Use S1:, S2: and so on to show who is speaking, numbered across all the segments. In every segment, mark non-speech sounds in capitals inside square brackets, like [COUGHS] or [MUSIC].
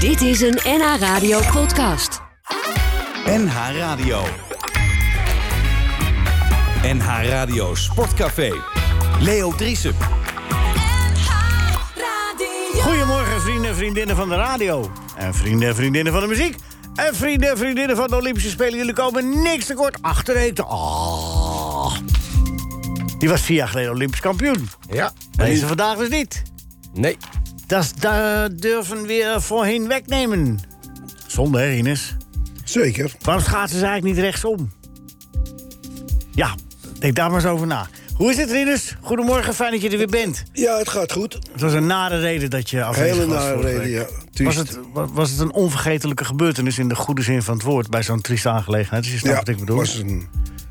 S1: Dit is een NH Radio podcast.
S2: NH Radio. NH Radio Sportcafé. Leo Driessen.
S3: Goedemorgen, vrienden en vriendinnen van de radio. En vrienden en vriendinnen van de muziek. En vrienden en vriendinnen van de Olympische Spelen. Jullie komen niks tekort achter eten. Ah. Die was vier jaar geleden Olympisch kampioen.
S4: Ja.
S3: Deze vandaag dus niet.
S4: Nee.
S3: Dat is- daar durven we voorheen wegnemen. Zonde, hè, Ines?
S5: Zeker.
S3: Waarom schaatsen ze eigenlijk niet rechtsom? Ja, denk daar maar eens over na. Hoe is het, Rinus? Goedemorgen, fijn dat je er weer bent.
S5: Ja, het gaat goed.
S3: Het was een nare reden dat je afwezig
S5: Hele
S3: was
S5: nare
S3: vorige
S5: reden,
S3: week.
S5: ja. Triest.
S3: Was het, wa- was het een onvergetelijke gebeurtenis in de goede zin van het woord... bij zo'n trieste aangelegenheid? Dus je snapt
S5: ja,
S3: wat ik bedoel.
S5: Was een,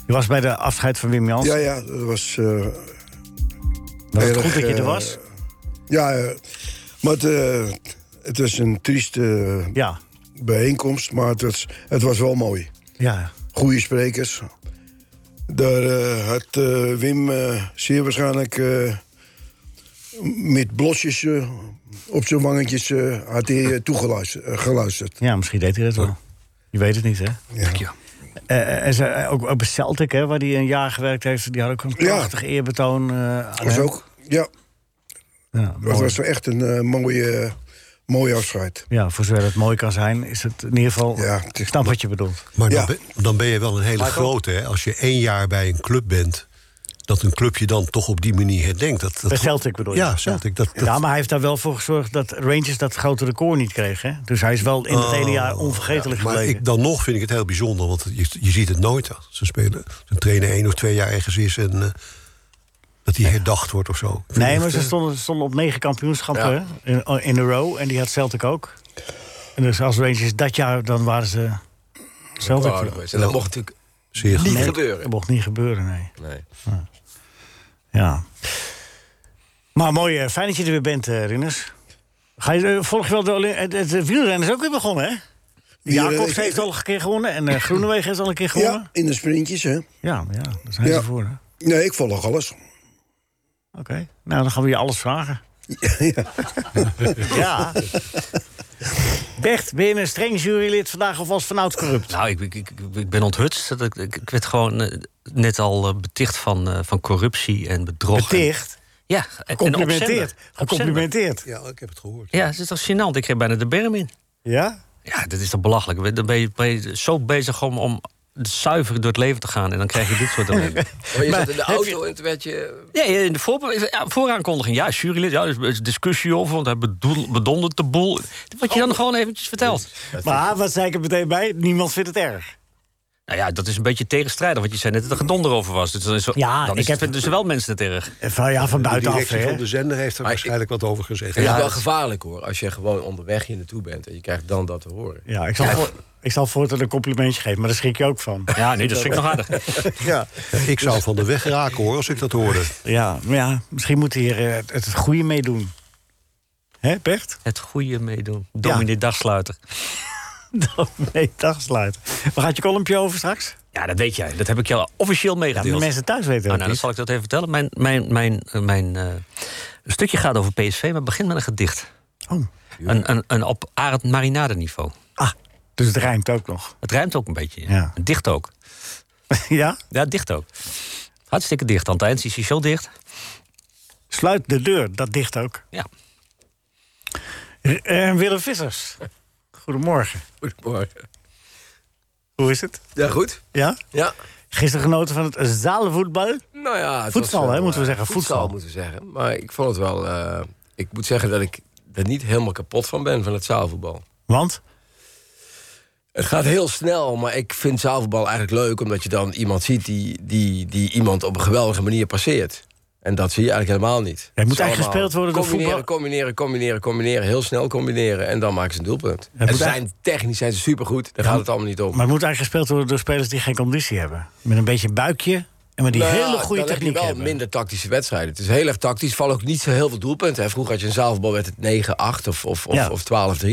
S3: Je was bij de afscheid van Wim Jans.
S5: ja, ja, dat was... eh,
S3: was het
S5: erg,
S3: goed dat je er
S5: eh,
S3: was?
S5: ja, eh, maar het, eh, het was een trieste
S3: Ja.
S5: bijeenkomst, maar het was, het was wel mooi.
S3: Ja.
S5: Goede sprekers. Daar eh, had eh, Wim eh, zeer waarschijnlijk eh, met blosjes eh, op zijn wangetjes eh, had hij eh, toegeluisterd. eh, geluisterd.
S3: ja, misschien deed hij dat wel. Je weet het niet, hè?
S5: Ja.
S3: Eh, eh, en ze, eh, ook, ook bij Celtic, hè, waar hij een jaar gewerkt heeft... die had ook een
S5: Ja.
S3: prachtig eerbetoon. eh, aan
S5: Was
S3: hem.
S5: ook, ja,
S3: Ja,
S5: dat
S3: mooi.
S5: was echt een eh, mooie, mooie afscheid.
S3: Ja, voor zover het mooi kan zijn, is het in ieder geval...
S5: Ja, het is-
S3: ik snap wat je bedoelt.
S4: Maar dan,
S5: Ja.
S4: ben, dan ben je wel een hele grote, hè? Als je één jaar bij een club bent, dat een club je dan toch op die manier herdenkt. Dat, dat
S3: Bij Celtic bedoel je?
S4: Ja, Celtic. Dat, dat,
S3: Ja, maar hij heeft daar wel voor gezorgd dat Rangers dat grote record niet kreeg. Hè? Dus hij is wel in het ene jaar onvergetelijk
S4: Oh, maar
S3: gebleven.
S4: ik, dan nog vind ik het heel bijzonder, want je, je ziet het nooit als een speler, als een trainer één of twee jaar ergens is en eh, dat hij herdacht wordt of zo. Ik vind
S3: Nee,
S4: het
S3: maar
S4: echt,
S3: ze
S4: eh,
S3: stonden, ze stonden op negen kampioenschappen hè, in, in a row. En die had Celtic ook. En dus als Rangers dat jaar, dan waren ze Celtic.
S6: Oh, dat was- en dat mocht natuurlijk
S4: zeer goed.
S6: niet
S3: Nee,
S6: gebeuren.
S3: Dat mocht niet gebeuren, nee.
S6: Nee.
S3: Ja. Maar mooi, eh, fijn dat je er weer bent, eh Rinus. Ga je, eh, volg je wel de Olymp- het, het, wielrennen is ook weer begonnen, hè? Jacobs heeft al een keer gewonnen en eh, Groenewegen heeft al een keer
S5: Ja,
S3: gewonnen.
S5: in de sprintjes, hè.
S3: Ja, ja, daar zijn
S5: Ja.
S3: ze voor, hè?
S5: Nee, ik volg alles.
S3: Oké, nou dan gaan we je alles
S7: [LAUGHS]
S3: vragen. Ja. Bert, ben je een streng jurylid vandaag of was vanuit corrupt?
S7: Nou, ik, ik, ik, ik ben onthutst. Dat Ik, ik, ik werd gewoon eh, net al eh, beticht van, eh, van corruptie en bedrog.
S3: Beticht,
S7: En- Ja, en- en
S3: gecomplimenteerd.
S7: opzender.
S3: Gecomplimenteerd.
S4: Ja, ik heb het gehoord.
S7: Opzender. Ja, het is toch gênant? Ik kreeg bijna de berm in.
S3: Ja?
S7: Ja, dat is toch belachelijk? Dan ben je, ben je zo bezig om, om zuiver door het leven te gaan... en dan krijg je dit soort ellende.
S6: [LAUGHS] Maar je
S3: Maar
S6: zat in de
S3: heb
S6: auto
S3: je-
S6: en toen werd je...
S7: Nee, in de voorbe- ja, vooraankondiging. Ja, jurylid, ja, er is- er is discussie over, want hij bedoel- bedondert de boel. Wat je
S3: Oh.
S7: dan gewoon eventjes vertelt.
S3: Maar wat zei ik er meteen bij? Niemand vindt het erg.
S7: Nou ja, dat is een beetje tegenstrijdig, want je zei net dat er gedonder over was. Dus dan is,
S3: Ja,
S7: dan
S3: ik
S7: is,
S3: heb-
S7: vinden ze wel mensen het erg.
S3: Eh, Van, ja, van
S4: De
S3: buitenaf,
S4: directie
S3: hè?
S4: van de zender heeft er
S6: Maar ik-
S4: waarschijnlijk wat over gezegd.
S6: Het is
S4: Ja.
S3: dus-
S6: wel gevaarlijk hoor, als je gewoon onderweg hier naartoe bent en je krijgt dan dat te horen.
S3: Ja, ik zal, voor, ik zal voortaan een complimentje geven, maar daar schrik je ook van.
S7: Ja, nee, dat vind ik nog aardig.
S4: [LAUGHS]
S3: Ja.
S4: Ik zou van de weg raken hoor, als ik dat hoorde.
S3: Ja, maar ja, misschien moet hij hier eh, het, het goede meedoen. Hè, Bert?
S7: Het goede meedoen. Dominee Dagsluiter.
S3: [LAUGHS] Nee, dagsluit. Waar gaat je kolompje over straks?
S7: Ja, dat weet jij. Dat heb ik jou officieel
S3: Ja, de
S7: meegedeeld.
S3: mensen thuis weten
S7: nou,
S3: het
S7: nou,
S3: niet.
S7: dan zal ik dat even vertellen. Mijn, mijn, mijn, eh, mijn eh, stukje gaat over PSV, maar begint met een gedicht.
S3: Oh.
S7: Een, een, een op Arend Marinade niveau.
S3: Ah, dus het rijmt ook nog.
S7: Het ruimt ook een beetje.
S3: Ja.
S7: En Dicht ook.
S3: [LAUGHS] ja?
S7: Ja, dicht ook. Hartstikke dicht. Aan het eind is hij zo dicht.
S3: Sluit de deur, dat dicht ook.
S7: Ja.
S3: R- eh, Willem Vissers, goedemorgen.
S6: Goedemorgen.
S3: Hoe is het?
S6: Ja, goed.
S3: Ja?
S6: Ja.
S3: Gisteren genoten van het zaalvoetbal.
S6: Nou ja, het
S3: Voetbal,
S6: was wel,
S3: hè, moeten we
S6: eh,
S3: zeggen, voetbal.
S6: moeten we zeggen. Maar ik vond het wel... eh, ik moet zeggen dat ik er niet helemaal kapot van ben, van het zaalvoetbal.
S3: Want?
S6: Het gaat heel snel, maar ik vind zaalvoetbal eigenlijk leuk... omdat je dan iemand ziet die, die, die iemand op een geweldige manier passeert. En dat zie je eigenlijk helemaal niet.
S3: moet
S6: Het is
S3: eigenlijk
S6: allemaal
S3: gespeeld worden door
S6: combineren,
S3: voetbal-
S6: Combineren, combineren, combineren. Heel snel combineren en dan maken ze een doelpunt.
S3: moet
S6: En ze zijn
S3: eigenlijk-
S6: technisch zijn ze supergoed, daar gaat het allemaal niet om.
S3: Maar het moet eigenlijk gespeeld worden door spelers die geen conditie hebben. Met een beetje buikje en met die
S6: Nou ja,
S3: hele goede
S6: dan heb je
S3: techniek
S6: wel
S3: hebben.
S6: minder tactische wedstrijden. Het is heel erg tactisch. Er vallen ook niet zo heel veel doelpunten. Hè. Vroeger had je een zaalvoetbal werd het 9-8 of, of, of,
S3: Ja.
S6: of 12-3.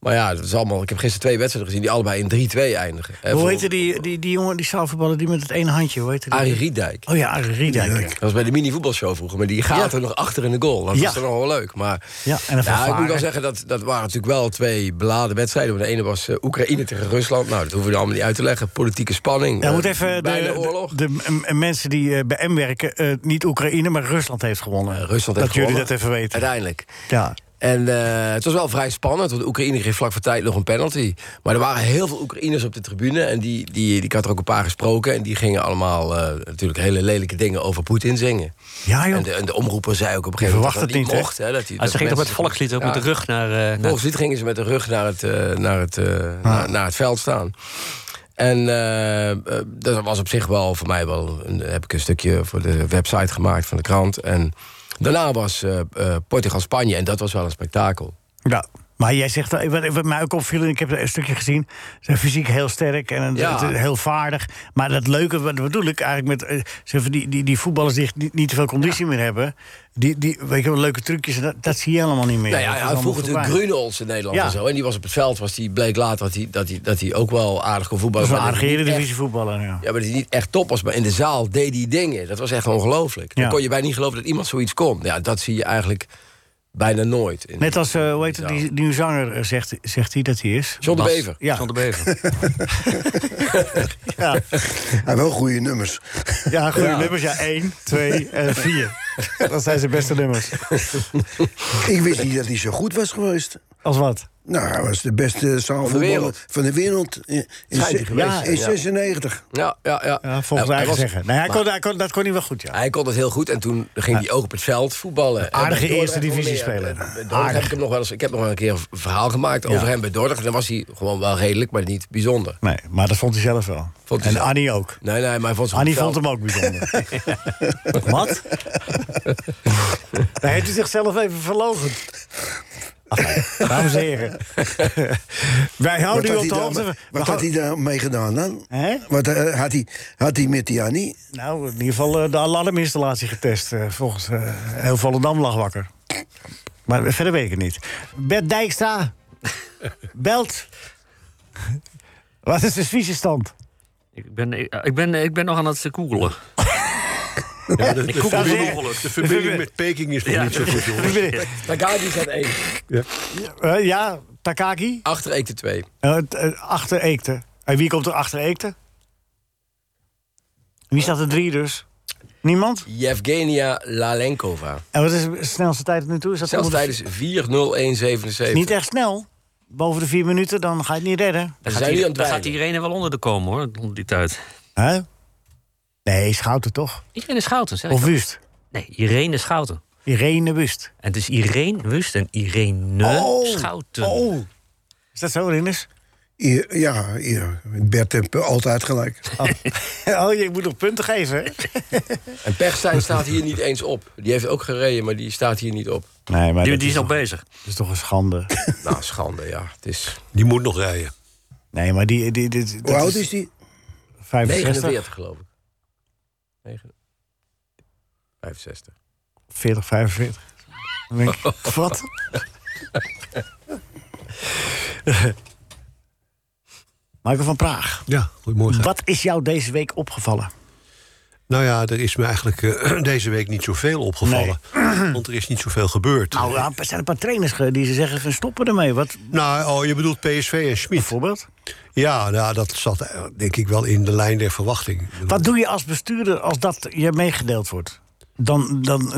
S6: Maar ja, dat is allemaal, ik heb gisteren twee wedstrijden gezien die allebei in 3-2 eindigen. Hè,
S3: Hoe
S6: voor-
S3: heette die, die, die jongen, die zaalvoetballer, die met het ene handje? Hoe heette die?
S6: Arie Riedijk.
S3: Oh ja, Arie Riedijk. ja.
S6: Dat was bij de mini-voetbalshow vroeger, maar die gaat er nog achter in de goal. Dat
S3: Ja.
S6: is dan nog wel leuk. Maar
S3: Ja, en een
S6: nou, ik moet wel
S3: vervaren.
S6: zeggen, dat, dat waren natuurlijk wel twee beladen wedstrijden. Maar de ene was eh, Oekraïne tegen Rusland. Nou, dat hoeven we allemaal niet uit te leggen. Politieke spanning.
S3: Ja,
S6: eh,
S3: Nou, moet even de,
S6: bijna
S3: de,
S6: oorlog.
S3: de- eh, mensen die eh, bij M werken, eh, niet Oekraïne, maar Rusland heeft gewonnen.
S6: Eh, Rusland
S3: dat
S6: heeft
S3: jullie
S6: gewonnen.
S3: dat even weten.
S6: Uiteindelijk.
S3: Ja.
S6: En eh, het was wel vrij spannend, want Oekraïne kreeg vlak voor tijd nog een penalty. Maar er waren heel veel Oekraïners op de tribune. En die, die, die, ik had er ook een paar gesproken. En die gingen allemaal eh, natuurlijk hele lelijke dingen over Poetin zingen.
S3: Ja, joh.
S6: En de, en de omroeper zei ook op een gegeven moment dat
S3: verwacht
S6: dat
S3: het
S6: niet
S3: niet, hè?
S6: mocht. Hè, dat die,
S7: Maar
S6: dat
S7: ze ging toch met
S6: mensen-
S7: het volkslied ook met de
S6: Ja.
S7: rug naar... eh, naar-
S6: Volgens dit gingen ze met de rug naar het, eh, naar het, eh,
S3: Ah.
S6: naar, naar het veld staan. En eh, eh, dat was op zich wel voor mij wel. Een, heb ik een stukje voor de website gemaakt van de krant. En daarna was eh, eh, Portugal-Spanje. En dat was wel een spektakel.
S3: Ja. Maar jij zegt, wel- wat, wat mij ook opviel, en ik heb een stukje gezien... ze zijn fysiek heel sterk en het-
S6: Ja.
S3: het is heel vaardig. Maar dat leuke, wat wat bedoel ik eigenlijk met... eh, zeg maar, die, die, die voetballers die echt niet, niet te veel conditie meer hebben... Die, die, weet je wel, leuke trucjes, dat, dat zie je helemaal niet meer.
S6: Nou
S3: Dat is
S6: ja, hij
S3: allemaal
S6: vroeg natuurlijk
S3: voorbij.
S6: Grunels in Nederland
S3: Ja.
S6: en zo. En die was op het veld. Was die, bleek later dat hij dat hij- dat hij ook wel aardig kon
S3: Dat
S6: voetballen.
S3: is een
S6: maar
S3: aardige
S6: niet echt-
S3: eredivisie voetballer, ja.
S6: Ja, maar dat hij niet echt top was. Maar in de zaal deed hij dingen. Dat was echt ongelooflijk. Dan
S3: Ja.
S6: kon je bijna niet geloven dat iemand zoiets kon. Ja, dat zie je eigenlijk bijna nooit. in-
S3: Net als, eh, hoe heet
S6: in
S3: het,
S6: de zaal.
S3: die, die zanger eh, zegt, zegt hij dat hij is.
S6: John de
S7: Bas.
S6: Bever.
S3: Ja.
S7: John de Bever.
S3: [LAUGHS] [LAUGHS] Ja,
S5: Hij heeft wel goede nummers.
S3: ja goede nummers. Ja, eh, 1, 2 en 4. Dat zijn zijn beste nummers.
S5: Ik wist niet dat hij zo goed was geweest.
S3: Als wat?
S5: Nou, hij was de beste zaalvoetballer
S6: wereld.
S5: van de wereld in, in,
S6: Schijnt hij
S5: ze-
S6: geweest
S5: ja,
S6: te zijn,
S5: in
S6: ja.
S5: 96.
S6: Ja, ja, ja.
S3: Ja, volgens
S6: Hij- hij
S3: eigen
S6: was-
S3: zeggen. Nee, hij
S6: maar
S3: kon, hij kon, dat kon hij wel goed, ja.
S6: Hij kon dat heel goed en toen ging hij ook op het veld voetballen. En
S3: aardige
S6: bij Dordrecht
S3: eerste
S6: nog
S3: divisie
S6: meer.
S3: speler.
S6: Bij Dordrecht
S3: Aardig.
S6: Heb ik, hem nog wel eens, ik heb nog wel een keer een verhaal gemaakt over hem bij Dordrecht. En dan was hij gewoon wel redelijk, maar niet bijzonder.
S3: Nee, maar dat vond hij zelf wel.
S6: Vond hij
S3: en
S6: zelf.
S3: Annie ook.
S6: Nee, nee, maar hij vond ze
S3: Annie
S6: op het
S3: vond
S6: veld-
S3: hem ook
S6: [LAUGHS]
S3: bijzonder. Wat? Hij heeft hij zichzelf even verlogen. Enfin, dames en
S5: [LAUGHS]
S3: heren. Wij
S5: Wat
S3: houden u
S5: had
S3: op
S5: hij
S3: de
S5: daar-
S3: hoogte. We
S5: Wat had hij
S3: hou-
S5: daarmee gedaan dan?
S3: Hè?
S5: Wat eh, had hij, had hij met Tiani?
S3: Nou, in ieder geval eh, de alarminstallatie getest. eh, volgens eh, heel Volendam lag wakker. Maar verder weet ik het niet. Bert
S6: [LAUGHS]
S3: Dijkstra, belt. Wat is de Zwitserstand?
S7: Ik ben, ik, ik ben, ik ben nog aan het eh, googelen.
S4: Ja,
S3: [LAUGHS]
S4: de, de,
S7: koek hem
S4: verbinding-
S7: per ongeluk.
S4: de verbinding met Peking is nog
S7: Ja.
S4: niet zo goed, jongen.
S6: Tagagi staat één.
S3: Eh, ja, Takaki.
S6: Achter Eekte twee.
S3: Eh, t- eh, achter Eekte. En wie komt er achter Eekte? Wie staat er drie dus? Niemand?
S6: Yevgenia Lalenkova.
S3: En wat is de snelste tijd tot nu toe? Is dat
S6: Zelfs
S3: onder de-
S6: tijdens 4.01.77.
S3: Niet echt snel. Boven de vier minuten, dan ga je het niet redden.
S6: We
S7: Daar
S6: zijn
S7: gaat,
S6: nu aan
S7: i-
S6: het
S7: daar gaat
S6: draaien.
S7: Irene wel onder de komen, hoor, onder die tijd.
S3: Hè? Nee, Schouten toch?
S7: Irene Schouten, zeg ik.
S3: Of Wust?
S7: Nee, Irene Schouten.
S3: Irene Wust.
S7: En het is Irene Wust en Irene Schouten.
S3: Oh. Is dat zo, Rinus?
S5: Ja, ja, ja, Bert heeft altijd gelijk.
S3: Oh, je moet nog punten geven,
S6: [LAUGHS]
S3: hè?
S6: En Pechstein staat hier niet eens op. Die heeft ook gereden, maar die staat hier niet op.
S3: Nee, maar
S7: Die,
S3: dat
S7: die is nog
S3: toch-
S7: bezig.
S3: dat is toch een schande.
S6: Nou, schande, ja. Het is
S4: Die moet nog rijden.
S3: Nee, maar die... die, die, dat
S5: Hoe oud is hij?
S3: 65,
S6: 49, geloof ik. Negen- 65.
S3: 40, 45. Dan denk ik, wat? Michael van Praag,
S4: Ja, goedemorgen.
S3: wat is jou deze week opgevallen?
S4: Nou ja, er is me eigenlijk eh, [CLEARS THROAT] deze week niet zoveel opgevallen. [CLEARS THROAT] Want er is niet zoveel gebeurd.
S3: Nou,
S4: Nou,
S3: ja, er zijn een paar trainers ge- die ze zeggen van stoppen ermee. Wat
S4: oh, je bedoelt PSV en Schmid.
S3: bijvoorbeeld?
S4: Ja, nou, dat zat eh, denk ik wel in de lijn der verwachting.
S3: Wat doe je als bestuurder als dat je meegedeeld wordt? Dan, dan,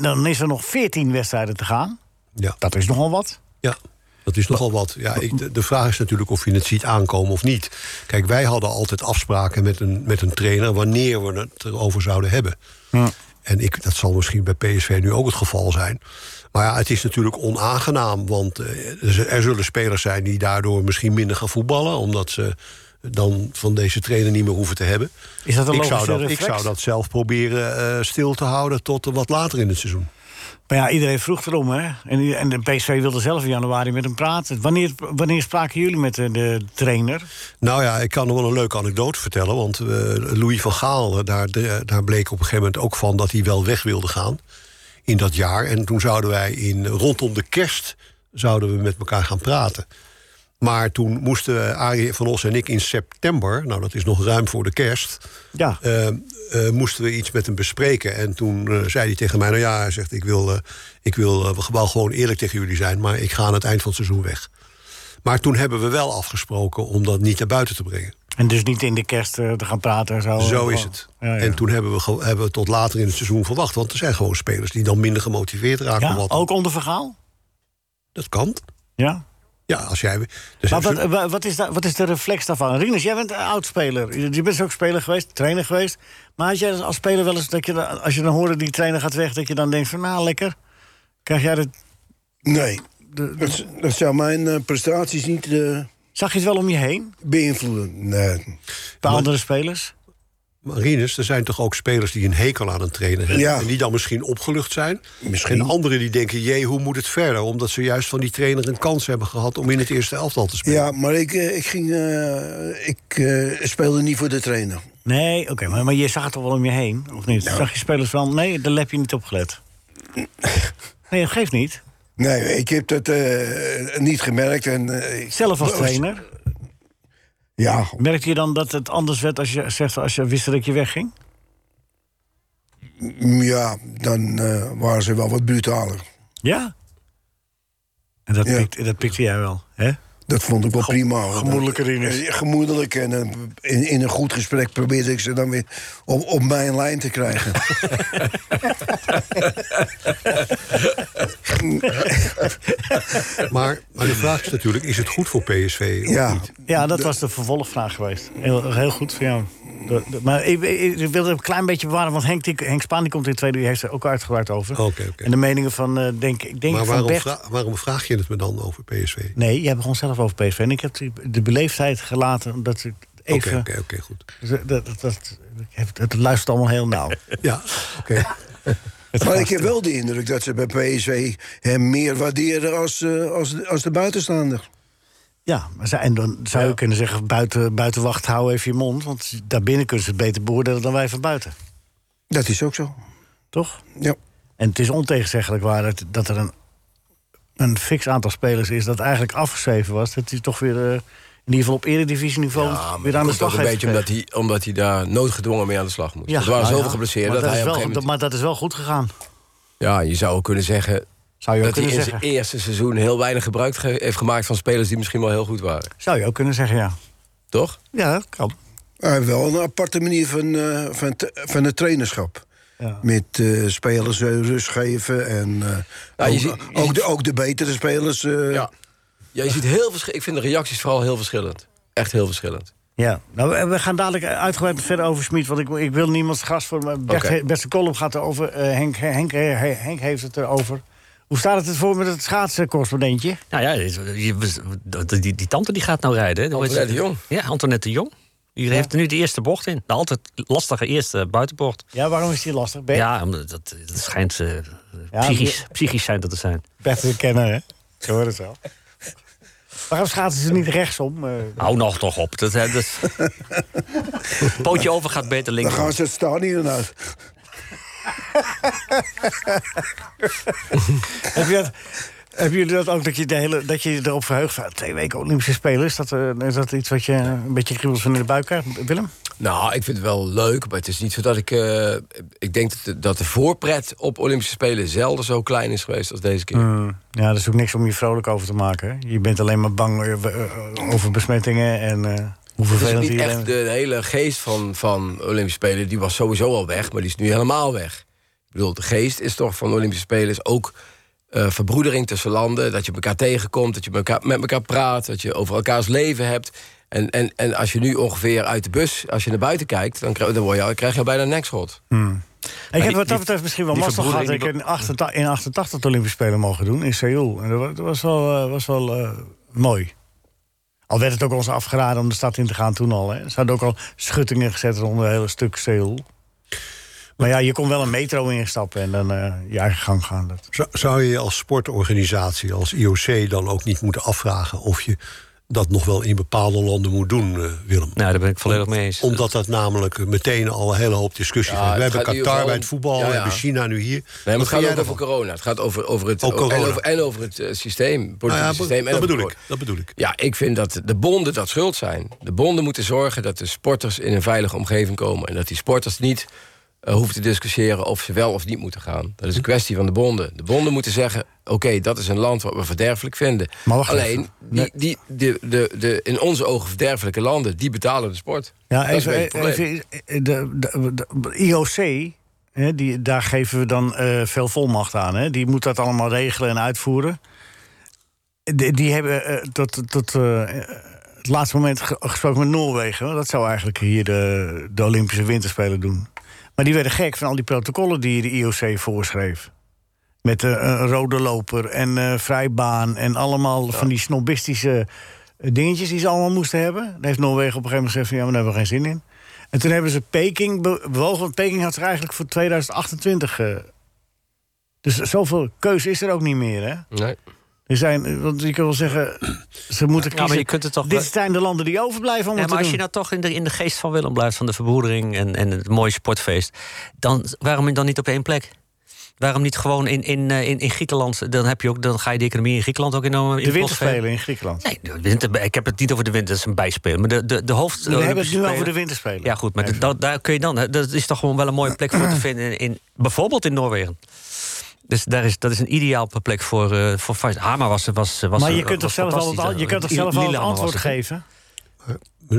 S3: dan is er nog 14 wedstrijden te gaan.
S4: Ja,
S3: Dat is nogal wat.
S4: ja. Dat is nogal wat. Ja, ik, de, de vraag is natuurlijk of je het ziet aankomen of niet. Kijk, wij hadden altijd afspraken met een, met een trainer... wanneer we het erover zouden hebben. En ik, dat zal misschien bij PSV nu ook het geval zijn. Maar ja, het is natuurlijk onaangenaam. Want eh, er z- er zullen spelers zijn die daardoor misschien minder gaan voetballen. Omdat ze dan van deze trainer niet meer hoeven te hebben.
S3: Is dat een
S4: ik, zou
S3: logische
S4: dat, ik
S3: reflex?
S4: zou dat zelf proberen eh, stil te houden tot eh, wat later in het seizoen.
S3: Maar ja, iedereen vroeg erom, hè? En, i- en de PSV wilde zelf in januari met hem praten. Wanneer, wanneer spraken jullie met de, de trainer?
S4: Nou ja, ik kan nog wel een leuke anekdote vertellen. Want eh, Louis van Gaal, eh, daar, eh, daar bleek op een gegeven moment ook van... dat hij wel weg wilde gaan in dat jaar. En toen zouden wij in, rondom de kerst zouden we met elkaar gaan praten. Maar toen moesten eh, Arie van Os en ik in september... nou, dat is nog ruim voor de kerst...
S3: Ja.
S4: eh, eh, moesten we iets met hem bespreken. En toen eh, zei hij tegen mij... nou ja, hij zegt, ik wil, eh, ik wil eh, wel gewoon eerlijk tegen jullie zijn... maar ik ga aan het eind van het seizoen weg. Maar toen hebben we wel afgesproken om dat niet naar buiten te brengen.
S3: En dus niet in de kerst eh, te gaan praten en zo.
S4: Zo is het.
S3: Ja, ja.
S4: En toen hebben we, ge- hebben we tot later in het seizoen verwacht. Want er zijn gewoon spelers die dan minder gemotiveerd raken.
S3: Ja,
S4: wat
S3: ook onder verhaal?
S4: Dat kan.
S3: Ja.
S4: Ja, als jij... Dus
S3: Maar
S4: hebben ze-
S3: wat, wa- wat, is daar- wat is de reflex daarvan? Rinus, jij bent een oud-speler. Je je bent ook speler geweest, trainer geweest. Maar had jij als speler wel eens dat je, dan- als je dan hoorde die trainer gaat weg, dat je dan denkt van nou lekker, krijg jij dat?
S5: Nee, dat, dat zou mijn eh, prestaties niet eh,
S3: Zag je het wel om je heen
S5: beïnvloeden. Nee.
S3: bij andere spelers?
S4: Marinus, er zijn toch ook spelers die een hekel aan een trainer hebben.
S5: Ja.
S4: En die dan misschien opgelucht zijn.
S5: Misschien.
S4: En anderen die denken, jee, hoe moet het verder? Omdat ze juist van die trainer een kans hebben gehad... om in het eerste elftal te spelen.
S5: Ja, maar ik, eh, ik, ging, eh, ik eh, speelde niet voor de trainer.
S3: Nee, oké, maar, maar je zag het toch wel om je heen, of niet? Zag je spelers wel? Nee, daar heb je niet op gelet. Nee, dat geeft niet.
S5: Nee, ik heb dat eh, niet gemerkt. En, eh, ik-
S3: Zelf
S4: Oh.
S3: als trainer,
S5: Ja,
S3: merkte je dan dat het anders werd als je, zegt, als je wist dat je wegging?
S5: m- ja dan eh, waren ze wel wat brutaler.
S3: Ja. En dat,
S5: Ja.
S3: Pikte, dat pikte jij wel, hè?
S5: Dat vond ik wel prima. hoor.
S3: gemoedelijke Rinus.
S5: Eh, Gemoedelijk en eh, in, in een goed gesprek probeerde ik ze dan weer op, op mijn lijn te
S3: [LAUGHS]
S5: krijgen.
S4: [LAUGHS] Maar, maar de vraag is natuurlijk, is het goed voor PSV of
S5: Ja,
S4: niet?
S3: Ja, dat was de vervolgvraag geweest. Heel, heel goed voor jou. De- de- maar ik, ik, ik wilde het een klein beetje bewaren, want Henk, Tik- Henk Spaan die komt in het tweede uur, heeft er ook uitgebreid over.
S4: Oké, oké.
S3: En de meningen van, eh, denk ik, denk
S4: Maar
S3: van
S4: waarom,
S3: Bert...
S4: vra- waarom vraag je het me dan over PSV? Oké,
S3: Nee, jij begon zelf over PSV. En ik heb die- de beleefdheid gelaten, omdat ik
S4: oké,
S3: even...
S4: oké, goed.
S3: Dus, eh, Dat, dat, dat, ik heb- het luistert allemaal heel
S6: [LAUGHS]
S3: nauw.
S4: Ja, oké.
S5: maar ik heb wel de indruk dat ze bij PSV hem meer waarderen als, eh, als, als de buitenstaander.
S3: Ja, maar zij- en dan zou je kunnen zeggen, buiten, buiten wacht, hou even je mond. Want daarbinnen kunnen ze het beter beoordelen dan wij van buiten.
S5: Dat is ook zo.
S3: Toch?
S5: Ja.
S3: En het is ontegenzeggelijk waar dat, dat er een, een fix aantal spelers is... dat eigenlijk afgeschreven was. Dat hij toch weer, eh, in ieder geval op eredivisieniveau... weer aan de slag
S6: Ook een
S3: heeft
S6: beetje
S3: gekregen.
S6: omdat hij, omdat hij daar noodgedwongen mee aan de slag moest. Dus er waren
S3: nou
S6: zoveel
S3: ja.
S6: geblesseerd
S3: Maar
S6: dat,
S3: dat,
S6: hij
S3: is
S6: op een
S3: wel,
S6: gegeven moment...
S3: Maar dat is wel goed gegaan,
S6: Ja, je zou ook kunnen zeggen...
S3: zou je ook
S6: dat hij
S3: kunnen
S6: in
S3: zeggen.
S6: zijn eerste seizoen heel weinig gebruik ge- heeft gemaakt... van spelers die misschien wel heel goed waren.
S3: Zou je ook kunnen zeggen, ja.
S6: Toch?
S3: Ja, dat kan.
S5: Hij heeft wel een aparte manier van, eh, van, te- van het trainerschap.
S3: Ja.
S5: Met eh, spelers eh, rust geven en eh,
S6: Ja, je
S5: ook,
S6: ziet- je
S5: ook
S6: ziet-
S5: de, ook de betere spelers. eh,
S6: Ja. ja je ziet heel verschi- Ik vind de reacties vooral heel verschillend. Echt heel verschillend.
S3: Ja, nou, we- we gaan dadelijk uitgebreid verder over Smit, want ik, ik wil niemands gast voor. maar Bert,
S6: Oké.
S3: he- Bert de column gaat erover. eh Henk, Henk, Henk, Henk heeft het erover. Hoe staat het ervoor met het schaatsencorrespondentje?
S7: Nou ja, je- je- die, die, die tante die gaat nou rijden. hè. Hoe heet ze?
S6: Antoinette de Jong.
S7: Ja, Antoinette de Jong. Die heeft nu de eerste bocht in. De altijd lastige eerste buitenbocht.
S3: Ja, waarom is die lastig? Bert,
S7: Ja, omdat dat, dat schijnt eh,
S3: Ja,
S7: psychisch,
S3: die-
S7: psychisch zijn dat te zijn.
S3: Bert de kenner, hè? Zo hoort het wel. waarom schaatsen ze niet rechtsom? [LAUGHS] eh?
S7: Hou nog toch op. Dat, hè,
S3: [LAUGHS]
S7: dat... Pootje over gaat beter
S5: Dan
S7: links.
S5: gaan ze het stadion uit.
S3: Heb je dat, hebben jullie dat ook, dat je, de hele, dat je erop verheugt? van, Twee weken Olympische Spelen, is dat, eh, is dat iets wat je een beetje kriebels van in de buik krijgt, Willem?
S6: Nou, ik vind het wel leuk, maar het is niet zo dat ik... eh, ik denk dat de, dat de voorpret op Olympische Spelen zelden zo klein is geweest als deze keer.
S3: Mm. Ja, dat is ook niks om je vrolijk over te maken. hè? Je bent alleen maar bang eh, eh, over besmettingen en eh, hoe
S6: Dus Het is
S3: vervelend
S6: niet
S3: die
S6: echt de hele geest van, van Olympische Spelen. Die was sowieso al weg, maar die is nu helemaal weg. Ik bedoel, de geest is toch van de Olympische Spelen is ook eh, verbroedering tussen landen. Dat je elkaar tegenkomt, dat je elkaar, met elkaar praat, dat je over elkaars leven hebt. En, en, en als je nu ongeveer uit de bus, als je naar buiten kijkt, dan, krijg- dan word je, al- krijg je bijna een nekschot.
S3: Hm. Ik heb
S7: die-
S3: wat dat
S7: die-
S3: betreft misschien wel
S7: die
S3: mazzel gehad. dat Ik
S7: verbroedering
S3: in 88, in 88 de Olympische Spelen mogen doen in Seoul. En dat wa- dat was wel, eh, was wel eh, mooi. Al werd het ook ons afgeraden om de stad in te gaan toen al. Hè. Ze hadden ook al schuttingen gezet rond een hele stuk Seoul. Maar ja, je kon wel een metro instappen en dan eh, je eigen gang gaan. Dat.
S4: Zou, zou je je als sportorganisatie, als IOC, dan ook niet moeten afvragen of je dat nog wel in bepaalde landen moet doen, eh, Willem.
S7: Nou, daar ben ik volledig mee eens.
S4: Omdat dat namelijk eh, meteen al een hele hoop discussie
S6: Ja,
S4: geeft. We
S6: het
S4: hebben
S6: gaat in ieder
S4: Qatar bij
S6: geval
S4: het voetbal,
S6: om- ja,
S4: we
S6: ja.
S4: hebben China nu hier.
S6: Nee, maar
S4: Wat
S6: het gaat
S4: vind
S6: ook
S4: jij
S6: over
S4: daarvan?
S6: corona. Het gaat over, over het
S4: Ook corona.
S6: En over, en over het eh, systeem, politieke
S4: Nou ja,
S6: systeem. en
S4: dat
S6: over
S4: bedoel
S6: corona.
S4: ik, dat bedoel ik.
S6: Ja, ik vind dat de bonden dat schuld zijn. De bonden moeten zorgen dat de sporters in een veilige omgeving komen. En dat die sporters niet eh, hoeven te discussiëren of ze wel of niet moeten gaan. Dat is een kwestie van de bonden. De bonden moeten zeggen, oké, dat is een land wat we verderfelijk vinden.
S3: Maar wacht
S6: Alleen,
S3: even.
S6: die, die, de, de, de in onze ogen verderfelijke landen, die betalen de sport.
S3: Ja,
S6: dat is een
S3: even,
S6: beetje het probleem.
S3: even de, de, de- IOC, hè, die, daar geven we dan eh, veel volmacht aan. Hè. Die moet dat allemaal regelen en uitvoeren. Die, die hebben eh, tot, tot eh, het laatste moment ge- gesproken met Noorwegen. hoor. Dat zou eigenlijk hier de, de Olympische Winterspelen doen. Maar die werden gek van al die protocollen die de IOC voorschreef. Met eh, een rode loper en eh, vrijbaan en allemaal van die snobistische dingetjes die ze allemaal moesten hebben. Daar heeft Noorwegen op een gegeven moment gezegd van ja, maar daar hebben we geen zin in. En toen hebben ze Peking be- bewogen, want Peking had zich eigenlijk voor 2028... eh, dus zoveel keuze is er ook niet meer, hè?
S6: Nee.
S3: Er zijn, eh, want je kunt wel zeggen, ze moeten kiezen.
S7: Ja, maar je kunt het toch
S3: Dit
S7: wel-
S3: zijn de landen die overblijven om
S7: Nee,
S3: het te
S7: maar als
S3: doen.
S7: je nou toch in de, in de geest van Willem blijft, van de verbroedering en, en het mooie sportfeest, dan waarom dan niet op één plek? Waarom niet gewoon in, in, eh, in, in Griekenland? Dan, heb je ook, dan ga je de economie in Griekenland ook enorm eh, in
S3: de winterspelen in Griekenland.
S7: Nee, de winter, ik heb het niet over de winter, dat is een bijspel. Maar de, de, de hoofd.
S3: We hebben het
S7: Olympische
S3: nu
S7: Spelen-
S3: over de winterspelen.
S7: Ja, goed, maar
S3: Even.
S7: dat, daar kun je dan. hè, Dat is toch gewoon wel een mooie plek voor te vinden. In, in- bijvoorbeeld in Noorwegen. Dus daar is, dat is een ideaal plek voor. eh voor vast- Hama was. was, was
S3: maar je
S7: was
S3: kunt toch zelf wel het,
S7: fantastisch.
S3: an- je kunt toch
S7: Lil-
S3: zelf wel het
S7: Lillehammer was
S3: antwoord
S7: het.
S3: geven?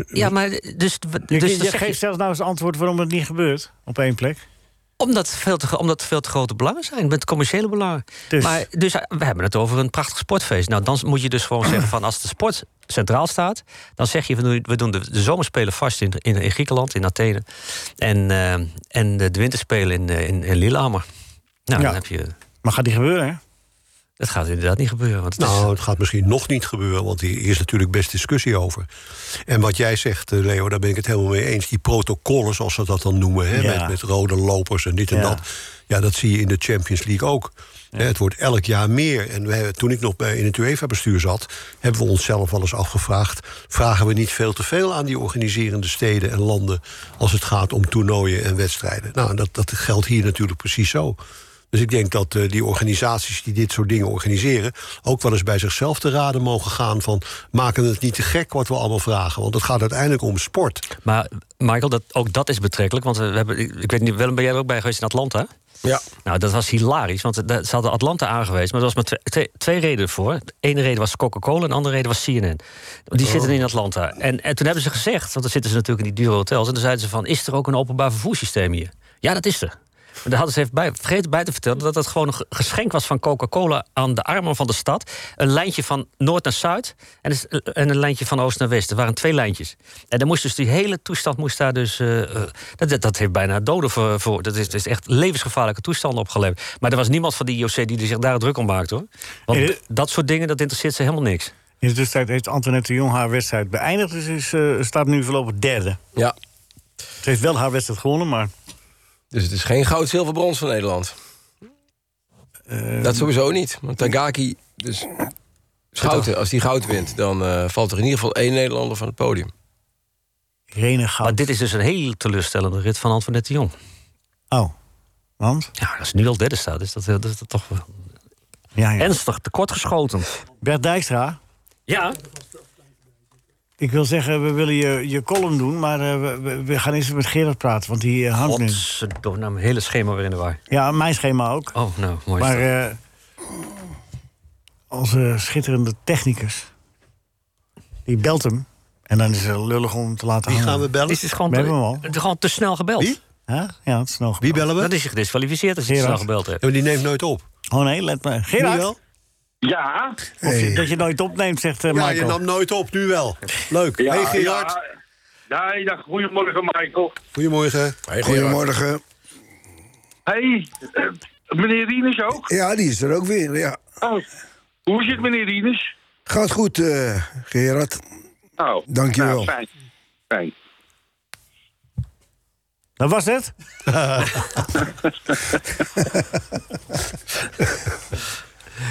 S7: Ja, maar dus.
S3: Je,
S7: dus
S3: je
S7: dan zeg je-
S3: geeft zelf nou eens antwoord waarom het niet gebeurt op één plek.
S7: Omdat het veel te, omdat het veel te grote belangen zijn, met commerciële belangen.
S3: Dus-
S7: Dus. Maar, dus eh, we hebben het over een prachtig sportfeest. Nou, dan moet je dus gewoon zeggen van als de sport centraal staat, dan zeg je we doen, we doen de, de zomerspelen vast in, in, in Griekenland, in Athene. En, eh, en de, de winterspelen in, eh, in, in Lillehammer. Nou,
S3: Ja.
S7: dan heb je.
S3: Maar gaat die gebeuren, hè?
S7: Dat gaat inderdaad niet gebeuren. Want het
S4: Nou,
S7: is,
S4: het gaat misschien nog niet gebeuren, want hier is natuurlijk best discussie over. En wat jij zegt, eh, Leo, daar ben ik het helemaal mee eens. Die protocollen, zoals ze dat dan noemen, hè,
S3: Ja.
S4: met, met rode lopers en dit en
S3: Ja.
S4: dat. Ja, dat zie je in de Champions League ook. Hè, Het wordt elk jaar meer. En we, hebben- toen ik nog bij, in het UEFA-bestuur zat, hebben we onszelf wel eens afgevraagd: vragen we niet veel te veel aan die organiserende steden en landen als het gaat om toernooien en wedstrijden? Nou, en dat, dat geldt hier natuurlijk precies zo. Dus ik denk dat eh, die organisaties die dit soort dingen organiseren... ook wel eens bij zichzelf te raden mogen gaan van... maken we het niet te gek wat we allemaal vragen. Want het gaat uiteindelijk om sport.
S7: maar Michael, dat, ook dat is betrekkelijk. Want we hebben, ik ik weet niet, Willem, ben jij er ook bij geweest in Atlanta?
S6: Ja.
S7: Nou, dat was hilarisch, want daar- ze hadden Atlanta aangewezen... maar er was maar twee, twee, twee redenen voor. De ene reden was Coca-Cola en de andere reden was CNN. Die zitten in Atlanta. En, en toen hebben ze gezegd, want dan zitten ze natuurlijk in die dure hotels... en toen zeiden ze van, is er ook een openbaar vervoerssysteem hier? Ja, dat is er. Maar daar hadden ze even bij, vergeten bij te vertellen... dat dat gewoon een ge- geschenk was van Coca-Cola aan de armen van de stad. Een lijntje van noord naar zuid en een s- en een lijntje van oost naar west. Er waren twee lijntjes. En dan moest dus die hele toestand moest daar dus... eh, eh, dat, dat- dat heeft bijna doden voor... voor dat, is, dat is echt levensgevaarlijke toestanden opgeleverd. Maar er was niemand van die IOC die er zich daar druk om maakte, hoor. Want
S3: Eh,
S7: d- dat soort dingen, dat interesseert ze helemaal niks.
S3: In de tussentijd heeft Antoinette de Jong haar wedstrijd beëindigd. Dus is, eh, staat nu voorlopig derde.
S6: ja,
S3: Ze heeft wel haar wedstrijd gewonnen, maar...
S6: dus het is geen goud, zilver, brons van Nederland. dat sowieso niet. Want Tagaki, dus Schouten, als die goud wint... dan eh, valt er in ieder geval één Nederlander van het podium.
S3: Irene Goud.
S7: Maar dit is dus een heel teleurstellende rit van Antoinette de Jong.
S3: Oh, want?
S7: Ja, als ze nu al derde staat, is dat, dat, is dat toch wel
S3: Ja, ja.
S7: ernstig tekortgeschoten.
S3: Bert Dijkstra,
S7: Ja,
S3: ik wil zeggen, we willen je, je column doen... maar eh, we- we, we gaan eerst met Gerard praten, want die eh, hangt nu.
S7: Godverdomme, nou, mijn hele schema weer in de war.
S3: Ja, mijn schema ook.
S7: Oh, nou, mooi. is
S3: Maar
S7: dat.
S3: eh, onze schitterende technicus, die belt hem. En dan is het lullig om hem te laten
S4: Wie
S3: hangen.
S4: gaan we bellen?
S7: Dit is gewoon
S3: eh, we hebben hem al.
S7: te, gewoon te snel gebeld.
S4: Wie?
S3: Huh? Ja, het is nog.
S4: Wie bellen we?
S7: Dat is je gedisqualificeerd als je te snel
S3: Gerard.
S7: gebeld hebt.
S4: Ja, maar die neemt nooit op.
S3: Oh nee, let me. Gerard,
S4: Nu wel?
S8: Ja,
S3: Of je-
S4: Hey.
S3: dat je nooit opneemt, zegt eh,
S4: Ja, je
S3: Michael.
S4: nam nooit op, nu wel. Leuk.
S8: ja.
S4: hey Gerard,
S8: Ja, ja, ja, goedemorgen, Michael.
S4: goedemorgen.
S5: Goedemorgen.
S8: hey, eh, meneer Rienes ook?
S5: Ja, die is er ook weer. Ja.
S8: Oh. Hoe is het, meneer Rienes?
S5: Gaat goed, eh, Gerard.
S8: Oh,
S5: Dankjewel.
S8: Nou, fijn. fijn.
S3: Dat
S4: [LAUGHS]
S3: was het?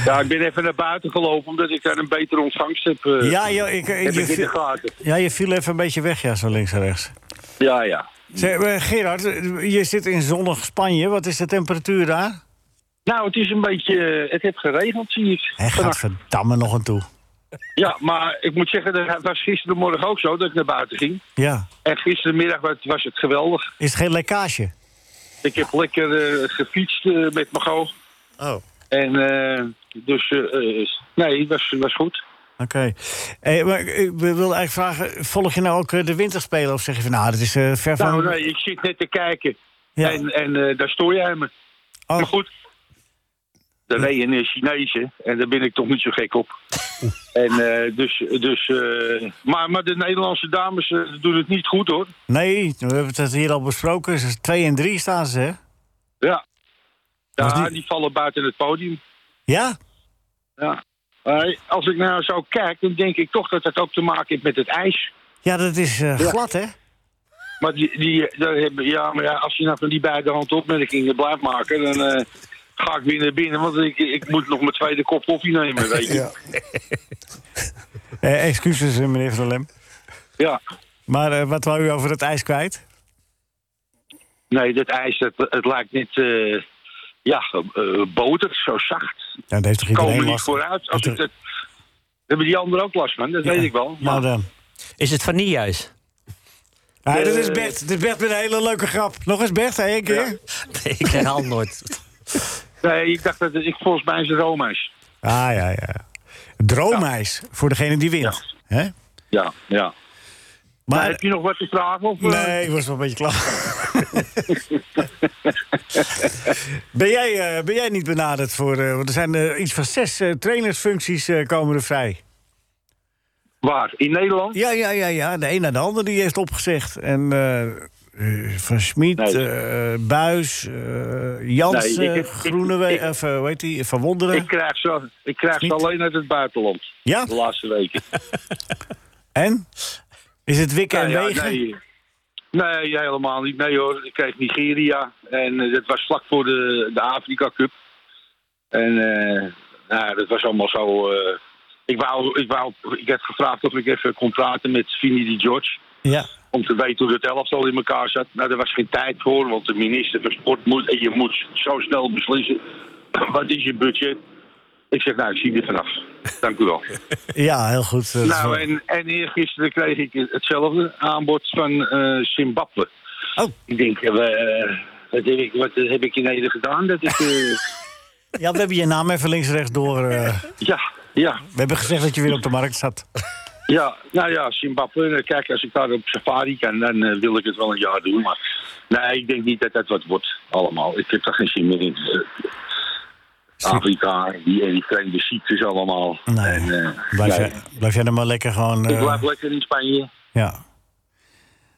S8: Ja, ik ben even naar buiten gelopen omdat ik daar een betere ontvangst heb. eh,
S3: Ja, joh, ik, eh,
S8: heb
S3: je,
S8: ik in de
S3: viel,
S8: gaten.
S3: ja, je viel even een beetje weg, ja, zo links en rechts.
S8: Ja, ja.
S3: Zeg, eh, Gerard, eh, je zit in zonnig Spanje. Wat is de temperatuur daar?
S8: Nou, het is een beetje... eh, Het heeft geregeld, zie ik.
S3: Hij gaat
S8: Vannacht.
S3: verdamme nog aan toe.
S8: Ja, maar ik moet zeggen, dat was gisterenmorgen ook zo dat ik naar buiten ging.
S3: Ja.
S8: En gisterenmiddag was, was het geweldig.
S3: Is het geen lekkage?
S8: Ik heb lekker eh, gefietst eh, met mijn goog.
S3: Oh. Oké.
S8: En eh, dus, eh, eh, nee, het was, was goed.
S3: Eh, maar ik wil eigenlijk vragen, volg je nou ook eh, de winterspelen? Of zeg je van, nou, dat is eh, ver van...
S8: Nou, nee, ik zit net te kijken.
S3: Ja.
S8: En, en eh, daar stoor jij me.
S3: Oh.
S8: Maar goed, daar reed je een Chinees, En daar ben ik toch niet zo gek
S3: [LAUGHS]
S8: op. en eh, dus, dus eh, maar, maar de Nederlandse dames eh, doen het niet goed, hoor.
S3: Nee, we hebben het hier al besproken. Ze- Twee en drie staan ze, hè?
S8: Ja.
S3: Was
S8: Ja,
S3: die-
S8: die vallen buiten het podium.
S3: Ja?
S8: Ja. Maar als ik nou zo kijk, dan denk ik toch dat dat ook te maken heeft met het ijs.
S3: Ja, dat is eh, glad, hè?
S8: Maar die, die, daar hebben, ja, maar ja, als je nou van die beide hand opmerkingen blijft maken, dan eh, ga ik weer naar binnen, want ik, ik moet nog mijn tweede kop koffie nemen, weet je. Ja.
S5: Ja.
S3: Eh, excuses, eh, meneer Van der Lem. Maar eh, wat wou u over het ijs kwijt?
S8: Nee, dat ijs, dat, het lijkt net, eh, ja, eh, boter, zo zacht.
S3: Ja, dat heeft toch
S8: Komen
S3: iedereen
S8: niet
S3: last
S8: vooruit. Als
S3: Dat-
S8: ik dat, hebben die anderen ook last van, dat weet ik wel.
S3: Nou
S8: Maar,
S3: dan.
S7: Is het vanilleijs?
S3: Ah,
S8: Eh,
S3: dat is Bert. Dit is Bert met een hele leuke grap. Nog eens Bert, hè, één keer.
S7: Nee, [LAUGHS] ik herhaal nooit.
S8: nee, ik dacht dat het- ik volgens mij is het Romeis.
S3: Ah, ja, ja. Droomijs, voor degene die wint. Hè?
S8: Ja, ja. Maar, heb
S3: Maar,
S8: je nog wat te vragen? Of, eh?
S3: nee, ik was wel een beetje klaar. ben, jij, eh, ben jij niet benaderd voor... eh, want er zijn eh, iets van zes eh, trainersfuncties eh, komen er vrij.
S8: Waar? In Nederland?
S3: Ja, ja, ja, ja. De een naar de ander die heeft opgezegd. En eh, eh, Van Schmid,
S8: Nee.
S3: eh, Buis, eh, Jansen,
S8: Nee, ik heb- ik-
S3: Groeneweg,
S8: ik-
S3: of, eh, hoe heet die? Van Wonderen.
S8: [LAUGHS] Ik krijg, ze, ik krijg ze
S3: Niet.
S8: alleen uit het buitenland.
S3: ja,
S8: De laatste weken.
S3: en? Is het wikken en
S8: Nou ja,
S3: wegen?
S8: nee. nee, helemaal niet. Nee hoor, ik kreeg Nigeria. En eh, dat was vlak voor de, de Afrika Cup. En eh, nou, ja, dat was allemaal zo... eh, ik, wou, ik, wou, ik heb gevraagd of ik even kon praten met Vinnie Di George.
S3: Ja.
S8: Om te weten hoe het elftal in elkaar zat. Nou, daar was geen tijd voor, want de minister van Sport moet... En je moet zo snel beslissen. [CLEARS THROAT] Wat is je budget? Ik zeg, nou, ik zie dit vanaf. Dank u
S3: [LAUGHS]
S8: wel.
S3: ja, heel goed. Dat is wel-
S8: Nou, en, en eergisteren kreeg ik hetzelfde aanbod van eh, Zimbabwe.
S3: Oh.
S8: Ik denk, eh, we- wat, heb ik, wat heb ik in Nederland gedaan? Dat ik,
S3: [LAUGHS]
S8: eh,
S3: Ja, we hebben je naam even links en rechts door. eh,
S8: ja, ja,
S3: we hebben gezegd dat je weer op de markt zat.
S8: ja. Nou ja, Zimbabwe. eh, Kijk, als ik daar op safari kan, dan eh, wil ik het wel een jaar doen. Maar nee, ik denk niet dat dat wat wordt allemaal. Ik heb daar geen zin meer in. Eh, Afrika, en die, en die vreemde ziektes allemaal.
S3: Nee.
S8: En, eh,
S3: Blijf,
S8: nee.
S3: jij, blijf jij dan maar lekker gewoon...
S8: Ik
S3: eh,
S8: blijf lekker in Spanje.
S3: ja.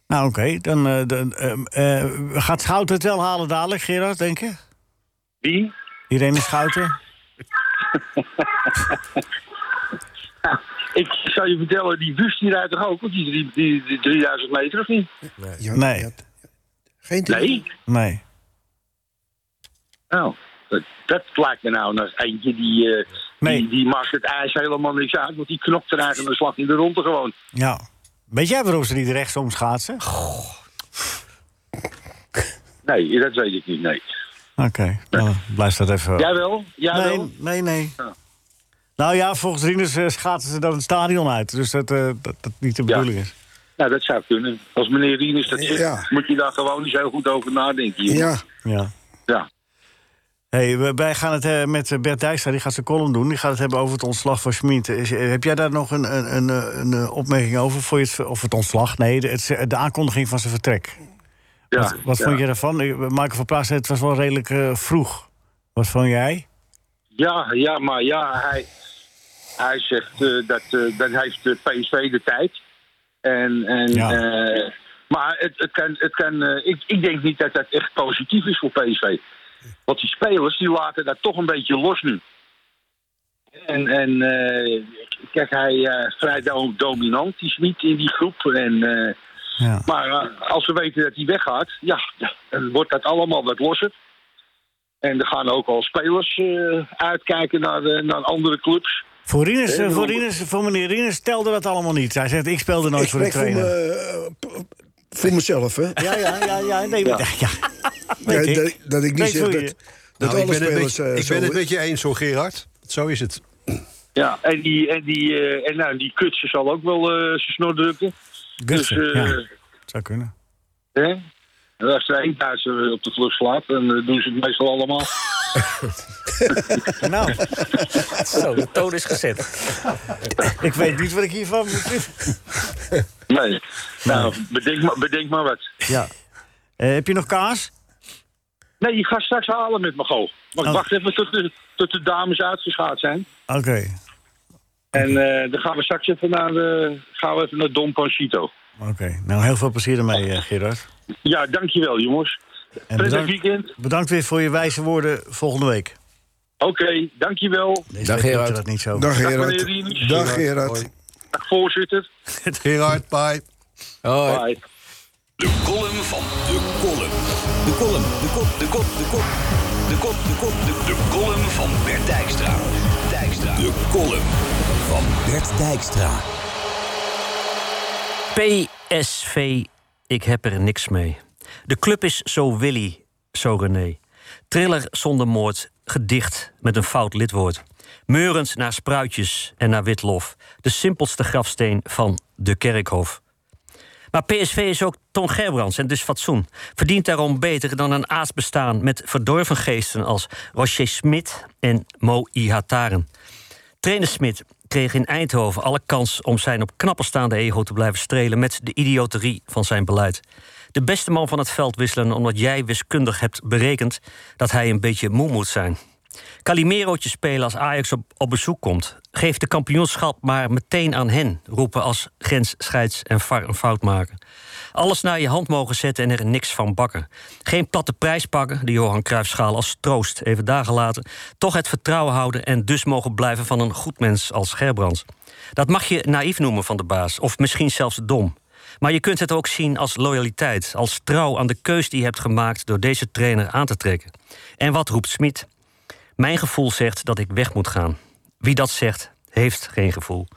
S3: Nou, oké. Dan eh, dan, ehm, eh, gaat Schouten het wel halen dadelijk, Gerard, denk je?
S8: Wie?
S3: Irene Schouten?
S8: Ik zou je vertellen, die bus die rijdt toch ook op die, drie- die, die 3000 meter of niet?
S5: Ja,
S3: Nee.
S5: ja. Geen
S8: Nee.
S3: Nee.
S8: Nou, dat, dat lijkt me nou als eentje die, eh,
S3: Nee.
S8: die, die maakt het ijs helemaal niks uit. Want die knokt er eigenlijk een slag in de ronde gewoon.
S3: Ja. Weet jij waarom ze niet rechtsom schaatsen?
S8: Nee, dat weet ik niet, nee.
S3: Oké, nou, blijf dat even...
S8: Jij wel? Jij
S3: nee,
S8: wel?
S3: nee, nee.
S8: Ja.
S3: Nou ja, volgens Rinus eh, schaatsen ze dan het stadion uit. Dus dat eh, dat, dat niet de bedoeling is.
S8: Nou, dat zou kunnen. Als meneer Rinus dat zegt,
S5: Ja.
S8: moet je daar gewoon eens heel goed over nadenken. joh.
S5: Ja,
S3: Ja.
S8: Ja.
S3: Hey, we- wij gaan het eh, met eh, Bert Dijkstra, die gaat zijn column doen. Die gaat het hebben over het ontslag van Schmid. Is- eh, Heb jij daar nog een, een, een, eh, een eh, opmerking over? Voor je het, ver- of het ontslag? Nee, de, het- de aankondiging van zijn vertrek.
S8: Ja,
S3: wat wat
S8: ja.
S3: vond je daarvan? Eh, Michael van Praag zei het was wel redelijk eh, vroeg. Wat vond jij?
S8: Ja, ja, maar ja, hij, hij zegt eh, dat, eh, dat heeft de PSV de tijd. En, en,
S3: Ja.
S8: eh, maar het, het kan, het kan, eh, ik, ik denk niet dat dat echt positief is voor PSV. Want die spelers die laten dat toch een beetje los nu. En, en eh, kijk, hij eh, vrij do- dominant is niet in die groep. En, eh,
S3: Ja.
S8: maar eh, als we weten dat hij weggaat, ja, dan wordt dat allemaal wat losser. En er gaan ook al spelers eh, uitkijken naar, eh, naar andere clubs.
S3: Voor, Rinus, eh,
S8: Nee,
S3: voor,
S8: maar-
S3: Rinus, voor meneer Rinus telde dat allemaal niet. Hij zegt, ik speelde nooit
S5: Ik
S3: voor de
S5: spreek voor,
S3: trainer.
S5: me, eh, p- voor mezelf, hè.
S3: eh, Ja, ja, ja, ja. Ah, Nee,
S8: Ja.
S3: maar- [LAUGHS] ja.
S5: Ja,
S3: Weet
S5: dat,
S3: ik.
S5: dat ik niet
S3: Weet
S5: zeg
S3: hoe
S5: dat,
S3: je-
S5: dat
S4: Nou,
S5: alle
S4: ik ben, het
S5: spelers...
S4: beetje,
S5: eh,
S4: ik
S5: zo-
S4: ben het met je eens, zo Gerard. Zo is het.
S8: Ja, en die, en die, eh, en, nou, die kutse zal ook wel eh, zijn snor drukken.
S3: Gutsen,
S8: dus, eh,
S3: ja. Zou kunnen. [LAUGHS]
S8: hè? En als er één Duitser op de vlucht slaat, dan eh, doen ze het meestal allemaal.
S3: Nou,
S7: [LAUGHS] Zo, Oh, de toon is gezet.
S3: ik weet niet wat ik hiervan moet
S8: Nee. Nou, bedenk maar, bedenk maar wat.
S3: Ja. Eh, heb je nog kaas?
S8: Nee, ik ga straks halen met mijn goal. Maar ik
S3: Oh.
S8: wacht even tot de, tot de dames uitgeschaad zijn.
S3: Oké.
S8: En eh, dan gaan we straks even naar, de, gaan we even naar Don Panchito.
S3: Oké. Nou, heel veel plezier ermee, eh, Gerard.
S8: Ja, dankjewel jongens.
S3: En
S8: Prettig
S3: bedankt,
S8: weekend.
S3: bedankt weer voor je wijze woorden volgende week.
S8: Oké, dankjewel.
S3: Deze
S6: Dag,
S3: week doet
S6: Gerard.
S3: Dat niet zo.
S5: Dag
S8: meneer
S5: Gerard.
S8: Rienus.
S5: Dag Gerard.
S4: Hoi.
S8: Dag
S3: [LAUGHS]
S8: voorzitter.
S4: Gerard, bye.
S6: Hoi.
S8: Bye.
S2: De column van de column. De column, de kop, de kop, de kop. De kop, de kop, de De column van Bert Dijkstra. Dijkstra. De column van Bert Dijkstra.
S7: PSV, ik heb er niks mee. De club is zo Willy, zo René. Triller zonder moord, gedicht met een fout lidwoord. Meurend naar spruitjes en naar witlof. De simpelste grafsteen van de kerkhof. Maar PSV is ook Ton Gerbrands en dus fatsoen. Verdient daarom beter dan een aasbestaan met verdorven geesten als Roger Smit en Mo Ihataren. Trainer Smit kreeg in Eindhoven alle kans om zijn op knappen staande ego te blijven strelen met de idioterie van zijn beleid. De beste man van het veld wisselen omdat jij wiskundig hebt berekend dat hij een beetje moe moet zijn. Calimerootje spelen als Ajax op, op bezoek komt. Geef de kampioenschap maar meteen aan hen. Roepen als grens, scheids en var een fout maken. Alles naar je hand mogen zetten en er niks van bakken. Geen platte prijs pakken, de Johan Cruijffschaal als troost. Even dagen later. Toch het vertrouwen houden en dus mogen blijven van een goed mens als Gerbrands. Dat mag je naïef noemen van de baas. Of misschien zelfs dom. Maar je kunt het ook zien als loyaliteit. Als trouw aan de keus die je hebt gemaakt door deze trainer aan te trekken. En wat roept Smit? Mijn gevoel zegt dat ik weg moet gaan. Wie dat zegt, heeft geen gevoel.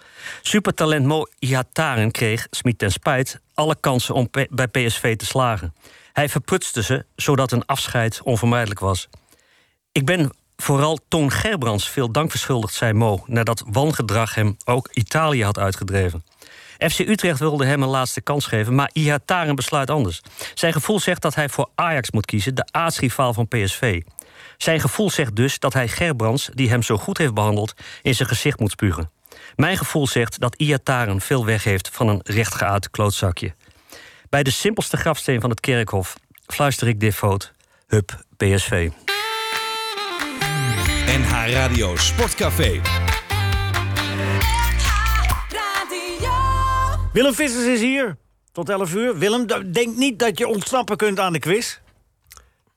S7: Supertalent Mo Ihataren kreeg, Smit ten spijt, alle kansen om P- bij PSV te slagen. Hij verprutste ze, zodat een afscheid onvermijdelijk was. Ik ben vooral Toon Gerbrands veel dank verschuldigd, zei Mo... nadat wangedrag hem ook Italië had uitgedreven. FC Utrecht wilde hem een laatste kans geven, maar Ihataren besluit anders. Zijn gevoel zegt dat hij voor Ajax moet kiezen, de aartsrivaal van PSV. Zijn gevoel zegt dus dat hij Gerbrands, die hem zo goed heeft behandeld, in zijn gezicht moet spugen. Mijn gevoel zegt dat Iataren veel weg heeft van een rechtgeaard klootzakje. Bij de simpelste grafsteen van het kerkhof fluister ik devoot: Hup PSV.
S2: NH Radio Sportcafé.
S3: Willem Vissers is hier. Tot 11 uur. Willem, d- denk niet dat je ontsnappen kunt aan de quiz.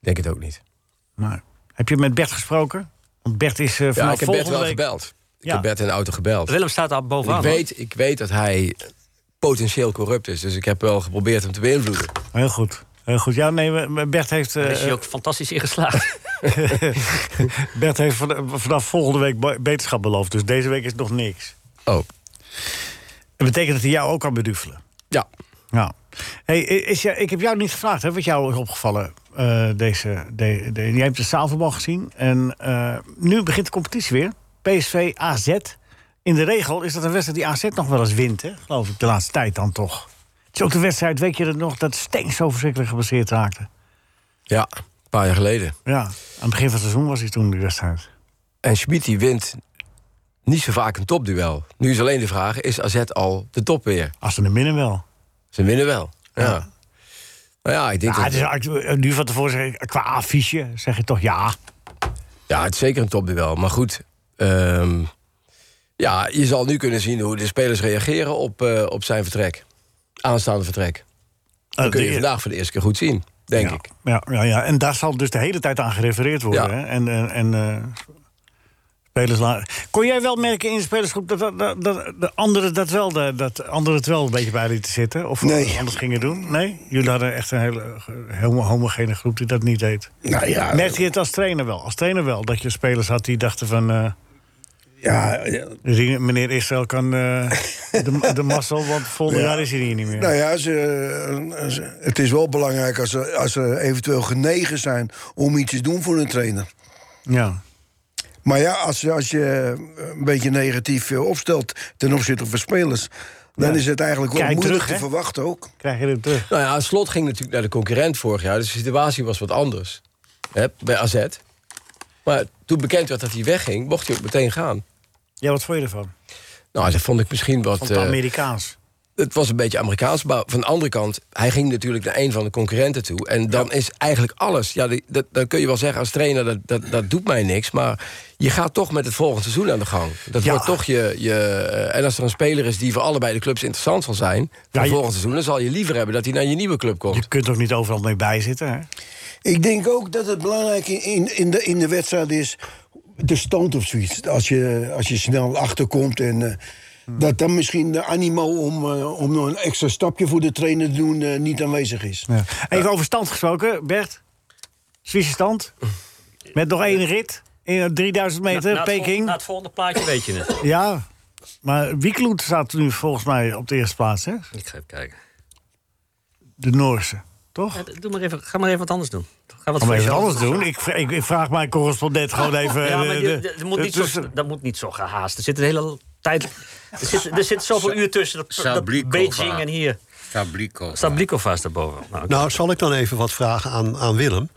S6: Denk het ook niet.
S3: Maar heb je met Bert gesproken? Want Bert is eh,
S6: Ja,
S3: vanaf
S6: ik heb Bert
S3: volgende
S6: wel
S3: week...
S6: gebeld. Ik
S3: Ja.
S6: heb Bert in de auto gebeld.
S7: Willem staat daar bovenaan.
S6: Ik
S7: hoor.
S6: weet, ik weet dat hij potentieel corrupt is. Dus ik heb wel geprobeerd hem te beïnvloeden.
S3: Heel goed. Heel goed. Ja, nee, we- we- Bert heeft, eh,
S7: Daar is hij ook fantastisch in geslaagd.
S3: [LAUGHS] Bert heeft van- vanaf volgende week bo- beterschap beloofd. Dus deze week is nog niks.
S6: Oh,
S3: Dat betekent dat hij jou ook kan beduvelen.
S6: ja.
S3: Nou, hey, is, jou- ik heb jou niet gevraagd, hè, wat jou is opgevallen. eh, deze, de, de- jij hebt de zaalvoetbal gezien. En eh, nu begint de competitie weer. PSV, AZ. In de regel is dat een wedstrijd die AZ nog wel eens wint, hè? geloof ik, de laatste tijd dan toch. Het is ook de wedstrijd, weet je dat nog, dat Stenks zo verschrikkelijk gebaseerd raakte.
S6: Ja, een paar jaar geleden.
S3: Ja, aan het begin van het seizoen was hij toen de wedstrijd.
S6: En Schmid die wint niet zo vaak een topduel. Nu is alleen de vraag, is AZ al de top weer?
S3: Als ze hem binnen wel.
S6: Ze winnen wel. Ja. Nou ja, ik denk
S3: Ja,
S6: dat...
S3: het is, eigenlijk- nu van tevoren zeg ik, qua affiche zeg je toch ja.
S6: Ja, het is zeker een topduel. Maar goed, ehm, ja, je zal nu kunnen zien hoe de spelers reageren op, eh, op zijn vertrek. Aanstaande vertrek. Dat kun je vandaag voor de eerste keer goed zien, denk
S3: Oh, ja.
S6: ik.
S3: Ja, ja, ja, en daar zal dus de hele tijd aan gerefereerd worden.
S6: Ja.
S3: Hè? En, en, en eh, Spelers la- Kon jij wel merken in de spelersgroep dat, dat, dat, dat de anderen dat wel, de- dat anderen het wel een beetje bij lieten zitten? Of eh,
S5: Nee.
S3: anders gingen doen? Nee? Jullie hadden echt een hele ge- [LAUGHS] homo- homogene groep die dat niet deed.
S5: Nou ja,
S3: Merkte je het als trainer wel? Als trainer wel, dat je spelers had die dachten van... eh,
S5: ja, ja.
S3: die- meneer Israël kan eh, de, de mazzel, want volgend jaar is hij hier niet meer.
S5: Nou ja, ze, eh, ze- het is wel belangrijk als ze, als ze eventueel genegen zijn om iets te doen voor hun trainer.
S3: ja.
S5: Maar ja, als, je- als je een beetje negatief eh, opstelt ten opzichte van spelers, dan is het eigenlijk wel
S3: Kijk
S5: moeilijk
S3: terug,
S5: te
S3: hè?
S5: verwachten ook.
S3: Krijg je het
S6: [LAUGHS]
S3: terug?
S6: Nou ja, Slot ging natuurlijk naar de concurrent vorig jaar. Dus de situatie was wat anders. Hè, bij AZ. Maar toen bekend werd dat hij wegging, mocht hij ook meteen gaan.
S3: Ja, wat vond je ervan?
S6: Nou, dat vond ik misschien wat...
S3: Van het
S6: eh,
S3: Amerikaans.
S6: het was een beetje Amerikaans. Maar van de andere kant, hij ging natuurlijk naar een van de concurrenten toe. En dan is eigenlijk alles... Ja, die- dat, dan kun je wel zeggen als trainer, dat, dat, dat doet mij niks. Maar je gaat toch met het volgende seizoen aan de gang. Dat
S3: Ja.
S6: wordt toch je, je... eh, En als er een speler is die voor allebei de clubs interessant zal zijn... voor
S3: je-
S6: volgend seizoen, dan zal je liever hebben dat hij naar je nieuwe club komt.
S3: Je kunt toch niet overal mee bijzitten, hè?
S5: Ik denk ook dat het belangrijk in- in, in, de, in de wedstrijd is de stand of zoiets. Als je, als je snel achterkomt en eh, dat dan misschien de animo om, eh, om nog een extra stapje voor de trainer te doen eh, niet aanwezig is.
S3: Even over stand gesproken, Bert. Zwitserse stand. Met nog één rit. In 3000
S7: Na-
S3: meter,
S7: na het vol-
S3: Peking.
S7: Na het volgende plaatje weet je het.
S3: Ja, maar Wiekloed staat nu volgens mij op de eerste plaats, hè?
S7: [LAUGHS] Ik ga even kijken.
S3: De Noorse, toch?
S7: Ja, doe maar even, ga maar even wat anders doen. Ga wat
S3: Gaan we even
S7: voor
S3: anders
S7: jezelf
S3: doen? Ik, vra- ik, ik vraag mijn correspondent gewoon even...
S7: [LAUGHS] Ja, maar
S3: eh,
S7: je-
S3: de-
S7: dat moet
S3: de-
S7: niet zo,
S3: tussen-
S7: dat moet niet zo gehaast. Er zit een hele tijd... Er zit, er zit zoveel uur tussen dat- dat
S9: Sablikova.
S7: Beijing en hier.
S9: Sablikova.
S7: Staat Blikova is daarboven. Nou,
S4: Nou, zal ik dan even wat vragen aan, aan Willem?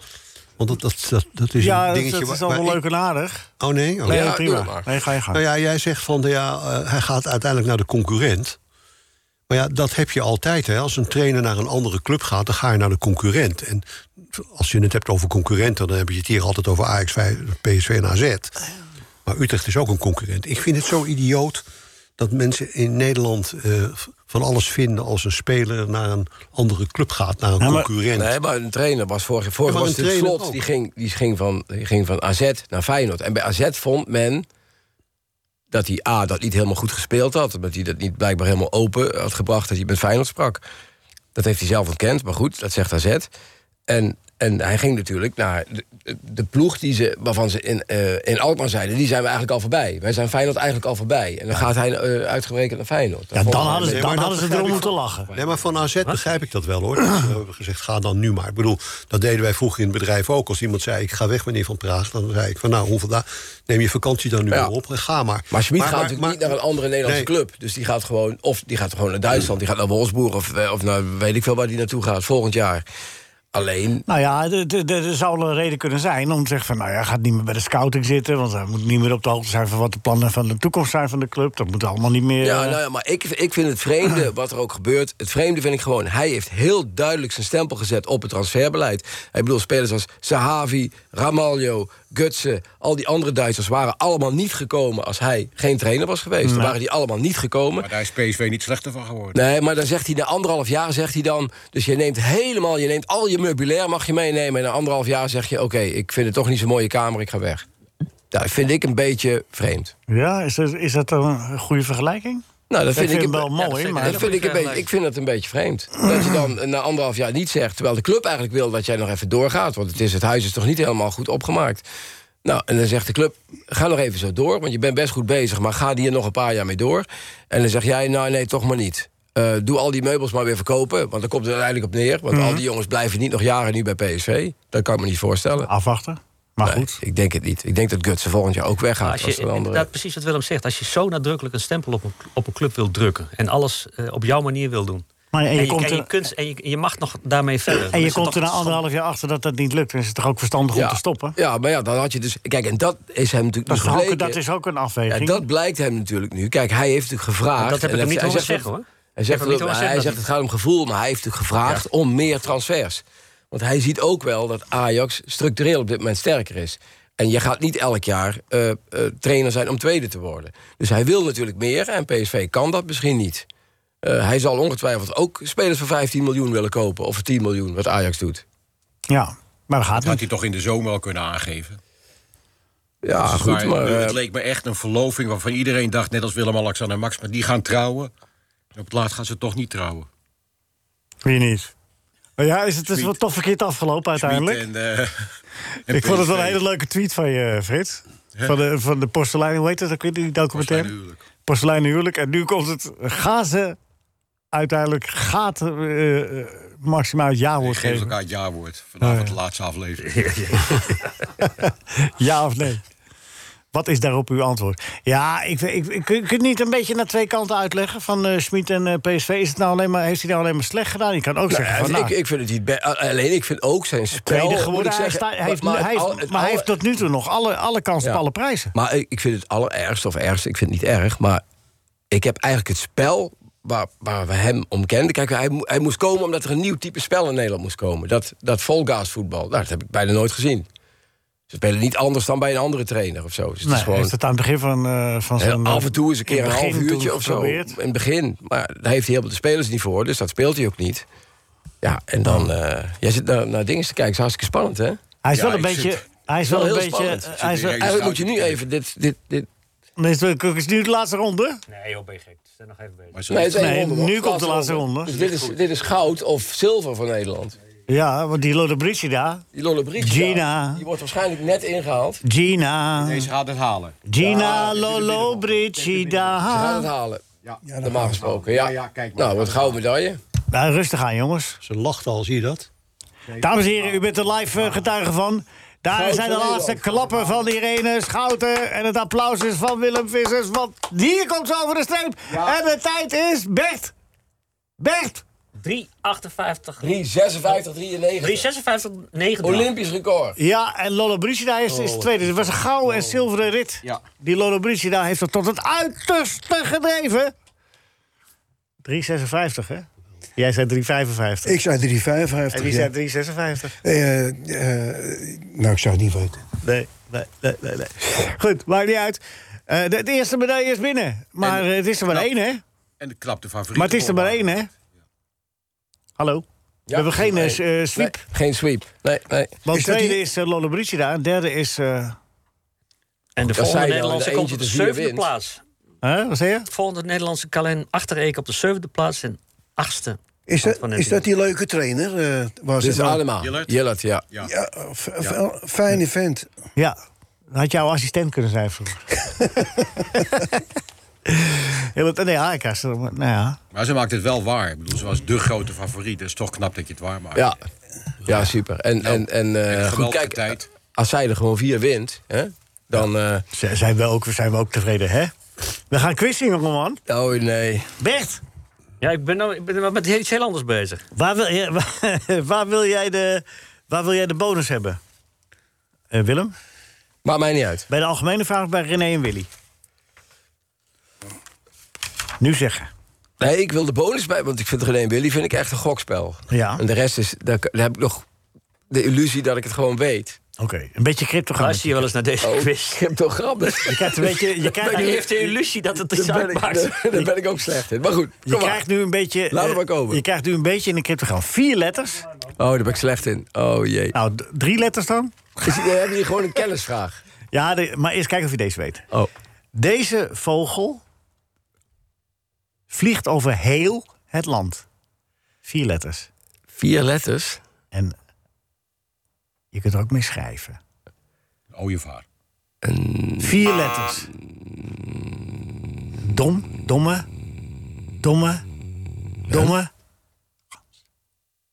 S4: Want dat, dat, dat, dat is
S3: Ja,
S4: een
S3: dat,
S4: dingetje...
S3: dat is
S4: waar-
S3: allemaal
S4: waar
S3: leuk en aardig.
S4: ik- Oh nee? Oh,
S3: Nee,
S6: Ja, doe
S3: prima.
S6: dat maar.
S3: Nee, ga je gang.
S4: Nou ja, jij zegt van ja, eh, hij gaat uiteindelijk naar de concurrent. Maar ja, dat heb je altijd. Hè. Als een trainer naar een andere club gaat, dan ga je naar de concurrent. En als je het hebt over concurrenten, dan heb je het hier altijd over Ajax, Fey- PSV en AZ. Maar Utrecht is ook een concurrent. Ik vind het zo idioot dat mensen in Nederland eh, van alles vinden als een speler naar een andere club gaat, naar een
S3: Ja, maar-
S4: concurrent.
S6: Nee, maar een trainer was vorig jaar. Vorig
S4: Ja,
S6: was
S4: maar
S6: het
S4: een trainer
S6: slot.
S4: ook.
S6: Die ging, die, ging van, die ging van AZ naar Feyenoord. En bij AZ vond men dat hij A, dat niet helemaal goed gespeeld had. Dat hij dat niet blijkbaar helemaal open had gebracht. Dat hij met Feyenoord sprak. Dat heeft hij zelf ontkend, maar goed, dat zegt AZ. En, en hij ging natuurlijk naar de, de ploeg die ze, waarvan ze in, eh, in Alkmaar zeiden... die zijn we eigenlijk al voorbij. Wij zijn Feyenoord eigenlijk al voorbij. En dan gaat hij eh, uitgerekend naar Feyenoord.
S3: Ja, dan
S6: Volgens mij-
S3: hadden ze,
S4: Nee,
S3: dan
S4: maar dat
S3: hadden ze
S4: begrijp
S3: erom
S4: ik
S3: moeten
S4: van-
S3: lachen.
S4: Nee, maar van AZ begrijp ik dat wel hoor. Dat Ze hebben gezegd, ga dan nu maar. Ik bedoel, dat deden wij vroeger in het bedrijf ook. Als iemand zei, ik ga weg meneer Van Praag... dan zei ik van, nou, hoeveel dagen... neem je vakantie dan nu
S6: Ja.
S4: maar op en ga maar.
S6: Maar Schmid gaat
S4: maar-
S6: natuurlijk
S4: maar-
S6: niet naar een andere Nederlandse
S4: Nee.
S6: club. Dus die gaat gewoon, of die gaat gewoon naar Duitsland, die gaat naar Wolfsburg of, eh, of naar weet ik veel waar die naartoe gaat volgend jaar. Alleen,
S3: Nou ja, de- de- de- er zou wel een reden kunnen zijn om te zeggen van... nou ja, hij gaat niet meer bij de scouting zitten... want hij moet niet meer op de hoogte zijn van wat de plannen van de toekomst zijn van de club. Dat moet allemaal niet meer...
S6: ja,
S3: eh,
S6: nou ja, maar ik, ik vind het
S3: [CLEARS THROAT]
S6: vreemde wat er ook gebeurt. Het vreemde vind ik gewoon, hij heeft heel duidelijk zijn stempel gezet op het transferbeleid. Ik bedoel, spelers als Sahavi, Ramaljo, Gutsen, al die andere Duitsers waren allemaal niet gekomen als hij geen trainer was geweest. Dan waren die allemaal niet gekomen.
S9: Maar daar is PSV niet slechter van geworden.
S6: Nee, maar dan zegt hij na anderhalf jaar zegt hij dan. Dus je neemt helemaal, je neemt al je meubilair mag je meenemen. En na anderhalf jaar zeg je, oké, ik vind het toch niet zo'n mooie kamer, ik ga weg. Dat vind ik een beetje vreemd.
S3: Ja, is dat, is dat dan een goede vergelijking?
S6: Nou, dat,
S3: Ik
S6: vind, ik
S3: vind
S6: een
S3: het wel
S6: be-
S3: mooi,
S6: dat vind ik-
S3: maar-
S6: dat vind ik, een beetje, ik vind het een beetje
S3: [CLEARS THROAT]
S6: vreemd. Dat je dan eh, na anderhalf jaar niet zegt, terwijl de club eigenlijk wil dat jij nog even doorgaat. Want het, is, het huis is toch niet helemaal goed opgemaakt. Nou, en dan zegt de club, ga nog even zo door, want je bent best goed bezig, maar ga hier nog een paar jaar mee door. En dan zeg jij, nou nee, toch maar niet. Eh, doe al die meubels maar weer verkopen, want daar komt het uiteindelijk op neer. Want
S3: Mhm.
S6: al die jongens blijven niet nog jaren nu bij PSV. Dat kan ik me niet voorstellen.
S3: Afwachten. Maar
S6: Nee,
S3: goed.
S6: ik denk het niet. Ik denk dat Gutsen volgend jaar ook weggaat.
S7: als
S6: als er
S7: je,
S6: een andere...
S7: inderdaad, precies wat Willem zegt. Als je zo nadrukkelijk een stempel op een, op een club wil drukken... en alles eh, op jouw manier wil doen...
S3: Maar en je,
S7: en, je,
S3: komt
S7: en, je,
S3: er,
S7: kunt, en je, je mag nog daarmee verder.
S3: en
S7: Dan
S3: je
S7: is het
S3: komt er
S7: toch
S3: na anderhalf jaar achter dat dat niet lukt. Dan is het toch ook verstandig om te stoppen?
S6: Ja, maar ja, dan had je dus... Kijk, en dat is hem natuurlijk
S3: Dat is,
S6: nu
S3: toch ook,
S6: gebleken.
S3: dat is ook een
S6: Ja,
S3: afweging.
S6: dat blijkt hem natuurlijk nu. Kijk, hij heeft natuurlijk gevraagd...
S7: Dat heb ik
S6: en
S7: hem niet
S6: hij
S7: horen
S6: zegt dat-
S7: zeggen, hoor.
S6: Hij
S7: heb
S6: zegt,
S7: hem
S6: dat,
S7: niet horen
S6: hij
S7: zeggen
S6: zegt
S7: dat-
S6: het gaat om gevoel, maar hij heeft natuurlijk gevraagd om meer transfers. Want hij ziet ook wel dat Ajax structureel op dit moment sterker is. En je gaat niet elk jaar eh, eh, trainer zijn om tweede te worden. Dus hij wil natuurlijk meer en PSV kan dat misschien niet. Eh, hij zal ongetwijfeld ook spelers voor 15 miljoen willen kopen. Of voor 10 miljoen, wat Ajax doet.
S3: Ja, maar
S9: Dat
S3: dat gaat
S9: had
S3: niet.
S9: hij toch in de zomer al kunnen aangeven.
S6: Ja,
S9: Dus
S6: goed,
S9: waar-
S6: maar... eh,
S9: Het leek me echt een verloving waarvan iedereen dacht... net als Willem-Alexander en Max, maar die gaan trouwen. En op het laatst gaan ze toch niet trouwen.
S3: Wie niet? Maar ja, is het is
S9: Sweet.
S3: wel toch verkeerd afgelopen uiteindelijk?
S9: Schmid en, eh, [LAUGHS] en
S3: Ik vond het wel een
S9: PSV.
S3: hele leuke tweet van je, Frits. Van de, van de porselein, hoe heet dat ook weer, die documentaire?
S9: Porseleinen huwelijk.
S3: Porselein huwelijk. En nu komt het gazen. Uiteindelijk gaat eh eh, Maxima het ja-woord
S9: Geef
S3: geven.
S9: elkaar het jaarwoord.
S3: Oh,
S9: Vanavond de laatste aflevering.
S3: [LAUGHS] Ja of nee? Wat is daarop uw antwoord? Ja, ik, weet- ik, ik, kun je het niet een beetje naar twee kanten uitleggen van eh Schmid en eh, PSV. Is het nou alleen maar, heeft hij nou alleen maar slecht gedaan? Je kan ook zeggen van,
S6: Nou,
S3: nou,
S6: ik, ik vind het niet be- Alleen ik vind ook zijn spel.
S3: tweede
S6: moet ik
S3: geworden. Hij
S6: zeggen,
S3: staat- hij heeft,
S6: maar
S3: maar
S6: het
S3: hij heeft,
S6: al- het
S3: maar hij
S6: alle-
S3: heeft tot nu toe nog alle, alle kansen
S6: Ja.
S3: op alle prijzen.
S6: Maar ik, ik vind het allerergste, of ergste, ik vind het niet erg... maar ik heb eigenlijk het spel waar, waar we hem om kenden... Kijk, hij, mo- hij moest komen omdat er een nieuw type spel in Nederland moest komen. Dat, dat volgas voetbal, nou, dat heb ik bijna nooit gezien. Ze spelen niet anders dan bij een andere trainer of zo. Dus het
S3: Nee,
S6: is gewoon...
S3: heeft het aan het begin van, eh van
S6: Heel
S3: zijn...
S6: af en toe eens een keer
S3: in
S6: een
S3: het
S6: half
S3: begin
S6: uurtje
S3: toen
S6: of zo. In
S3: geprobeerd.
S6: het begin. Maar daar heeft hij heel veel de spelers niet voor, dus dat speelt hij ook niet. Ja, en dan... eh, jij zit naar, naar dingen te kijken, is hartstikke spannend, hè?
S3: Hij is
S9: Ja,
S3: wel een
S9: ik
S3: beetje...
S9: zit-
S3: Hij is wel
S6: wel
S3: een
S6: heel
S3: beetje...
S6: spannend.
S3: eh,
S6: Ik
S9: zit
S3: Hij is
S9: hier
S3: wel-
S9: echt-
S6: Eigenlijk moet je nu even dit... dit, dit
S3: Nee, is het- is nu de laatste ronde?
S7: Nee, joh, ben je gek. Zijn nog even bezig.
S9: Maar zo-
S6: Nee, het is één
S3: Nee,
S6: ronde,
S3: nu
S6: man.
S3: komt de laatste ronde.
S6: Dus dit, is, dit is goud of zilver voor Nederland.
S3: Ja, want die Lodebrici daar.
S6: Die Lollebrietje.
S3: Gina.
S6: Die wordt waarschijnlijk net ingehaald. Ze
S3: Gina.
S9: Deze gaat het halen.
S3: Gina Lolobrici
S6: gaan het
S3: daar.
S6: halen.
S9: Ja.
S6: Normaal gesproken, ja.
S9: Ja, ja, kijk maar.
S6: Nou, wat gouden medaille.
S3: Nou, rustig aan, jongens.
S4: Ze lacht al, zie je dat?
S3: Dames en heren, u bent er live eh, getuige van. Daar
S6: Goud
S3: zijn de
S6: van
S3: laatste
S6: Nederland.
S3: klappen van Irene Schouten. En het applaus is van Willem Vissers. Want hier komt ze over de streep. En de tijd is Bert. Bert.
S7: 358.
S6: 356, 93.
S7: 356, 9
S6: Olympisch record.
S3: Ja, en Lollobrigida is, is tweede. Het was een gouden en zilveren rit.
S9: Ja.
S3: Die Lollobrigida heeft dat tot het uiterste gedreven. 3,56, hè? Jij zei 3,55.
S5: Ik zei 355.
S3: En wie
S5: ja.
S3: zei 3,56?
S5: Eh, eh, nou, ik zou het niet weten.
S3: Nee, nee, nee, nee. nee. Goed, maakt niet uit. Eh, de, de eerste medaille is binnen. Maar
S9: En-
S3: eh, het is er maar
S9: Nou,
S3: één, hè?
S9: [LAUGHS] En de klap de favoriet.
S3: Maar het is er maar één, hè? Hallo? We hebben geen eh,
S6: nee.
S3: s- eh, sweep.
S6: Nee, geen sweep. Nee, nee.
S3: Want
S5: Is dat
S3: tweede
S5: die-
S3: is uh, Lollobrigida en derde is... eh,
S7: En de
S6: Dat zei
S7: volgende
S6: je al,
S7: Nederlandse
S6: de
S7: komt
S6: eentje
S7: op de
S6: te vier
S7: zevende
S6: wint.
S7: plaats.
S3: hè, wat zei je?
S7: De volgende Nederlandse Kalen Achterreek op de zevende plaats en achtste.
S5: Is
S7: Komt
S5: dat,
S7: van
S5: is
S7: Nederland.
S5: dat die leuke trainer? eh, waar ze
S6: Dit is
S5: van-
S6: allemaal.
S9: Jillert?
S6: Jillert, ja.
S9: Ja.
S5: Ja, f- f- fijne vent.
S3: Ja, had jouw assistent kunnen zijn
S5: [LAUGHS]
S3: vroeger. Heel het- eh, nee, Ajax is er, maar- nou ja.
S9: Maar ze maakt het wel waar. Ik bedoel, ze was de grote favoriet. Dus toch knap dat je het waar maakt.
S6: Ja, ja super. En, en, en eh,
S9: geweldige
S6: goed, kijk,
S9: tijd.
S6: als zij er gewoon vier wint, hè, dan... eh
S3: Z- Zijn we, ook, zijn we ook tevreden, hè? We gaan quizzen, jongeman.
S6: oh nee.
S3: Bert,
S7: Ja, ik ben, nou, ik ben met iets heel anders bezig.
S3: waar wil, je, [LAUGHS] waar, wil, jij, de, waar wil jij de bonus hebben? Eh, Willem?
S6: Maakt mij niet uit.
S3: Bij de algemene vraag of bij René en Willy? Nu zeggen.
S6: Nee, ik wil de bonus bij, want ik vind René en Willy vind ik echt een gokspel.
S3: Ja.
S6: En de rest is, daar, daar heb ik nog de illusie dat ik het gewoon weet.
S3: Oké, een beetje cryptogram.
S7: Luister je wel eens naar deze
S6: Oh.
S7: quiz?
S6: Cryptogram, dat
S3: Je krijgt, een
S6: [LAUGHS]
S3: beetje, je krijgt,
S7: Die
S3: nu,
S7: heeft de illusie dat het
S6: daar
S7: iets
S6: ben, ik,
S7: uitmaakt.
S6: [LAUGHS] daar- daar ben ik ook slecht in. Maar goed,
S3: je
S6: kom maar.
S3: krijgt nu een beetje...
S6: Laat hem
S3: eh,
S6: maar komen.
S3: Je krijgt nu een beetje in een cryptogram. Vier letters.
S6: Oh, daar ben ik slecht in. Oh jee.
S3: Nou, d- drie letters dan.
S6: Is, dan hebben jullie gewoon een kennisvraag.
S3: [LAUGHS] Ja, de- maar eerst kijken of je deze weet.
S6: Oh.
S3: Deze vogel vliegt over heel het land. Vier letters.
S6: Vier letters.
S3: En je kunt er ook mee schrijven.
S9: Ooievaar.
S3: Vier letters. Dom, domme, domme, domme.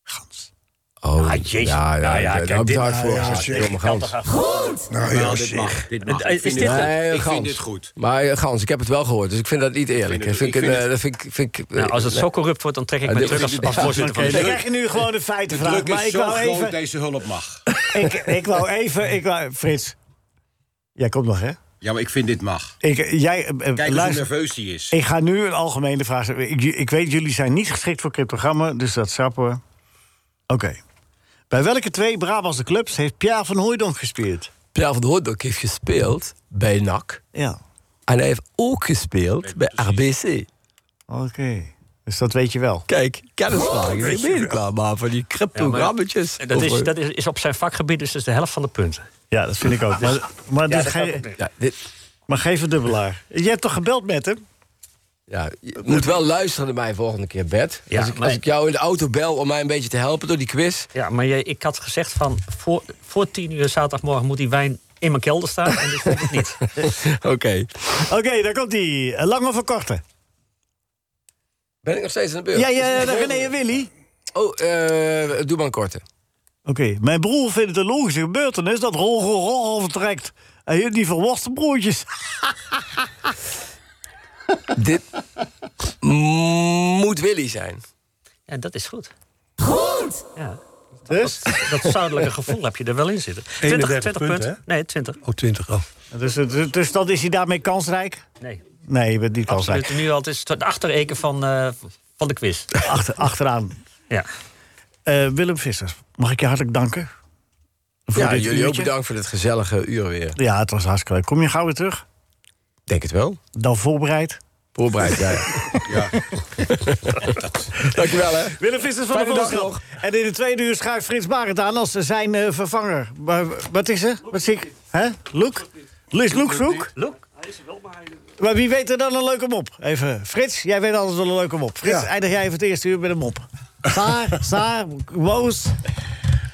S3: Gans.
S6: Oh,
S7: jezus.
S6: Ja, ja,
S7: Nou
S6: ja.
S7: ja,
S6: Daar
S7: kijk,
S6: heb ik
S7: dit-
S6: het hard voor.
S5: nou ja,
S6: gezet.
S5: zeg.
S6: Domme gans.
S5: Nou ja,
S9: Nou, dit
S5: zeg.
S9: mag. Dit mag.
S7: Eh,
S9: Ik
S7: is
S9: vind
S7: dit-
S9: het-
S6: Nee,
S9: Ik
S6: gans.
S9: vind dit goed.
S6: Maar eh, Gans, ik heb het wel gehoord, dus ik vind dat niet eerlijk.
S9: Ik vind
S6: Dat vind
S9: het-
S6: ik
S9: ik
S6: een, eh, dat vind ik, vind ik,
S7: Nou, als het zo corrupt wordt, dan trek ik
S6: Ja,
S7: me
S6: dit-
S7: terug als,
S6: dit-
S7: als
S6: ja,
S7: voorzitter van de
S3: Dan
S7: jury.
S3: krijg je nu gewoon de
S9: De
S3: feitenvraag.
S9: druk
S3: Maar
S9: is
S3: ik
S9: zo
S3: wou
S9: groot,
S3: even...
S9: deze hulp mag.
S3: Ik, ik wou even... Ik wou, Frits. Jij komt nog, hè?
S9: Ja, maar ik vind dit mag.
S3: Ik, jij, eh, eh,
S9: Kijk eens hoe
S3: luister,
S9: nerveus die is.
S3: ik ga nu een algemene vraag stellen. Ik, ik weet, jullie zijn niet geschikt voor cryptogrammen, dus dat schrappen we. Oké. Bij welke twee Brabantse clubs heeft Pierre van Hooijdonk gespeeld?
S6: Pierre van Hoordok heeft gespeeld bij NAC.
S3: Ja,
S6: En hij heeft ook gespeeld bij RBC.
S3: oké. Dus dat weet je wel.
S6: Kijk,
S7: Oh,
S6: kennisvragen. Ik ben je er klaar maar van die cryptogrammetjes.
S7: En Dat, is,
S6: Over-
S7: dat is, is op zijn vakgebied dus, dus de helft van de punten.
S3: Ja, dat vind
S7: [LAUGHS]
S3: ik ook. Maar, maar, dus
S7: dat
S3: ge-
S6: Ja, dit,
S3: maar geef een dubbelaar. Je hebt toch gebeld met hem?
S6: ja, je moet wel luisteren naar mij volgende keer, Bert.
S7: Ja,
S6: als, ik,
S7: maar-
S6: als ik jou in de auto bel om mij een beetje te helpen door die quiz...
S7: Ja, maar jij, ik had gezegd van voor, voor tien uur zaterdagmorgen moet die wijn in mijn kelder staan. En dit vond ik niet.
S6: [LAUGHS] Oké.
S3: Oké, daar komt hij. Lang of een korte?
S6: Ben ik nog steeds aan de beurt?
S3: Ja, ja, ja,
S6: Is het de
S3: René
S6: volgende?
S3: en Willy.
S6: Oh, eh, doe maar een korte.
S3: Oké, mijn broer vindt het een logische gebeurtenis dat Roger Rogel vertrekt. En jullie die verworste broertjes.
S6: [LAUGHS] Dit moet Willy zijn.
S7: Ja, dat is goed.
S1: Goed!
S7: Ja.
S3: Dus?
S7: Dat zuidelijke gevoel heb je er wel in zitten. 20,
S4: 31
S7: 20
S4: punten,
S7: punten? Nee, 20.
S4: Oh, 20 af.
S3: Dus, dus, dus dan is hij daarmee kansrijk?
S7: Nee,
S3: Nee, je bent niet
S7: absoluut.
S3: kansrijk.
S7: Nu al, het is de achtereken van, eh, van de quiz.
S3: Achter, achteraan.
S7: Ja.
S3: Eh, Willem Visser, mag ik je hartelijk danken? Voor
S6: Ja,
S3: dit
S6: jullie ook
S3: uurtje.
S6: bedankt voor dit gezellige uur weer.
S3: Ja, het was hartstikke leuk. Kom je gauw weer terug?
S6: Denk het wel.
S3: Dan voorbereid.
S6: Voorbereid, ja. ja. [LAUGHS] Dankjewel, hè.
S3: Willem Vissers van
S6: Fijne
S3: de
S6: dag
S3: Volkskrant.
S6: nog.
S3: En in de tweede uur schuift Frits Barend aan als zijn eh, vervanger. Maar, wat is er? Wat zie ik? Hè? Loek? Is Loek zoek?
S7: Loek?
S3: Maar wie weet er dan een leuke mop? Even, Frits, jij weet altijd wel een leuke mop. Frits,
S5: Ja.
S3: eindig jij even het eerste uur met een mop. Saar, Saar, Woos.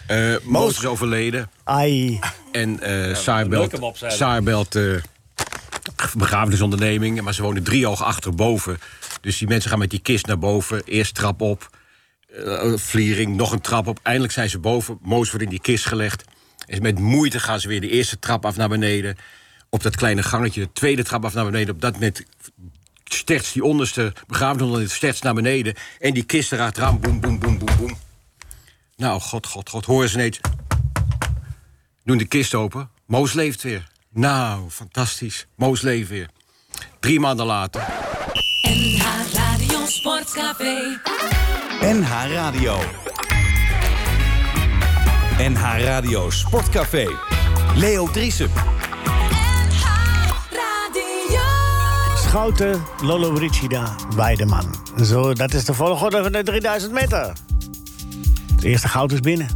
S9: Eh Moos is overleden.
S3: Ai.
S9: En eh Saar belt,
S7: hem op, zei hij.
S9: Saar belt eh, begrafenisonderneming. Maar ze wonen drie oog achterboven. Dus die mensen gaan met die kist naar boven. Eerst trap op. eh, vliering, nog een trap op. Eindelijk zijn ze boven. Moos wordt in die kist gelegd. En met moeite gaan ze weer de eerste trap af naar beneden. Op dat kleine gangetje, de tweede trap af naar beneden. Op dat moment sterts die onderste begrafenisonderneming sterts naar beneden. En die kist erachteraan. Boem, boem, boem, boem, boem. Nou, god, god, god. Hoor ze ineens doen de kist open. Moos leeft weer. Nou, fantastisch. Moos leeft weer. Drie maanden later.
S1: NH Radio Sportcafé.
S2: NH Radio. NH Radio Sportcafé. Leo Driesen.
S1: NH Radio.
S3: Schouten, Lolo Brigida, Weideman. Zo, dat is de volgorde van de 3000 meter. Het eerste goud is binnen.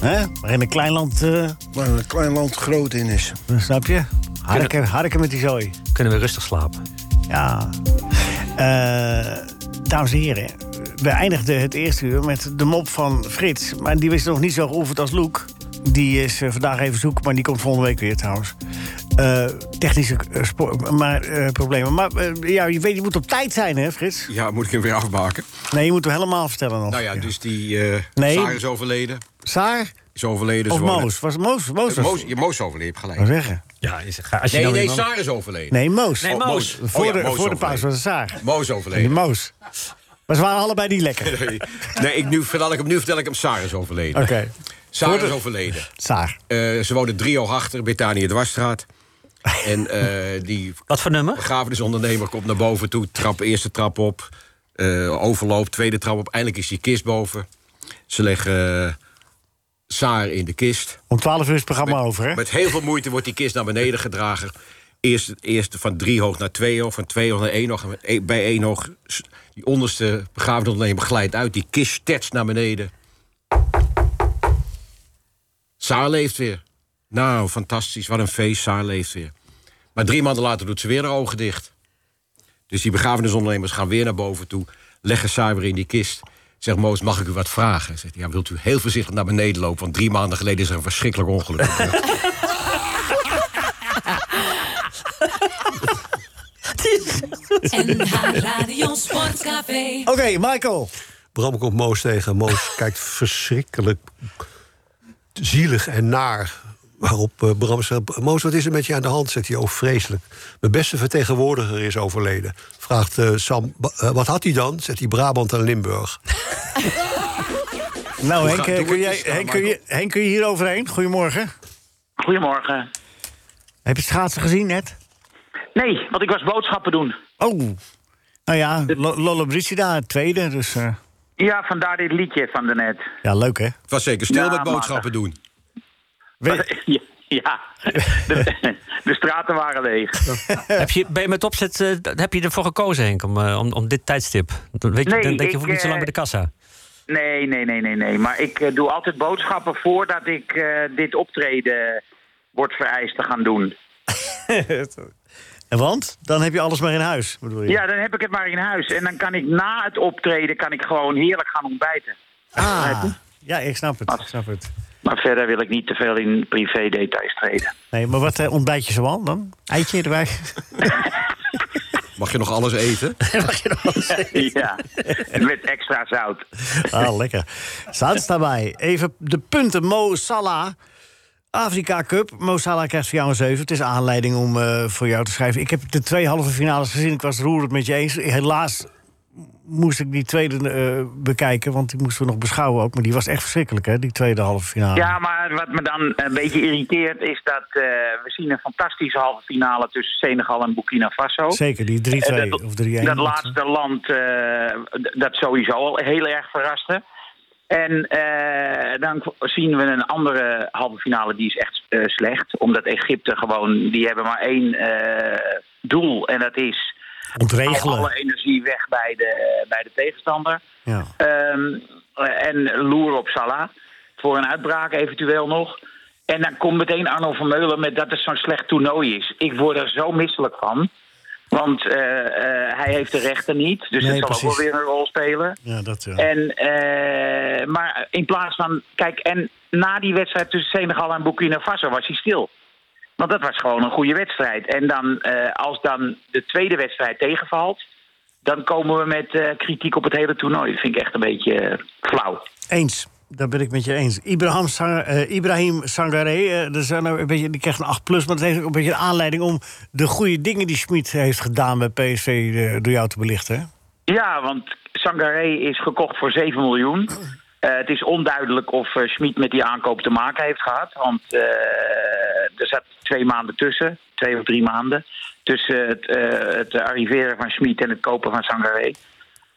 S3: Hè? Maar in een klein land, eh,
S5: Waar een klein land groot in is.
S3: snap je? Harken, harken met die zooi.
S7: Kunnen we rustig slapen?
S3: Ja. Eh, dames en heren, we eindigden het eerste uur met de mop van Frits. Maar die wist nog niet zo geoefend als Loek. Die is eh, vandaag even zoek, maar die komt volgende week weer trouwens. Eh, technische eh, spo- maar, eh, problemen. Maar eh, ja, je, weet, je moet op tijd zijn, hè, Frits?
S9: Ja, moet ik hem weer afmaken?
S3: Nee, je moet hem helemaal vertellen nog.
S9: Nou ja, dus die eh
S3: Nee.
S9: Saar is overleden.
S3: Saar
S9: Is overleden.
S3: of
S9: ze wonen-
S3: Moos? Was het Moos? Moos was-
S9: Moos, je Moos is overleden, je hebt
S3: Wou
S9: gelijk.
S3: zeggen.
S7: Ja, is, ga- als je
S9: Nee,
S7: nou
S9: nee,
S7: iemand-
S9: Saar is overleden.
S3: Nee, Moos.
S7: Nee, Moos.
S9: Moos.
S3: Voor,
S9: Oh ja, Moos
S3: de, voor de
S9: overleden.
S3: pauze was het Saar.
S9: Moos
S3: Die
S9: overleden.
S3: Moos. Maar ze waren allebei niet lekker. Oké,
S9: [LAUGHS] Nee, ik, nu, vertel ik hem, nu vertel ik hem Saar is overleden. Saar is overleden.
S3: Saar.
S9: Eh, ze wonen drie oog achter,
S7: [LAUGHS]
S9: Britannia Dwarsstraat. En eh, die
S7: Wat voor nummer?
S9: begrafenisondernemer komt naar boven toe. Trap, eerste trap op. eh overloop, tweede trap op. Eindelijk is die kist boven. Ze leggen eh, Saar in de kist.
S3: Om 12 uur is het programma over, hè?
S9: Met heel veel moeite wordt die kist naar beneden gedragen. Eerst, eerst van drie hoog naar twee hoog, van twee hoog naar één hoog. en met één- Bij één hoog, s- die onderste begrafenisondernemer glijdt uit. Die kist sterts naar beneden. Saar leeft weer. Nou, fantastisch. Wat een feest. Saar leeft weer. Maar drie maanden later doet ze weer haar ogen dicht. Dus die begrafenisondernemers gaan weer naar boven toe. Leggen Saar weer in die kist. Zegt Moos, mag ik u wat vragen? Zegt hij, ja, wilt u heel voorzichtig naar beneden lopen? Want drie maanden geleden is er een verschrikkelijk ongeluk gebeurd.
S1: NH Radio Sportcafé.
S3: Oké, Michael.
S4: Bram komt Moos tegen. Moos kijkt verschrikkelijk zielig en naar. Waarop eh, Bram zegt: Moos, wat is er met je aan de hand? Zegt hij: Oh, vreselijk. Mijn beste vertegenwoordiger is overleden. Vraagt eh, Sam: "Ba- eh, Wat had hij dan? Zegt hij: Brabant en Limburg.
S3: [LAUGHS] Nou, Henk,
S9: gaat-
S3: eh,
S9: doe
S3: kun
S9: het
S3: jij,
S9: eens, eh,
S3: Henk, kun je,
S9: Michael.
S3: Henk, kun je hier overheen? Goedemorgen.
S10: Goedemorgen.
S3: Heb je schaatsen gezien net?
S10: Nee, want ik was boodschappen doen.
S3: Oh, nou ja, Lo- Lolle Brigida, tweede. Dus eh,
S10: Ja, vandaar dit liedje van daarnet.
S3: ja, leuk hè?
S9: Het was zeker stil
S10: Ja,
S9: met boodschappen doen.
S10: [LAUGHS]
S3: We-
S10: Ja, Ja, de, [LAUGHS] de straten waren leeg.
S7: [LAUGHS] heb je, ben je met opzet, eh, d- heb je ervoor gekozen, Henk, om, eh, om, om dit tijdstip? Dan, weet je,
S10: Nee,
S7: dan denk je,
S10: ik,
S7: hoef ik niet zo lang
S10: eh,
S7: bij de kassa.
S10: Nee, nee, nee, nee, nee. Maar ik eh, doe altijd boodschappen voordat ik eh, dit optreden wordt vereist te gaan doen.
S3: [LAUGHS] En Want dan heb je alles maar in huis, bedoel je?
S10: Ja, dan heb ik het maar in huis. En dan kan ik na het optreden kan ik gewoon heerlijk gaan ontbijten.
S3: Ah, ja, ik snap
S10: Ah.
S3: het. Ik snap het.
S10: Maar verder wil ik niet te veel in privé details treden.
S3: Nee, maar wat eh, ontbijt je zoal dan? Eitje erbij? [LAUGHS]
S9: Mag je nog alles eten?
S10: ja, met extra zout.
S3: Ah, lekker. Staat daarbij. Even de punten. Mo Salah, Afrika Cup. Mo Salah krijgt voor jou een 7. Het is aanleiding om eh, voor jou te schrijven. Ik heb de twee halve finales gezien. Ik was het roerend met je eens. Helaas moest ik die tweede eh, bekijken, want die moesten we nog beschouwen ook. Maar die was echt verschrikkelijk, hè, die tweede halve finale.
S10: Ja, maar wat me dan een beetje irriteert is dat eh, we zien een fantastische halve finale tussen Senegal en Burkina Faso.
S3: Zeker, die 3-2
S10: En dat-
S3: of 3-1.
S10: Dat laatste land, eh, d- dat sowieso al heel erg verraste. En eh, dan k- zien we een andere halve finale, die is echt eh, slecht. Omdat Egypte gewoon, die hebben maar één eh, doel. En dat is al
S3: Ontregelen.
S10: alle energie weg bij de, bij de tegenstander.
S3: Ja.
S10: Ehm, en loer op Salah. Voor een uitbraak eventueel nog. En dan komt meteen Arno van Meulen met dat het zo'n slecht toernooi is. Ik word er zo misselijk van. Want eh, eh, hij heeft de rechten niet. Dus
S3: Nee,
S10: dat zal ook
S3: precies.
S10: wel weer een rol spelen.
S3: ja, dat ja.
S10: En, eh, maar in plaats van... Kijk, en na die wedstrijd tussen Senegal en Burkina Faso was hij stil. Want dat was gewoon een goede wedstrijd. En dan, eh, als dan de tweede wedstrijd tegenvalt... dan komen we met eh, kritiek op het hele toernooi. Dat vind ik echt een beetje eh, flauw.
S3: Eens. Daar ben ik met je eens. Ibrahim, Sang eh, Ibrahim Sangaré, eh, dat is nou een beetje, die krijgt een 8 plus, maar dat heeft ook een beetje de aanleiding om de goede dingen die Schmid heeft gedaan bij PSV eh, door jou te belichten. hè?
S10: Ja, want Sangaré is gekocht voor 7 miljoen. Eh, het is onduidelijk of eh Schmid met die aankoop te maken heeft gehad. Want eh, er zat twee maanden tussen, twee of drie maanden. Tussen het, eh, het arriveren van Schmid en het kopen van Sangaré.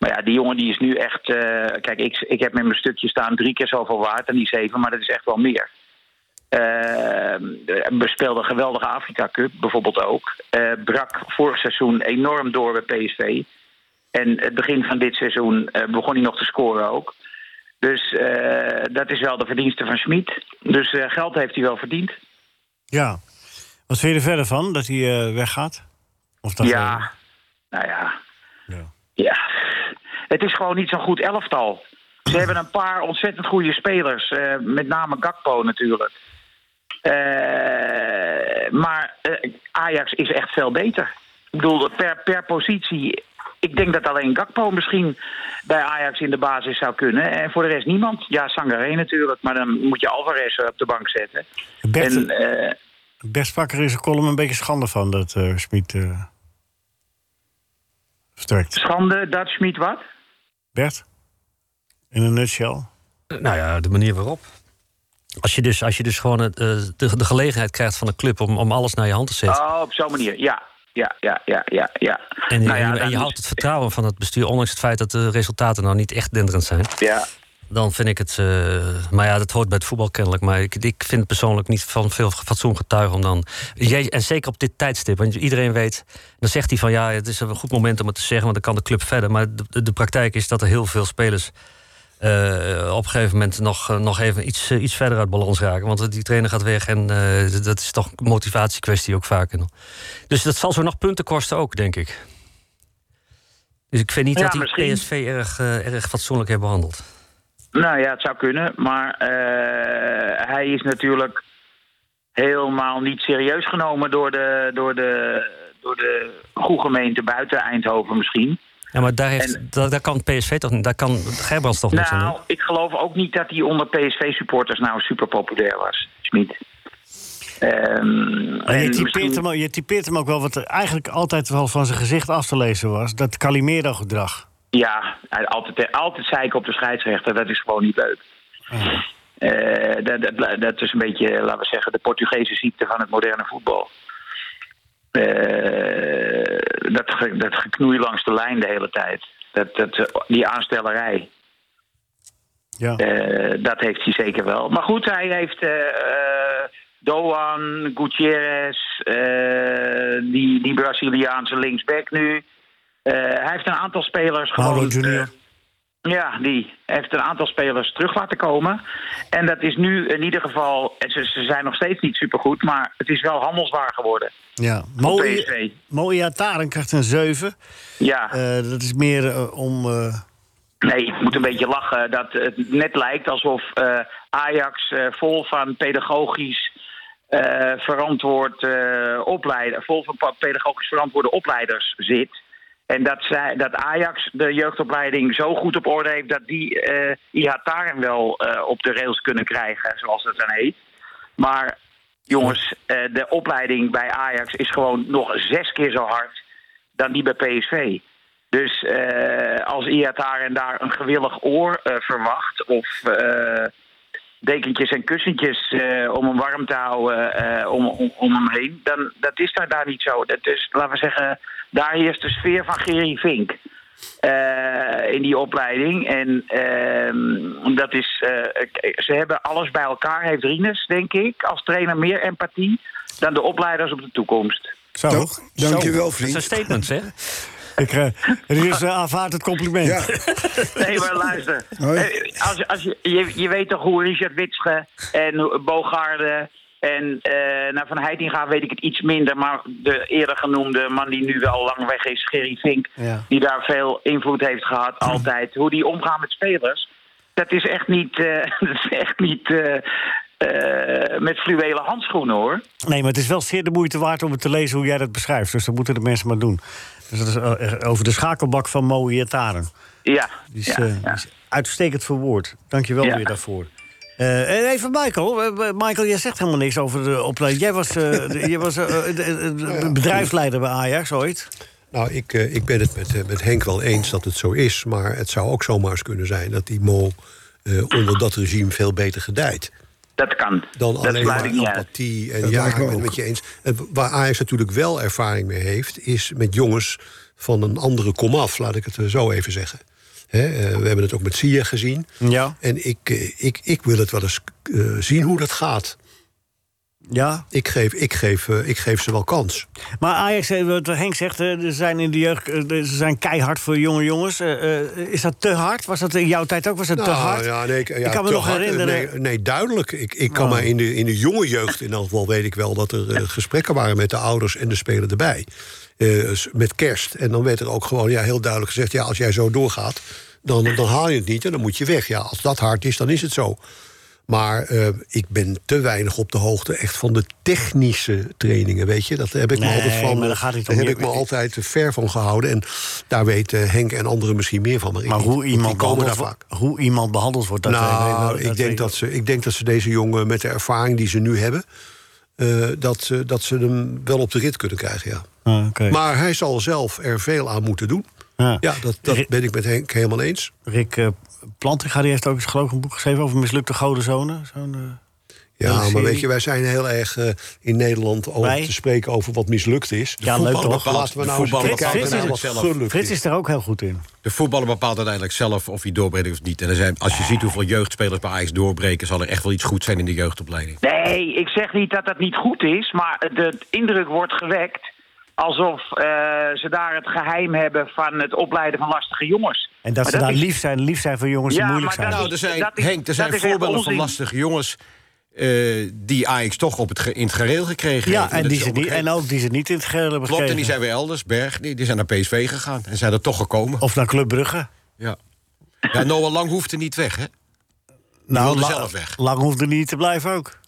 S10: Maar ja, die jongen die is nu echt. eh, kijk, ik, ik heb in mijn stukje staan drie keer zoveel waard dan die zeven, maar dat is echt wel meer. Eh, we speelden een geweldige Afrika Cup bijvoorbeeld ook. Eh, brak vorig seizoen enorm door bij PSV. En het begin van dit seizoen eh, begon hij nog te scoren ook. Dus eh, dat is wel de verdienste van Schmid. Dus eh, geld heeft hij wel verdiend.
S3: Ja. Wat vind je er verder van, dat hij eh, weggaat? Of dat eh,
S10: ja, nou ja.
S3: ja.
S10: ja. Het is gewoon niet zo'n goed elftal. Ze hebben een paar ontzettend goede spelers. eh, met name Gakpo natuurlijk. Eh, maar eh, Ajax is echt veel beter. Ik bedoel, per, per positie... Ik denk dat alleen Gakpo misschien bij Ajax in de basis zou kunnen. En voor de rest niemand. Ja, Sangaré natuurlijk. Maar dan moet je Alvarez op de bank zetten.
S3: Bert,
S10: En, eh,
S3: Bert Spakker is er column een beetje schande van dat eh Schmid eh, vertrekt.
S10: schande dat Schmid wat?
S3: Bert? In een nutshell?
S7: Nou ja, de manier waarop. Als je dus, als je dus gewoon eh, de, de gelegenheid krijgt van de club om, om alles naar je hand te zetten.
S10: Oh, op zo'n manier. Ja, ja, ja, ja, ja. ja.
S7: En,
S10: Nou ja,
S7: en, en je
S10: dan-
S7: houdt het vertrouwen van het bestuur, ondanks het feit dat de resultaten nou niet echt denderend zijn.
S10: Ja,
S7: Dan vind ik het. eh, maar ja, dat hoort bij het voetbal kennelijk. Maar ik, ik vind het persoonlijk niet van veel fatsoen getuigen om dan. Jij, en zeker op dit tijdstip. Want iedereen weet. Dan zegt hij van ja, het is een goed moment om het te zeggen. Want dan kan de club verder. Maar de, de praktijk is dat er heel veel spelers. eh, op een gegeven moment nog, eh, nog even iets, eh, iets verder uit balans raken. Want die trainer gaat weg en eh, d- dat is toch een motivatiekwestie ook vaak. Dus dat zal zo nog punten kosten ook, denk ik. Dus ik vind niet
S10: Ja,
S7: dat die
S10: misschien.
S7: PSV erg, eh, erg fatsoenlijk heeft behandeld.
S10: Nou ja, het zou kunnen, maar eh, hij is natuurlijk helemaal niet serieus genomen door de, door de, door de goede gemeente buiten Eindhoven misschien.
S7: Ja, maar daar, heeft,
S10: En-
S7: daar, daar kan PSV toch niet, daar kan Gerbrands toch niks aan
S10: Nou,
S7: doen?
S10: ik geloof ook niet dat hij onder PSV-supporters nou super populair was, Smit. Ehm,
S3: Maar je,
S10: en
S3: typeert
S10: misschien-
S3: hem, ook- je typeert hem ook wel wat er eigenlijk altijd wel van zijn gezicht af te lezen was. Dat Calimero-gedrag.
S10: Ja, hij- altijd, altijd zeiken op de scheidsrechter, dat is gewoon niet leuk. Eh, dat, dat, dat is een beetje, laten we zeggen, de Portugese ziekte van het moderne voetbal. Eh, dat, ge- dat geknoei langs de lijn de hele tijd. Dat, dat, eh, die aanstellerij,
S3: Ja.
S10: eh, dat heeft hij zeker wel. Maar goed, hij heeft eh, eh, Doan, Gutierrez, eh, die, die Braziliaanse linksback nu. Eh, hij heeft een aantal spelers
S3: Paulo
S10: gewoon... eh,
S3: Junior.
S10: Ja, die heeft een aantal spelers terug laten komen. En dat is nu in ieder geval... en Ze, ze zijn nog steeds niet supergoed, maar het is wel handelswaar geworden.
S3: Ja. Mooi,
S10: PSV.
S3: mooie Ataren krijgt een 7.
S10: Ja,
S3: Eh, dat is meer eh, om. eh,
S10: nee, ik moet een beetje lachen dat het net lijkt alsof eh, Ajax eh, vol van pedagogisch eh, verantwoord eh opleiden, vol van pa- pedagogisch verantwoorde opleiders zit. En dat, zij, dat Ajax de jeugdopleiding zo goed op orde heeft dat die eh Ihataren wel eh, op de rails kunnen krijgen, zoals dat dan heet. Maar jongens, eh, de opleiding bij Ajax is gewoon nog zes keer zo hard dan die bij PSV. Dus eh, als Iataren daar een gewillig oor eh, verwacht of eh, dekentjes en kussentjes eh, om hem warm te houden eh, om, om, om hem heen, dan dat is nou daar, daar niet zo. Dat is, laten we zeggen, daar heerst de sfeer van Gerry Vink. eh, in die opleiding. En ehm, dat is. eh, k- ze hebben alles bij elkaar. Heeft Rinus, denk ik, als trainer meer empathie dan de opleiders op de toekomst.
S3: Zo.
S5: Dank, dankjewel,
S7: Dat zijn
S5: vriend.
S7: statements,
S5: [LAUGHS]
S7: hè?
S3: Ik, eh, Rinus, eh, aanvaardt het compliment.
S5: Ja,
S10: Nee, maar luister.
S5: Hoi.
S10: Eh, Als, als je, je, je weet toch hoe Richard Witsche en hoe- Bogarde en eh nou, van Heitinga weet ik het iets minder. Maar de eerder genoemde man die nu wel lang weg is, Gerry Vink...
S3: Ja.
S10: die daar veel invloed heeft gehad altijd. Hoe die omgaan met spelers, dat is echt niet, eh, [LAUGHS] dat is echt niet eh, eh, met fluwelen handschoenen, hoor.
S3: [LAUGHS] Nee, maar het is wel zeer de moeite waard om het te lezen hoe jij dat beschrijft. Dus dat moeten de mensen maar doen. Dus dat is eh, over de schakelbak van Mooie Taren.
S10: Ja,
S3: Die is,
S10: ja,
S3: eh,
S10: ja.
S3: die is uitstekend verwoord. Dank je wel
S10: Ja.
S3: weer daarvoor. Eh, en even Michael. Eh, eh, Michael, jij zegt helemaal niks over de opleiding. Jij was, eh, de-
S9: [LAUGHS]
S3: jij was eh, eh, de- de- de bedrijfsleider bij Ajax ooit.
S4: Nou, ik, eh, ik ben het met, eh, met Henk wel eens dat het zo is. Maar het zou ook zomaar eens kunnen zijn dat die Mo eh, onder dat regime veel beter gedijt.
S10: dat kan.
S4: Dan
S10: dat
S4: alleen
S10: sluit
S4: maar
S10: ik niet uit.
S4: empathie. En
S5: Dat
S4: ja, ik
S5: lijkt me
S4: ben het
S5: ook.
S4: met je eens. En waar Ajax natuurlijk wel ervaring mee heeft... is met jongens van een andere komaf, laat ik het eh, zo even zeggen. Hè, eh, we hebben het ook met Sia gezien.
S3: Ja.
S4: En ik, eh, ik, ik wil het wel eens eh, zien hoe dat gaat.
S3: Ja.
S4: Ik geef, ik, geef, eh, ik geef ze wel kans.
S3: Maar Ajax, eh, wat Henk zegt, eh, ze zijn in de jeugd eh, ze zijn keihard voor jonge jongens. Eh, eh, is dat te hard? Was dat in jouw tijd ook? Was dat te
S4: Nou,
S3: hard?
S4: ja, nee, ik, ja,
S3: kan me
S4: te
S3: nog
S9: eh,
S4: hard.
S3: herinneren. Ah.
S4: Nee, nee, duidelijk. Ik, ik kan maar in de, in de jonge jeugd, in elk geval weet ik wel... dat er eh, gesprekken waren met de ouders en de speler erbij. Eh, s- met kerst. En dan werd er ook gewoon ja, heel duidelijk gezegd... ja, als jij zo doorgaat, dan, dan haal je het niet en dan moet je weg. Ja, als dat hard is, dan is het zo. Maar eh, ik ben te weinig op de hoogte echt van de technische trainingen, weet je. Dat heb ik
S3: Nee,
S4: me altijd van.
S3: maar daar gaat het
S4: daar
S3: om.
S4: heb ik me altijd ver van gehouden. En daar weet eh, Henk en anderen misschien meer van. Maar, ik
S3: Maar
S4: niet.
S3: hoe
S4: Die
S3: iemand,
S4: komen
S3: behandeld,
S4: daar
S3: wo-
S4: vaak.
S3: hoe iemand behandeld wordt, dat weet ik wel,
S4: Nou, ik,
S3: weet
S4: denk
S3: ik
S4: dat ze, ik denk dat ze deze jongen met de ervaring die ze nu hebben... eh, dat, ze, dat ze hem wel op de rit kunnen krijgen, ja.
S3: wel. Ah, oké.
S4: Maar hij zal zelf er veel aan moeten doen.
S3: Ja.
S4: Ja, dat, dat ben ik met Henk helemaal eens.
S3: Rick eh, Plantinga die heeft ook eens geloof ik een boek geschreven over mislukte godenzonen. Zo'n, eh, Ja,
S4: Ja, maar
S3: serie.
S4: weet je, wij zijn heel erg eh, in Nederland over
S3: Wij?
S4: te spreken over wat mislukt is.
S3: Ja, leuk
S4: Voetballen
S3: toch?
S4: Laten we
S9: De
S4: nou eens
S9: voetballen
S4: kijken
S3: bepaalt
S4: naar
S3: het
S4: wat
S9: zelf.
S4: gelukt
S3: Frits
S4: is.
S3: is er ook heel goed in.
S9: De voetballer bepaalt uiteindelijk zelf of hij doorbreekt of niet. En er zijn, als je ziet hoeveel jeugdspelers bij Ajax doorbreken... zal er echt wel iets goed zijn in de jeugdopleiding.
S10: Nee, ik zeg niet dat dat niet goed is, maar de indruk wordt gewekt alsof eh, ze daar het geheim hebben van het opleiden van lastige jongens.
S3: En dat
S10: Maar
S3: ze daar
S10: is-
S3: lief zijn, lief zijn voor jongens
S10: Ja,
S3: die moeilijk
S10: maar
S3: zijn.
S10: dat
S9: Nou, er zijn,
S10: is-
S9: Henk, er zijn
S10: dat is echt
S9: voorbeelden van
S10: onzin.
S9: lastige jongens... eh, die Ajax toch op het ge- in het gareel gekregen
S3: ja,
S9: heeft.
S3: en,
S9: dat
S3: die
S9: is
S3: ze
S9: op
S3: niet,
S9: een gegeven-
S3: en ook die ze niet in het geheel hebben
S9: Klopt, en die
S3: gekregen.
S9: zijn weer elders, Berg, die, die zijn naar PSV gegaan. En zijn er toch gekomen.
S3: Of naar Club Brugge.
S9: Ja. ja, Noah Lang hoeft er niet weg, hè? wilde
S3: Nou, La-
S9: zelf weg.
S3: Lang hoefde niet te blijven ook.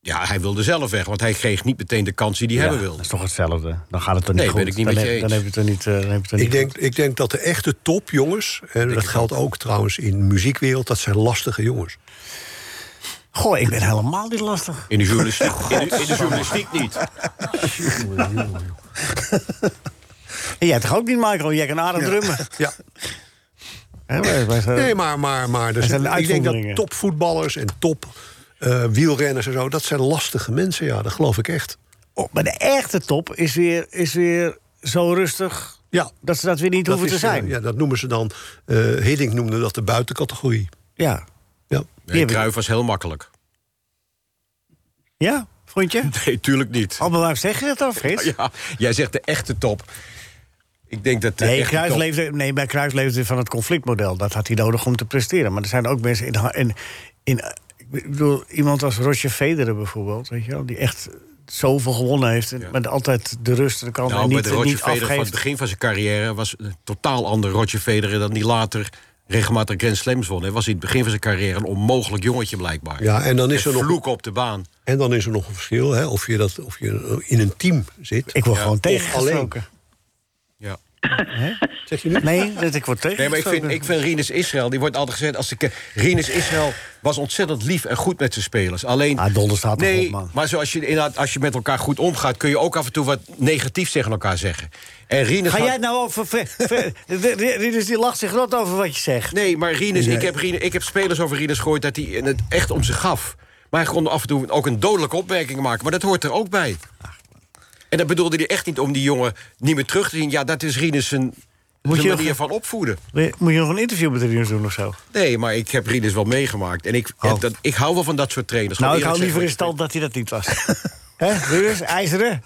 S9: Ja, hij wilde zelf weg, want hij kreeg niet meteen de kans die hij hebben
S3: Dat
S9: wilde.
S3: is toch hetzelfde. Dan gaat het toch niet
S9: Nee,
S3: goed.
S9: ben ik niet
S3: dan
S9: met je
S3: heb- Dan
S9: eens.
S3: heb je het er niet... eh, dan heb je het er
S4: Ik
S3: niet
S4: denk, ik denk dat de echte top, jongens... en dat geldt ook trouwens in de muziekwereld... dat zijn lastige jongens.
S3: goed. Goh, ik ben helemaal niet lastig.
S9: In de journalistiek, in de, in de journalistiek niet.
S3: En jij toch ook niet, Michael? Jij kan aardig drummen.
S4: Ja.
S3: [LAUGHS] Hè, wij- wij zijn-
S4: Nee, maar, maar, maar er
S3: zijn
S4: zijn, ik denk
S3: uitzonderingen.
S4: dat topvoetballers en top eh, wielrenners en zo... dat zijn lastige mensen, ja, dat geloof ik echt.
S3: Oh, maar de echte top is weer, is weer zo rustig
S4: Ja,
S3: dat ze dat weer niet
S4: dat
S3: hoeven
S4: is,
S3: te zijn.
S4: eh,
S3: ja.
S4: ja, dat noemen ze dan... eh Hiddink noemde dat de buitencategorie.
S3: Ja.
S4: Ja.
S9: Nee,
S3: hebben-
S9: Cruijff was heel makkelijk.
S3: ja. vond je?
S9: [LAUGHS] Nee, tuurlijk niet.
S3: Oh, maar waarom zeg je dat dan, Frits?
S9: Ja, jij zegt de echte top. Ik denk dat de
S3: Nee,
S9: echte
S3: Kruis
S9: top-
S3: leefde, nee, bij Kruis leefde van het conflictmodel. Dat had hij nodig om te presteren. Maar er zijn ook mensen in... ha- in, in eh, ik bedoel, iemand als Roger Federer bijvoorbeeld, weet je wel, die echt zoveel gewonnen heeft... en- maar altijd de rust aan de kant en
S9: Nou, bij de
S3: niet,
S9: Roger
S3: niet
S9: Federer van het
S3: afgeeft.
S9: begin van zijn carrière... was een totaal ander Roger Federer dan die later regelmatig Grand Slams won. Hij was in het begin van zijn carrière een onmogelijk jongetje blijkbaar.
S4: Ja, en dan is
S9: Een
S4: er nog-
S9: vloek op de baan.
S4: En dan is er nog een verschil, hè, of, je dat, of je in een team zit.
S3: Ik word gewoon
S4: of
S3: tegengesproken.
S9: Ja.
S4: Zeg je nu?
S3: Nee, dat ik word tegengesproken.
S9: Nee, maar ik vind, ik vind Rinus Israël, die wordt altijd gezegd als de... ke- Rinus Israël was ontzettend lief en goed met zijn spelers. Alleen...
S3: Ah, donder staat erop,
S9: nee,
S3: man.
S9: maar zoals je, inderdaad, als je met elkaar goed omgaat... kun je ook af en toe wat negatiefs tegen elkaar zeggen. En Rinus
S3: Ga
S9: had-
S3: jij het nou over... ver- ver- de- de- de- Dus die lacht zich rot over wat je zegt.
S9: Nee, maar Rinus, ik, heb Rinus, ik heb spelers over Rinus gehoord dat hij het echt om ze gaf. Maar hij kon af en toe ook een dodelijke opmerking maken. Maar dat hoort er ook bij. En dat bedoelde hij echt niet om die jongen niet meer terug te zien. Ja, dat is Rinus zijn,
S3: Moet
S9: zijn
S3: je
S9: manier
S3: nog-
S9: van opvoeden.
S3: Wil je- Moet je nog een interview met de jongens doen of zo?
S9: Nee, maar ik heb Rinus wel meegemaakt. En ik, heb dat, ik hou wel van dat soort trainers.
S3: Oh. Nou, ik
S9: Gewoon
S3: hou liever in
S9: eerlijk
S3: stand dat hij dat niet was.
S5: [LAUGHS]
S3: Hè, Rinus? IJzeren?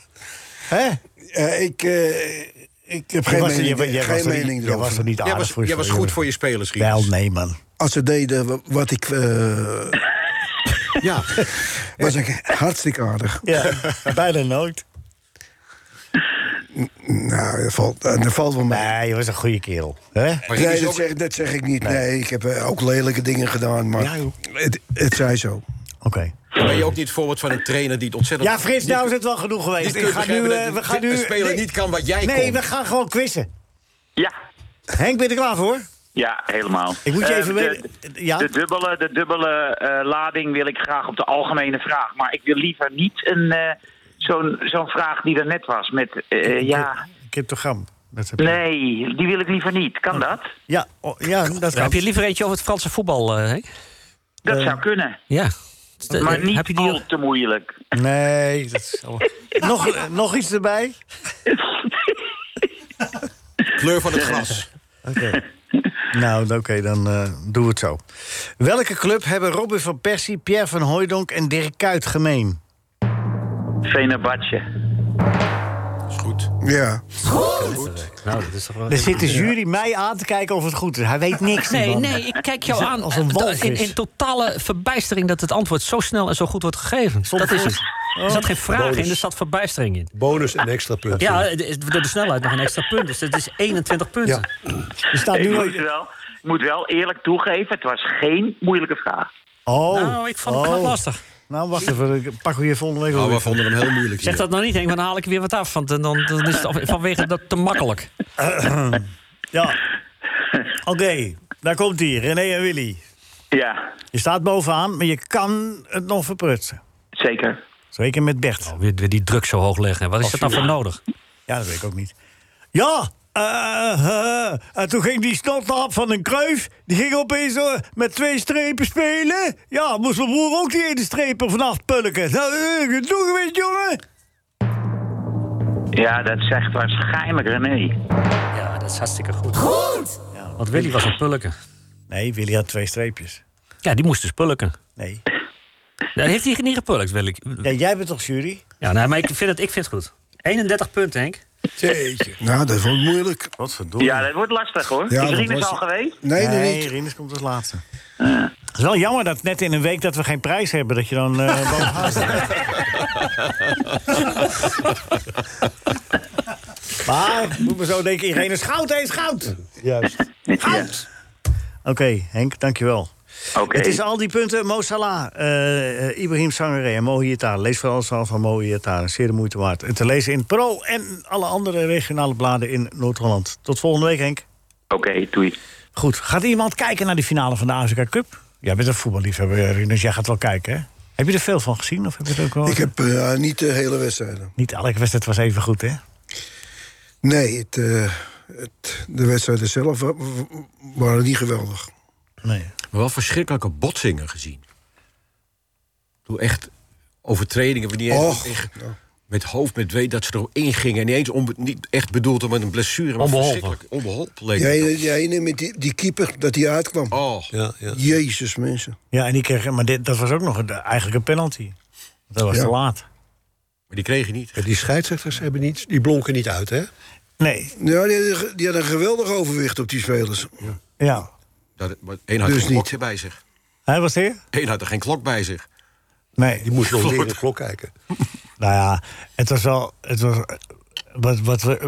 S3: Hè?
S5: Ja, ik, eh, ik heb geen
S3: was er-
S5: mening,
S3: jij- jij was
S5: geen
S3: er niet-
S5: mening
S3: jij was er
S5: erover.
S3: niet
S9: zeggen. Jij
S3: aardig voor.
S9: was, jij was
S3: jongen.
S9: goed voor je spelers,
S3: Wel,
S9: Rinus.
S3: nee, man.
S5: Als ze deden wa- wat ik... eh,
S3: [LAUGHS]
S5: ja, was ik hartstikke aardig.
S3: Ja, [LAUGHS] bijna nooit.
S5: Nou, dat valt, eh, dat valt wel mee.
S3: Nee, je was een goede kerel. Hè? dus
S9: Maar Rinus
S5: Nee,
S9: is
S5: dat
S9: ook-
S5: zeg, dat zeg ik niet. Nee, ik heb eh, ook lelijke dingen gedaan, maar
S3: Ja, joh.
S5: het, het zij zo.
S3: Oké.
S9: [LAUGHS] ben je ook niet het voorbeeld van een trainer die het ontzettend...
S3: Ja, Frits, nou is het wel genoeg geweest.
S9: niet
S3: Ik
S9: kunt
S3: ga nu,
S9: begrijpen
S3: eh,
S9: dat
S3: we
S9: de-
S3: gaan
S9: de
S3: nu...
S9: speler
S3: nee.
S9: niet kan wat jij
S3: Nee,
S9: kon.
S3: we gaan gewoon quizzen.
S10: Ja,
S3: Henk, ben je er klaar voor?
S10: ja helemaal.
S3: Ik moet je
S10: Eh,
S3: even
S10: de-
S3: weten- ja?
S10: De dubbele, de dubbele eh, lading wil ik graag op de algemene vraag. Maar ik wil liever niet een, eh, zo'n, zo'n vraag die er net was. Met, eh, ja,
S3: Cryptogram. Dat heb ik.
S10: nee, die wil ik liever niet. Kan dat?
S3: Ja, oh, ja, dat kan.
S7: Heb je liever eentje over het Franse voetbal, eh, Henk?
S10: Dat zou kunnen.
S7: Ja.
S10: Maar
S7: Eh,
S10: niet
S7: heb je die
S10: al
S7: al-
S10: te moeilijk.
S3: Nee, dat is allemaal... nog, eh, nog iets erbij?
S9: Kleur van het gras.
S3: Nou, oké, dan eh, doen we het zo. Welke club hebben Robin van Persie, Pierre van Hooijdonk en Dirk Kuyt gemeen?
S10: Venerbatje.
S9: Dat is goed.
S5: Ja.
S7: Nou, dat is toch wel...
S3: Er zit de jury mij aan te kijken of het goed is. Hij weet niks
S7: Nee,
S3: hiervan.
S7: nee, ik kijk jou
S3: Zo-
S7: aan
S3: als een
S7: eh,
S3: walvis.
S7: in, in totale verbijstering dat het antwoord zo snel en zo goed wordt gegeven. dat is het. Er zat geen vraag
S4: Bonus.
S7: in, er zat verbijstering in.
S4: Bonus en extra punt.
S7: Ja, eh, de- door de snelheid nog een extra punt. Dus dat is 21 punten.
S3: Er staat
S10: Ik
S3: nu...
S10: moet wel, ik moet wel eerlijk toegeven, het was geen moeilijke vraag.
S3: Oh.
S7: Nou, ik vond het
S3: oh.
S7: knap lastig.
S3: Nou, wacht even. ik Pak we je volgende week
S9: Nou,
S3: alweer.
S9: we vonden hem heel moeilijk
S7: Zeg
S9: hier.
S7: dat nou niet, Henk, want dan haal ik weer wat af. Want dan, dan dan is het af- vanwege dat te makkelijk.
S3: Ja. Oké, daar komt hij. René en Willy.
S10: Ja,
S3: Je staat bovenaan, maar je kan het nog verprutsen.
S10: zeker.
S3: Zeker met Bert.
S7: Weer, weer die druk zo hoog leggen. Wat is dat nou voor nodig?
S3: Ja, dat weet ik ook niet. Ja, eh, eh, en toen ging die snotnaap van een kruif... die ging opeens eh, met twee strepen spelen. Ja, moest mijn broer ook die ene streep er vanaf pulken. Nou, eh, doe een beetje, jongen.
S10: Ja, dat zegt waarschijnlijk René.
S7: Ja, dat is hartstikke goed. Want Willy was een pulken.
S3: Nee, Willy had twee streepjes.
S7: Ja, die moest dus pulken.
S3: Nee.
S7: Dat heeft hij niet gepulkt, Willy.
S3: Ja, jij bent toch jury?
S7: Ja, nee, maar ik vind het, ik vind het goed. 31 punten, Henk.
S5: Jeetje. Nou, dat wordt moeilijk.
S3: Wat verdomme.
S10: Ja, dat wordt lastig hoor.
S5: Ja,
S10: is
S5: dat
S10: Rinus
S5: was-
S10: al geweest?
S5: Nee, nee,
S3: Nee,
S5: nee.
S3: Rinus komt als laatste. Het is wel jammer dat net in een week dat we geen prijs hebben... dat je dan eh, [LAUGHS] bovenaan staat. maar, ik moet me zo denken, iedereen is goud, hij is goud.
S4: Juist.
S3: Goud! Oké, Henk, dankjewel.
S10: Oké.
S3: Het is al die punten. Mo Salah, eh, eh, Ibrahim Sangaré en Mo Hiatar. Lees vooral het verhaal van Mo Hiatar. Zeer de moeite waard. En te lezen in Pro en alle andere regionale bladen in Noord-Holland. Tot volgende week, Henk.
S10: Oké, doei.
S3: Goed, gaat iemand kijken naar die finale van de Afrika Cup? Jij bent een voetballiefhebber, eh, Rinus. Jij gaat wel kijken, hè? Heb je er veel van gezien? Of heb je het ook wel...
S5: Ik heb eh, niet de hele wedstrijden.
S3: Niet elke wedstrijd was even goed, hè?
S5: Nee, het, eh, het, de wedstrijden zelf wa- wa- waren niet geweldig.
S3: Nee.
S9: Maar wel verschrikkelijke botsingen gezien. Door echt overtredingen. Wanneer
S5: Och,
S9: echt met hoofd, met weet dat ze er ingingen. En ineens onbe- niet echt bedoeld om met een blessure. Maar
S7: Onbeholpen.
S9: verschrikkelijk Onbeholpen leek
S5: Jij,
S9: het wel.
S5: jij neemt met die, die keeper dat hij uitkwam.
S9: Oh,
S4: Ja, ja.
S5: Jezus, mensen.
S3: Ja, en die kreeg... Maar dit, dat was ook nog een- eigenlijk een penalty. Dat was
S5: Ja.
S3: te laat.
S9: Maar die kreeg je niet.
S4: Die scheidsrechters hebben niet, die blonken niet uit, hè?
S3: Nee,
S5: Ja, die, hadden- die hadden een geweldig overwicht op die spelers.
S3: ja.
S9: Dat, maar één had
S5: Dus
S9: geen
S5: niet.
S9: klokje bij zich.
S3: Hij was hier?
S9: Eén had nou, er geen klok bij zich.
S3: Nee.
S4: Die
S9: [LAUGHS]
S4: moest nog leren de klok kijken.
S3: Nou ja, het was wel. Het was. eh, Wat, wat we.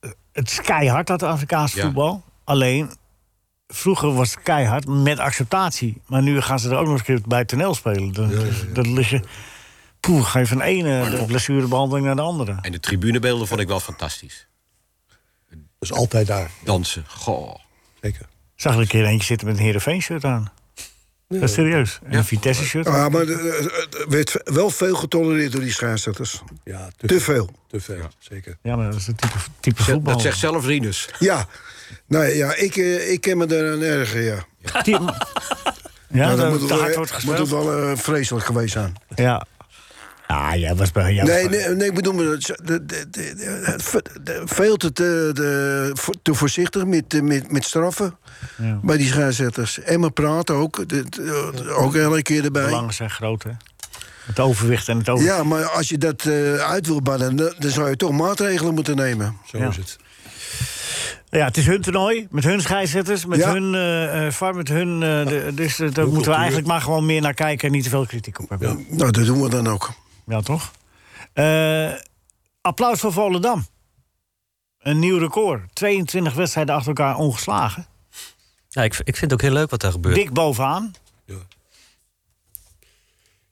S3: eh, Het is keihard, dat Afrikaanse
S9: Ja.
S3: voetbal. Alleen. Vroeger was het keihard met acceptatie. Maar nu gaan ze er ook nog eens een keer bij toneel spelen. Dat, dat lig je. Poeh, ga je van de ene de blessurebehandeling naar de andere.
S9: En de tribunebeelden vond ik wel fantastisch.
S4: Dat is altijd daar,
S9: Dansen, goh.
S4: zeker.
S3: Zag er een keer eentje zitten met een Heerenveen-shirt aan. Dat is serieus. En een Vitesse-shirt.
S5: Ja, maar eh, er werd wel veel getolereerd door die scheidsrechters.
S4: Ja,
S5: Te veel.
S4: Te veel, zeker.
S3: Ja, maar dat is een type, type voetbal.
S9: Dat zegt zelf Rinus.
S5: Ja, nou ja, ik, eh, ik ken me daar aan erger, ja.
S3: Die- Ja,
S5: Nou,
S3: dat
S5: moet
S3: moet te
S5: het wel,
S3: hard wordt
S5: moet het
S3: gespeeld.
S5: wel eh, vreselijk geweest zijn.
S3: Ja. Ah, jij was bij... Jij was
S5: Nee,
S3: bij-
S5: nee, nee, ik bedoel, maar dat- de- de- de- de- de- veel te, te, de- vo- te voorzichtig met, eh, met, met straffen
S3: Ja.
S5: bij die scheidsrechters. En maar praten ook, de- de- ook elke keer
S3: De
S5: erbij.
S3: belangen zijn groot, hè? Het overwicht en het over.
S5: Ja, maar als je dat eh, uit wil bannen, dan, dan zou je toch maatregelen moeten nemen.
S4: Zo
S3: Ja. Nou
S4: is het.
S3: Ja, het is hun toernooi, met hun scheidsrechters, met
S5: Ja.
S3: hun eh, eh, VAR, met hun... eh, de- dus eh, daar moeten we eigenlijk maar gewoon meer naar kijken... en niet te veel kritiek op hebben. Ja,
S5: Nou, dat doen we dan ook.
S3: toch? Eh, applaus voor Volendam. Een nieuw record. 22 wedstrijden achter elkaar ongeslagen.
S7: Ja, ik, ik vind het ook heel leuk wat daar gebeurt.
S3: Dik bovenaan.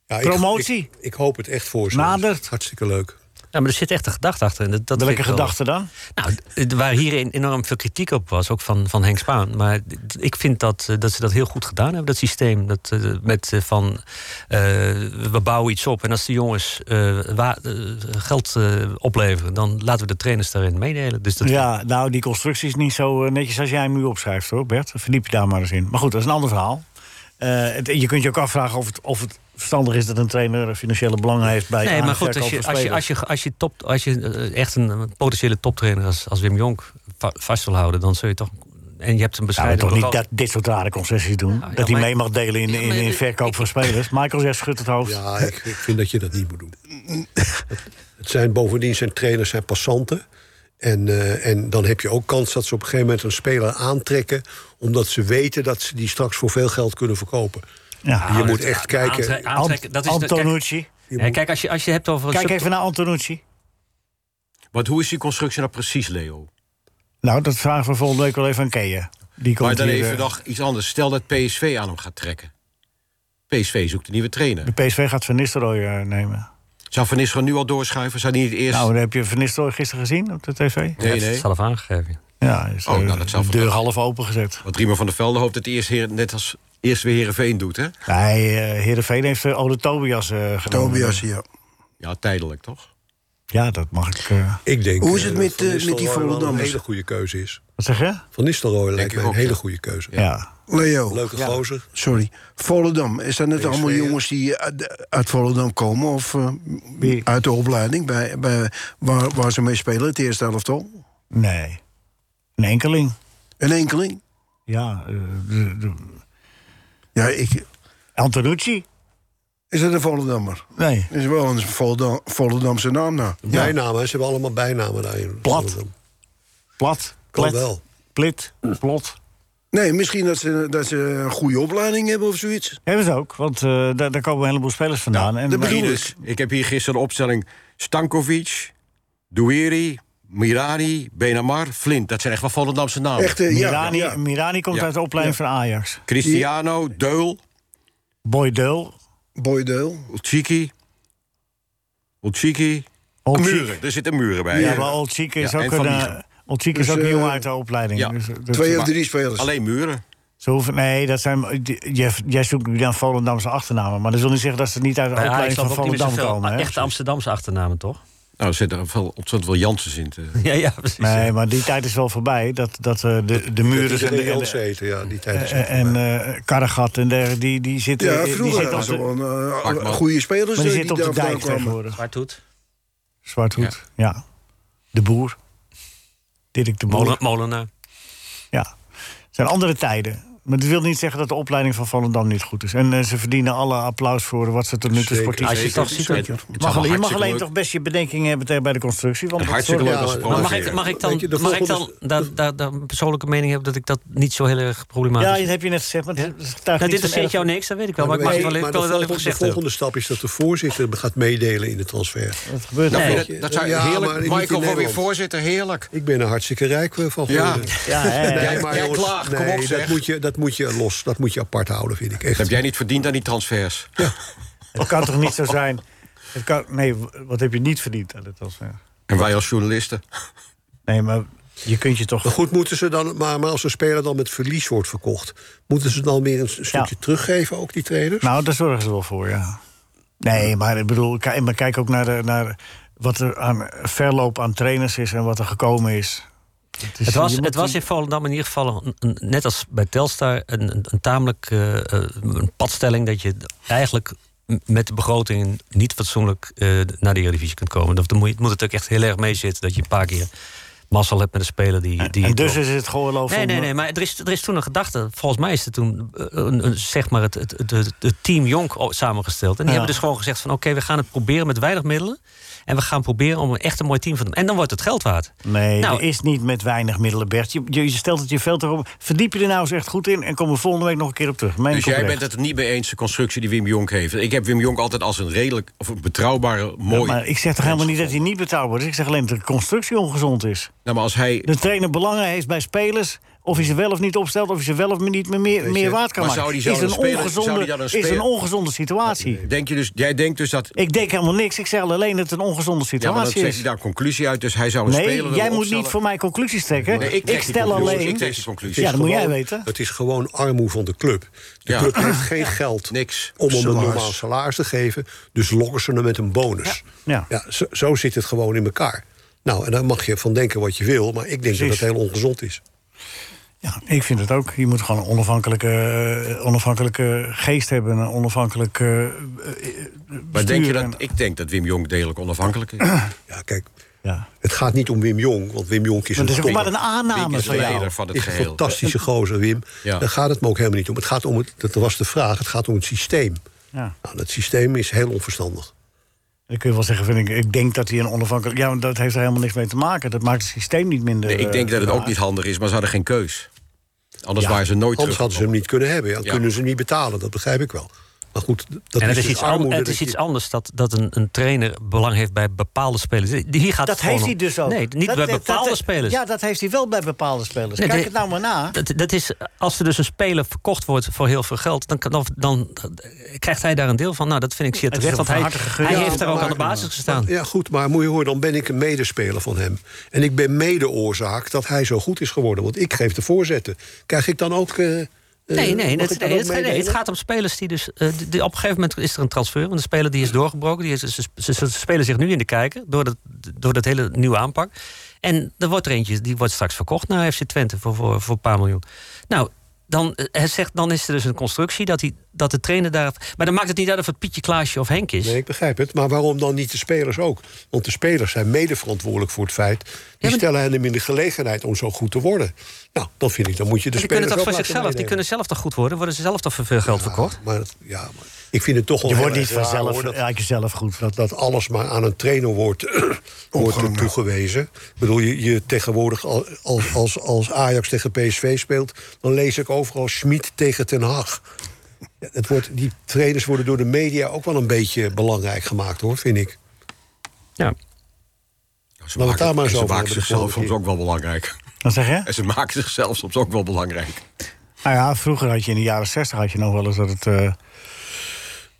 S4: Ja, ik-
S3: Promotie.
S4: Ik, ik hoop het echt voor ze.
S3: Nadert.
S4: Hartstikke leuk.
S7: Ja, maar er zit echt een gedachte achter. En dat, dat
S3: Welke
S7: vind ik wel-
S3: gedachte dan?
S7: Nou, d- waar hier enorm veel kritiek op was, ook van, van Henk Spaan. Maar d- ik vind dat, eh, dat ze dat heel goed gedaan hebben, dat systeem. Dat, eh, met eh, van, eh, we bouwen iets op en als de jongens eh, wa- eh, geld eh, opleveren... dan laten we de trainers daarin meedelen. Dus dat,
S3: Ja, nou, die constructie is niet zo eh, netjes als jij hem nu opschrijft, hoor, Bert. Verdiep je daar maar eens in. Maar goed, dat is een ander verhaal. Eh, het- je kunt je ook afvragen of het, of het verstandig is dat een trainer financiële belangen heeft bij
S7: Nee,
S3: aan-
S7: maar
S3: en
S7: goed, als
S3: verkoop
S7: je,
S3: van
S7: als je,
S3: spelers.
S7: als je, als je, top, als je eh, echt een eh, potentiële toptrainer als, als Wim Jonk va- vast wil houden... dan zul je toch... En je hebt een
S3: Nou,
S7: bescheiden...
S3: toch niet
S7: beval-
S3: dat, dit soort rare concessies doen.
S7: ja,
S3: dat hij
S7: maar-
S3: mee mag delen in, in,
S7: maar-
S3: in verkoop van spelers. Michael zegt schudt het hoofd.
S4: Ja, ik, ik vind dat je dat niet moet doen. [LAUGHS] Het zijn bovendien zijn trainers zijn passanten. En, eh, en dan heb je ook kans dat ze op een gegeven moment een speler aantrekken. omdat ze weten dat ze die straks voor veel geld kunnen verkopen.
S3: Ja.
S4: je moet echt kijken.
S7: Aantre-
S3: Ant-
S7: aantrekken, dat is de-
S3: Antonucci.
S7: Kijk, ja, kijk, als je, als je hebt over... een
S3: Kijk
S7: sub-
S3: even naar Antonucci.
S9: Want hoe is die constructie nou precies, Leo?
S3: Nou, dat vragen we volgende week wel even aan Keeën. Die komt
S9: Maar dan
S3: hier,
S9: even
S3: eh,
S9: nog iets anders. Stel dat PSV aan hem gaat trekken. PSV zoekt een nieuwe trainer.
S3: De PSV gaat Van Nistelrooy eh, nemen.
S9: Zou Van Nistelrooy nu al doorschuiven? Zou die niet eerst...
S3: Nou, heb je Van Nistelrooy gisteren gezien op de tv?
S9: nee,
S7: Dat
S9: nee.
S7: is zelf aangegeven.
S3: Ja, is
S9: Oh,
S3: de,
S9: nou, dat zou
S3: de deur half open gezet.
S9: Want Riemer van der Velde hoopt dat hij eerst heer, net als eerst weer Heerenveen doet, hè?
S3: Nee, eh, Heerenveen heeft eh, Ole Tobias eh genomen.
S5: Tobias, ja.
S9: Ja, tijdelijk, toch?
S3: Ja, dat mag ik... eh,
S4: Ik denk
S5: Hoe is het
S4: eh,
S5: met,
S4: dat Van
S5: eh, met die
S4: Nistelrooy wel
S5: Volendammers?
S4: een hele goede keuze is.
S3: wat zeg je?
S4: Van Nistelrooy lijkt
S9: ik
S4: mij een
S9: ook,
S4: hele
S9: ja.
S4: goede keuze.
S3: Ja.
S5: Leo,
S4: Leuke gozer.
S5: sorry. Volendam, is dat net allemaal
S4: PSV, ja.
S5: jongens die uit, uit Volendam komen? Of eh,
S3: Wie?
S5: uit de opleiding, bij, bij, waar, waar ze mee spelen, het eerste elftal?
S3: Nee. Een enkeling.
S5: Een enkeling?
S3: Ja. eh, de- de-
S5: Ja, ik,
S3: Antonucci?
S5: is dat een Volendammer?
S3: Nee.
S5: Is wel een Volendam, Volendamse naam nou.
S4: Bijnamen, hè, ze hebben allemaal bijnamen daarin.
S3: Plat. Plat.
S4: Kan
S3: Plet.
S4: wel.
S3: Plit. Plot.
S5: Nee, misschien dat ze, dat ze een goede opleiding hebben of zoiets.
S3: Hebben ze ook, want eh, daar, daar komen een heleboel spelers vandaan. en,
S5: dat
S3: maar-
S5: bedoel ik.
S9: Rinus, ik heb hier gisteren de opstelling Stankovic, Douiri, Mirani, Benamar, Flint. Dat zijn echt wel Volendamse namen.
S5: Echt, eh, ja,
S3: Mirani,
S5: ja.
S3: Mirani komt
S9: Ja.
S3: uit de opleiding van Ajax.
S9: Cristiano, Deul,
S3: Boy Deul.
S5: Boydeel.
S9: Ulchiki. Ulchiki.
S3: Old
S9: Muren, er zitten muren bij.
S3: Ja, maar Old Chique is
S9: Ja, en
S3: ook
S9: Van
S3: een...
S9: Wijchen.
S3: eh, Old Chique is
S5: Dus,
S3: ook een jongen
S5: eh,
S3: uit de opleiding.
S9: ja.
S3: Dus, dat-
S5: Twee of drie spelers.
S9: Alleen muren.
S3: Ze hoeven, nee, dat zijn, die- jij, jij zoekt nu naar Volendamse achternamen. Maar dat wil niet zeggen dat ze niet uit de
S7: Bij Ajax
S3: opleiding van
S7: lopen ook niet meer
S3: Volendam
S7: zoveel
S3: komen. hè?
S7: echte Amsterdamse achternamen, toch?
S9: Nou, er zitten wel ontzettend veel Janssens in. te-
S7: Ja, ja, precies.
S3: Nee, maar die tijd is wel voorbij. Dat, dat eh, de, de muren en, de-
S4: Iedereen
S3: en,
S4: Jans
S3: de-
S4: eten, ja, die tijd is
S3: en, en eh, Karregat en dergelijke, die, die zitten...
S5: Ja,
S3: die
S5: vroeger
S3: zitten
S5: hadden ze
S3: op de,
S5: wel een, eh,
S9: Hartman.
S5: goede spelers
S3: maar die
S5: eh,
S3: zitten op de
S5: daar
S3: dijk
S5: kwamen.
S3: tegenwoordig.
S7: Zwart doet.
S3: Zwarthoed, ja. De boer. Dirk de Boer.
S7: Molenaar.
S3: Ja. Het zijn andere tijden. Maar dat wil niet zeggen dat de opleiding van Volendam niet goed is. En eh, ze verdienen alle applaus voor wat ze tot nu toe
S4: Zeker,
S3: sportief
S7: Als je
S4: zeker,
S7: toch ziet,
S4: zeker.
S7: het-
S4: Het
S9: wel
S3: Mag alleen- je mag
S9: hartstikke
S3: alleen
S9: leuk.
S3: toch best je bedenkingen hebben tegen- bij de constructie. Want dat
S9: Hartstikke leuk
S4: Ja,
S9: als ze
S4: maar
S7: Maar
S9: provoceren.
S7: mag ik, mag ik dan,
S4: Weet je, de
S7: mag ik dan
S4: volgende-
S7: daar, daar, daar een persoonlijke mening hebben dat ik dat niet zo heel erg problematisch
S3: Ja,
S7: vind?
S3: dat heb je net gezegd. Maar het is- het
S7: Nou, dit
S3: niet zo
S7: interesseert
S3: erg.
S7: jou niks, dat weet ik wel. Maar ik mag
S4: Nee,
S7: het wel, ik
S4: maar
S7: wil
S4: de
S7: het wel even
S4: volgende-
S7: gezegd
S4: De
S7: hebben.
S4: volgende stap is dat de voorzitter gaat meedelen in de transfer.
S3: Dat gebeurt
S9: Nou,
S3: niet.
S9: vind je- dat zou
S4: Ja, maar niet
S9: heerlijk.
S4: in
S9: Michael, voor weer
S4: Nederland.
S9: voorzitter, heerlijk.
S4: Ik ben er hartstikke rijk eh, van
S9: Ja.
S4: geworden.
S3: Ja, hè, hè.
S9: Jij- jij klaagt, kom
S4: nee,
S9: op, zeg.
S4: dat, moet je, dat moet je los, dat moet je apart houden, vind ik. Echt.
S9: Dat heb jij niet verdiend aan die transfers.
S3: het kan toch niet zo zijn. Het kan, nee, w- wat heb je niet verdiend? aan dit transfer?
S9: En wij als journalisten.
S3: Nee, maar je kunt je toch...
S4: Maar goed, moeten ze dan, maar, maar als een speler dan met verlies wordt verkocht... moeten ze dan weer een s- stukje teruggeven, ook die trainers?
S3: Nou, daar zorgen ze wel voor, ja. Nee, maar ik bedoel, ki- maar kijk ook naar, de, naar wat er aan verloop aan trainers is en wat er gekomen is. is-
S7: Het was,
S3: Dus je moet
S7: het was
S3: die-
S7: in Volendam in ieder geval, een- een- net als bij Telstar, een, een, een tamelijk eh, eh, een padstelling dat je eigenlijk m- met de begroting niet fatsoenlijk eh, naar de Eredivisie kunt komen. Dat, dan moet, je, moet het ook echt heel erg mee zitten dat je een paar keer mazzel hebt met een speler die... die
S3: en dus is het geoorloofd.
S7: Nee,
S3: om-
S7: nee, nee, maar er is, er is toen een gedachte. Volgens mij is er toen eh, een, een- zeg maar het, het, het, het- het team Jonk o- samengesteld. En die
S3: Ja.
S7: hebben dus gewoon gezegd van... oké, we gaan het proberen met weinig middelen. En we gaan proberen om een echt een mooi team van... En dan wordt het geld waard.
S3: Nee,
S7: Nou,
S3: er is niet met weinig middelen, Bert. Je, je je stelt het je veld erop. Verdiep je er nou eens echt goed in en kom er volgende week nog een keer op terug. Meen
S9: Dus
S3: ik
S9: jij
S3: oprecht.
S9: bent het er niet mee eens, de constructie die Wim Jonk heeft. Ik heb Wim Jonk altijd als een redelijk, of een betrouwbare, mooi...
S3: Maar ik zeg toch helemaal niet dat hij niet betrouwbaar is. Ik zeg alleen dat de constructie ongezond is.
S9: Nou, maar als hij...
S3: De trainer belangen heeft bij spelers. Of hij ze wel of niet opstelt. Of hij ze wel of niet meer, meer, meer waard kan
S9: maar
S3: maken.
S9: zou die zo'n
S3: is, een
S9: speler-
S3: ongezonde,
S9: zou die dan een
S3: is een
S9: speler-
S3: ongezonde situatie.
S9: Denk je dus, jij denkt dus dat...
S3: Ik denk helemaal niks. Ik zeg alleen dat het een ongezonde
S9: Ja, maar dan
S3: situatie
S9: zet
S3: is.
S9: je daar een conclusie uit. Dus hij zou een
S3: Nee,
S9: speler
S3: jij
S9: willen
S3: moet
S9: opstellen.
S3: niet voor mij conclusies trekken.
S9: Nee, ik
S3: ik,
S9: trek die
S3: stel
S9: conclusies.
S3: alleen.
S9: Ik trek die
S3: ja,
S9: conclusies.
S3: dat moet jij
S4: Gewoon-
S3: weten.
S4: Het is gewoon armoe van de club. De
S9: Ja.
S4: club heeft geen geld
S9: Niks.
S4: om hem een
S5: Salaris.
S4: normaal salaris te geven. Dus lokken ze hem met een bonus.
S3: Ja.
S4: zo, zo zit het gewoon in elkaar. Nou, en daar mag je van denken wat je wil, maar ik denk
S3: Precies.
S4: dat dat heel ongezond is.
S3: Ja, ik vind het ook. Je moet gewoon een onafhankelijke, eh, onafhankelijke geest hebben. Een onafhankelijke.
S9: Maar denk je dat,
S3: besturen.
S9: ik denk dat Wim Jonk degelijk onafhankelijk
S3: [COUGHS]
S9: is. Wim
S4: Ja, kijk,
S3: ja.
S4: het gaat niet om Wim Jong, want Wim Jong is
S3: Maar
S4: een
S3: dat is ook
S4: top-
S3: maar een aanname
S9: is de
S3: van jou.
S9: leider van het
S4: is een
S9: geheel.
S4: fantastische gozer, Wim.
S9: Ja.
S4: Daar gaat het me ook helemaal niet om. Het gaat om het, dat was de vraag, het gaat om het systeem.
S3: Ja.
S4: Nou, dat systeem is heel onverstandig.
S3: Dan kun je wel zeggen, vind ik, ik denk dat hij een onafhankelijk... Ja, maar dat heeft er helemaal niks mee te maken. Dat maakt het systeem niet minder...
S9: Nee, ik denk dat het
S3: eh,
S9: ook niet handig is, maar ze hadden geen keus. Anders waren ze nooit
S4: Anders
S9: terug.
S4: hadden ze hem niet kunnen hebben. Ja, dan
S9: Ja.
S4: kunnen ze hem niet betalen, dat begrijp ik wel. Maar goed, dat
S7: En het is,
S4: dus
S7: iets, an-
S4: armoede
S7: het
S4: dat
S7: is
S4: je-
S7: iets anders dat, dat een, een trainer belang heeft bij bepaalde spelers. Die- Hier gaat
S3: Dat
S7: het gewoon
S3: heeft
S7: om-
S3: hij dus ook.
S7: Nee, niet
S3: Dat-
S7: bij
S3: dat-
S7: bepaalde
S3: dat-
S7: spelers.
S3: Ja, dat heeft hij wel bij bepaalde spelers.
S7: Nee,
S3: Kijk
S7: nee.
S3: het nou maar na.
S7: Dat, dat is, als er dus een speler verkocht wordt voor heel veel geld, dan, kan- dan, dan krijgt hij daar een deel van. Nou, dat vind ik zeer
S3: Het is
S7: terecht,
S3: een
S7: want hij,
S3: hartige gun.
S7: hij
S3: Ja,
S7: heeft daar ook
S4: maar-
S7: aan de basis gestaan.
S4: Ja, goed, maar moet je horen, dan ben ik een medespeler van hem. En ik ben medeoorzaak dat hij zo goed is geworden. Want ik geef de voorzetten. Krijg ik dan ook... eh, eh,
S7: Nee,
S4: mag
S7: nee,
S4: ik
S7: het,
S4: dan
S7: nee,
S4: ook
S7: het, nee,
S4: meedelen?
S7: het gaat om spelers die dus... eh, die- die- op een gegeven moment is er een transfer. Want de speler die is doorgebroken. Die is, ze, ze- ze spelen zich nu in de kijker door dat, door dat hele nieuwe aanpak. En er wordt er eentje, die wordt straks verkocht naar FC Twente voor, voor, voor een paar miljoen. Nou, dan, eh, hij zegt, dan is er dus een constructie dat, hij, dat de trainer daar... Maar dan maakt het niet uit of het Pietje, Klaasje of Henk is.
S4: Nee, ik begrijp het. Maar waarom dan niet de spelers ook? Want de spelers zijn medeverantwoordelijk voor het feit... die
S7: maar-
S4: stellen hen hem in de gelegenheid om zo goed te worden. Nou, dan vind ik, dan moet je de
S7: die
S4: spelers
S7: kunnen toch
S4: ook
S7: voor
S4: laten
S7: zichzelf, die
S4: meedenken.
S7: kunnen zelf toch goed worden? Worden ze zelf toch voor veel geld verkocht?
S4: Ja, maar, dat- ja, maar ik vind het toch al
S3: Je wordt
S4: heel
S3: niet
S4: erg raar,
S3: vanzelf
S4: hoor, dat-
S3: uit jezelf goed.
S4: dat, dat alles maar aan een trainer wordt, [CLEARS THROAT] wordt toegewezen. Ik bedoel, je, je tegenwoordig al- als, als, als Ajax tegen PSV speelt... dan lees ik overal Schmid tegen Ten Haag. Ja, Het wordt, die trainers worden door de media ook wel een beetje belangrijk gemaakt, hoor, vind ik.
S7: Ja.
S9: Ze
S4: Laten we het daar maar
S9: maken,
S4: eens
S9: ze
S4: over
S9: maken
S4: hebben de
S9: zichzelf
S4: volgende
S9: soms ook wel belangrijk.
S3: Wat zeg je?
S9: En [LAUGHS] ze maken zichzelf soms ook wel belangrijk.
S3: Nou ja, vroeger had je in de jaren zestig had je nog wel eens dat het... eh,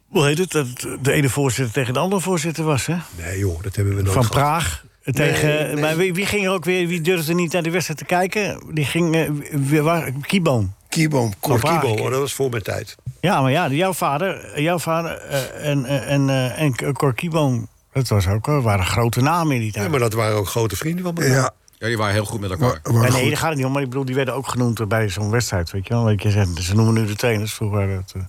S3: hoe heet het? Dat het de ene voorzitter tegen de andere voorzitter was, hè?
S4: Nee, joh, dat hebben we nooit
S3: Van
S4: gehad.
S3: Praag. eh, Tegen, Maar wie, wie ging er ook weer, wie durfde niet naar de wedstrijd te kijken? Die ging, eh, wie- waar, Kieboom.
S5: Kieboom,
S4: Van
S5: kort.
S3: Praag.
S4: Kibo, hoor, dat was voor mijn tijd.
S3: Ja, maar ja, jouw vader, jouw vader eh, en, eh, en, eh, en K- Cor Kieboom, dat was ook, eh, waren grote namen in die tijd.
S4: Ja, maar dat waren ook grote vrienden van me.
S5: Ja,
S9: Ja, die waren heel goed met elkaar.
S5: maar, maar
S3: Ja, nee,
S5: goed.
S3: daar gaat het niet om. Maar ik bedoel, die werden ook genoemd bij zo'n wedstrijd, weet je wel. Want je zegt, ze noemen nu de trainers, vroeger waren het eh,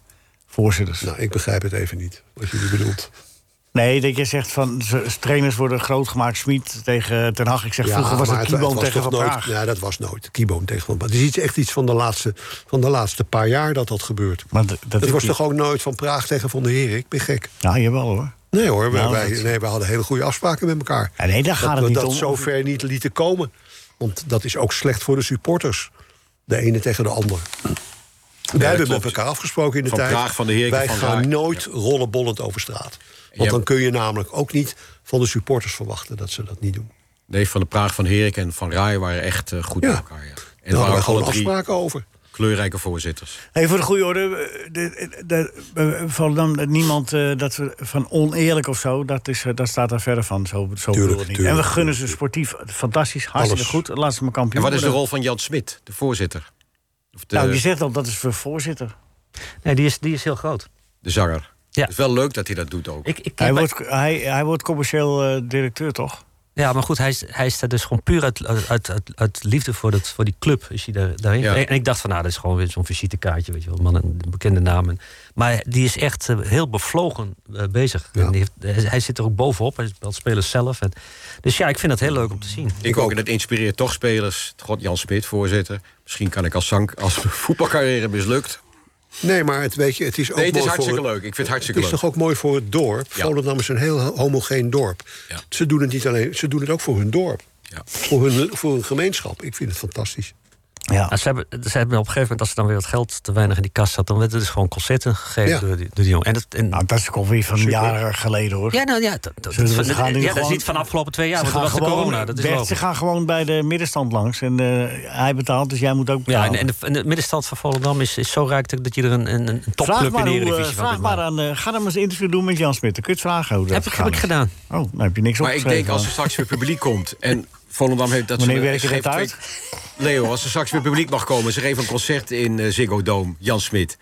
S3: voorzitters.
S4: Nou, ik begrijp het even niet, wat jullie bedoelt.
S3: Nee, dat je zegt van z- trainers worden grootgemaakt. Smit tegen Ten Hag. Ik zeg, vroeger was
S4: maar
S3: het
S4: het- het
S3: Kieboom tegen Van
S4: toch nooit,
S3: Praag.
S4: Ja, dat was nooit. Kieboom tegen Van Praag. Het is iets, echt iets van de, laatste, van de laatste paar jaar dat dat gebeurt.
S3: Maar d- dat
S4: Dat
S3: is
S4: was
S3: niet-
S4: toch ook nooit Van Praag tegen Van de Heren? Ik ben gek.
S3: Nou, jawel hoor.
S4: Nee hoor, wij,
S3: Nou,
S4: wij-
S3: dat-
S4: nee, wij hadden hele goede afspraken met elkaar.
S3: Ja, nee, daar gaat
S4: dat
S3: het
S4: we
S3: niet
S4: dat
S3: om.
S4: zover niet lieten komen. Want dat is ook slecht voor de supporters. De ene tegen de ander. wij hebben
S9: klopt.
S4: met elkaar afgesproken in de
S9: Van
S4: tijd.
S9: Praag, Van de Heer,
S4: wij
S9: Van
S4: gaan
S9: Raak.
S4: nooit rollenbollend over straat. Want
S9: Ja.
S4: dan kun je namelijk ook niet van de supporters verwachten dat ze dat niet doen.
S9: Nee, Van de Praag, Van Herik en Van Raaij waren echt eh, goed
S4: Ja. Nou,
S9: bij elkaar. Ja. En
S4: Daar
S9: het
S4: hadden
S9: waren
S4: we
S9: gewoon
S4: gewoon
S9: drie
S4: afspraken over.
S9: kleurrijke voorzitters.
S3: Hey, voor de goede orde, eh, de, de, de- eh, Volendam, eh, niemand eh, dat we van oneerlijk of zo, dat, is, eh, dat staat daar verder van. Zo, zo bedoel ik het niet.
S4: tuurlijk.
S3: en we gunnen ze sportief fantastisch, hartstikke
S4: Alles.
S3: goed. Laat ze maar kampioen
S9: En wat is de
S3: worden.
S9: rol van Jan Smit, de voorzitter? Of de,
S3: Nou, je zegt al, dat is voor voorzitter.
S7: Nee, die is, die is heel groot.
S9: de zanger.
S7: Ja.
S9: Het is wel leuk dat hij dat doet ook.
S7: Ik, ik,
S3: Hij
S7: maar-
S3: wordt, hij, hij wordt commercieel eh, directeur, toch?
S7: Ja, maar goed, hij, is- hij is daar dus gewoon puur uit, uit, uit, uit- uit liefde voor, dat, voor die club. Is hij daar, daarin.
S9: Ja.
S7: En, en ik dacht van, nou, dat is gewoon weer zo'n visitekaartje, weet je wel. Man, een bekende naam. En- Maar die is echt eh, heel bevlogen eh, bezig. En die heeft, hij, hij zit er ook bovenop, hij speelt spelers zelf. En, dus ja, ik vind dat heel leuk om te zien.
S9: Ik ook, en dat inspireert toch spelers. God, Jan Smit, voorzitter. Misschien kan ik als, zank, als [LAUGHS] mijn voetbalcarrière mislukt.
S4: Nee, maar het, weet je, het is ook
S9: Nee, het is
S4: mooi
S9: hartstikke
S4: voor
S9: leuk. Ik vind het
S4: Het
S9: hartstikke
S4: is
S9: leuk.
S4: toch ook mooi voor het dorp.
S9: Ja.
S4: Volendam is een heel homogeen dorp.
S9: Ja.
S4: Ze doen het niet alleen, ze doen het ook voor hun dorp.
S9: Ja.
S4: Voor, hun, voor hun gemeenschap. Ik vind het fantastisch.
S3: Ja.
S7: Nou, ze, hebben, ze hebben op een gegeven moment, als er dan weer wat geld te weinig in die kast zat... dan werden dus gewoon concerten gegeven
S4: Ja.
S7: door, die, door die jongen. En dat, en,
S3: Nou, dat is ook alweer van jaren geleden, hoor.
S7: ja, nou ja, dat, dat,
S3: Ze
S7: dat-
S3: gaan nu
S7: ja, dat is
S3: gewoon-
S7: niet van de afgelopen twee jaar,
S3: ze,
S7: want dat
S3: gaan
S7: was de
S3: gewoon,
S7: corona. Dat is
S3: Bert,
S7: logisch.
S3: ze gaan gewoon bij de middenstand langs. En eh, hij betaalt, dus jij moet ook
S7: Ja,
S3: betalen.
S7: en, en, de, en de middenstand van Volendam is, is zo rijk dat je er een, een, een
S3: Vraag
S7: topclub in
S3: maar,
S7: de
S3: hoe, eh,
S7: Eredivisie van
S3: vraag
S7: kunt
S3: maar
S7: maken.
S3: aan. eh, ga dan maar eens een interview doen met Jan Smit. Dan kun je het vragen hoe dat
S7: Heb ik, heb
S3: gegaan
S7: ik
S3: is.
S7: gedaan.
S3: Oh, nou heb je niks
S9: Maar ik denk, als er
S3: opgeschreven.
S9: straks weer publiek komt... en Volendam heeft dat...
S3: Wanneer
S9: ze-
S3: werk je
S9: geeft
S3: dat
S9: twee- Leo, als er straks weer publiek mag komen... ze geven een concert in eh, Ziggo Dome, Jan Smit.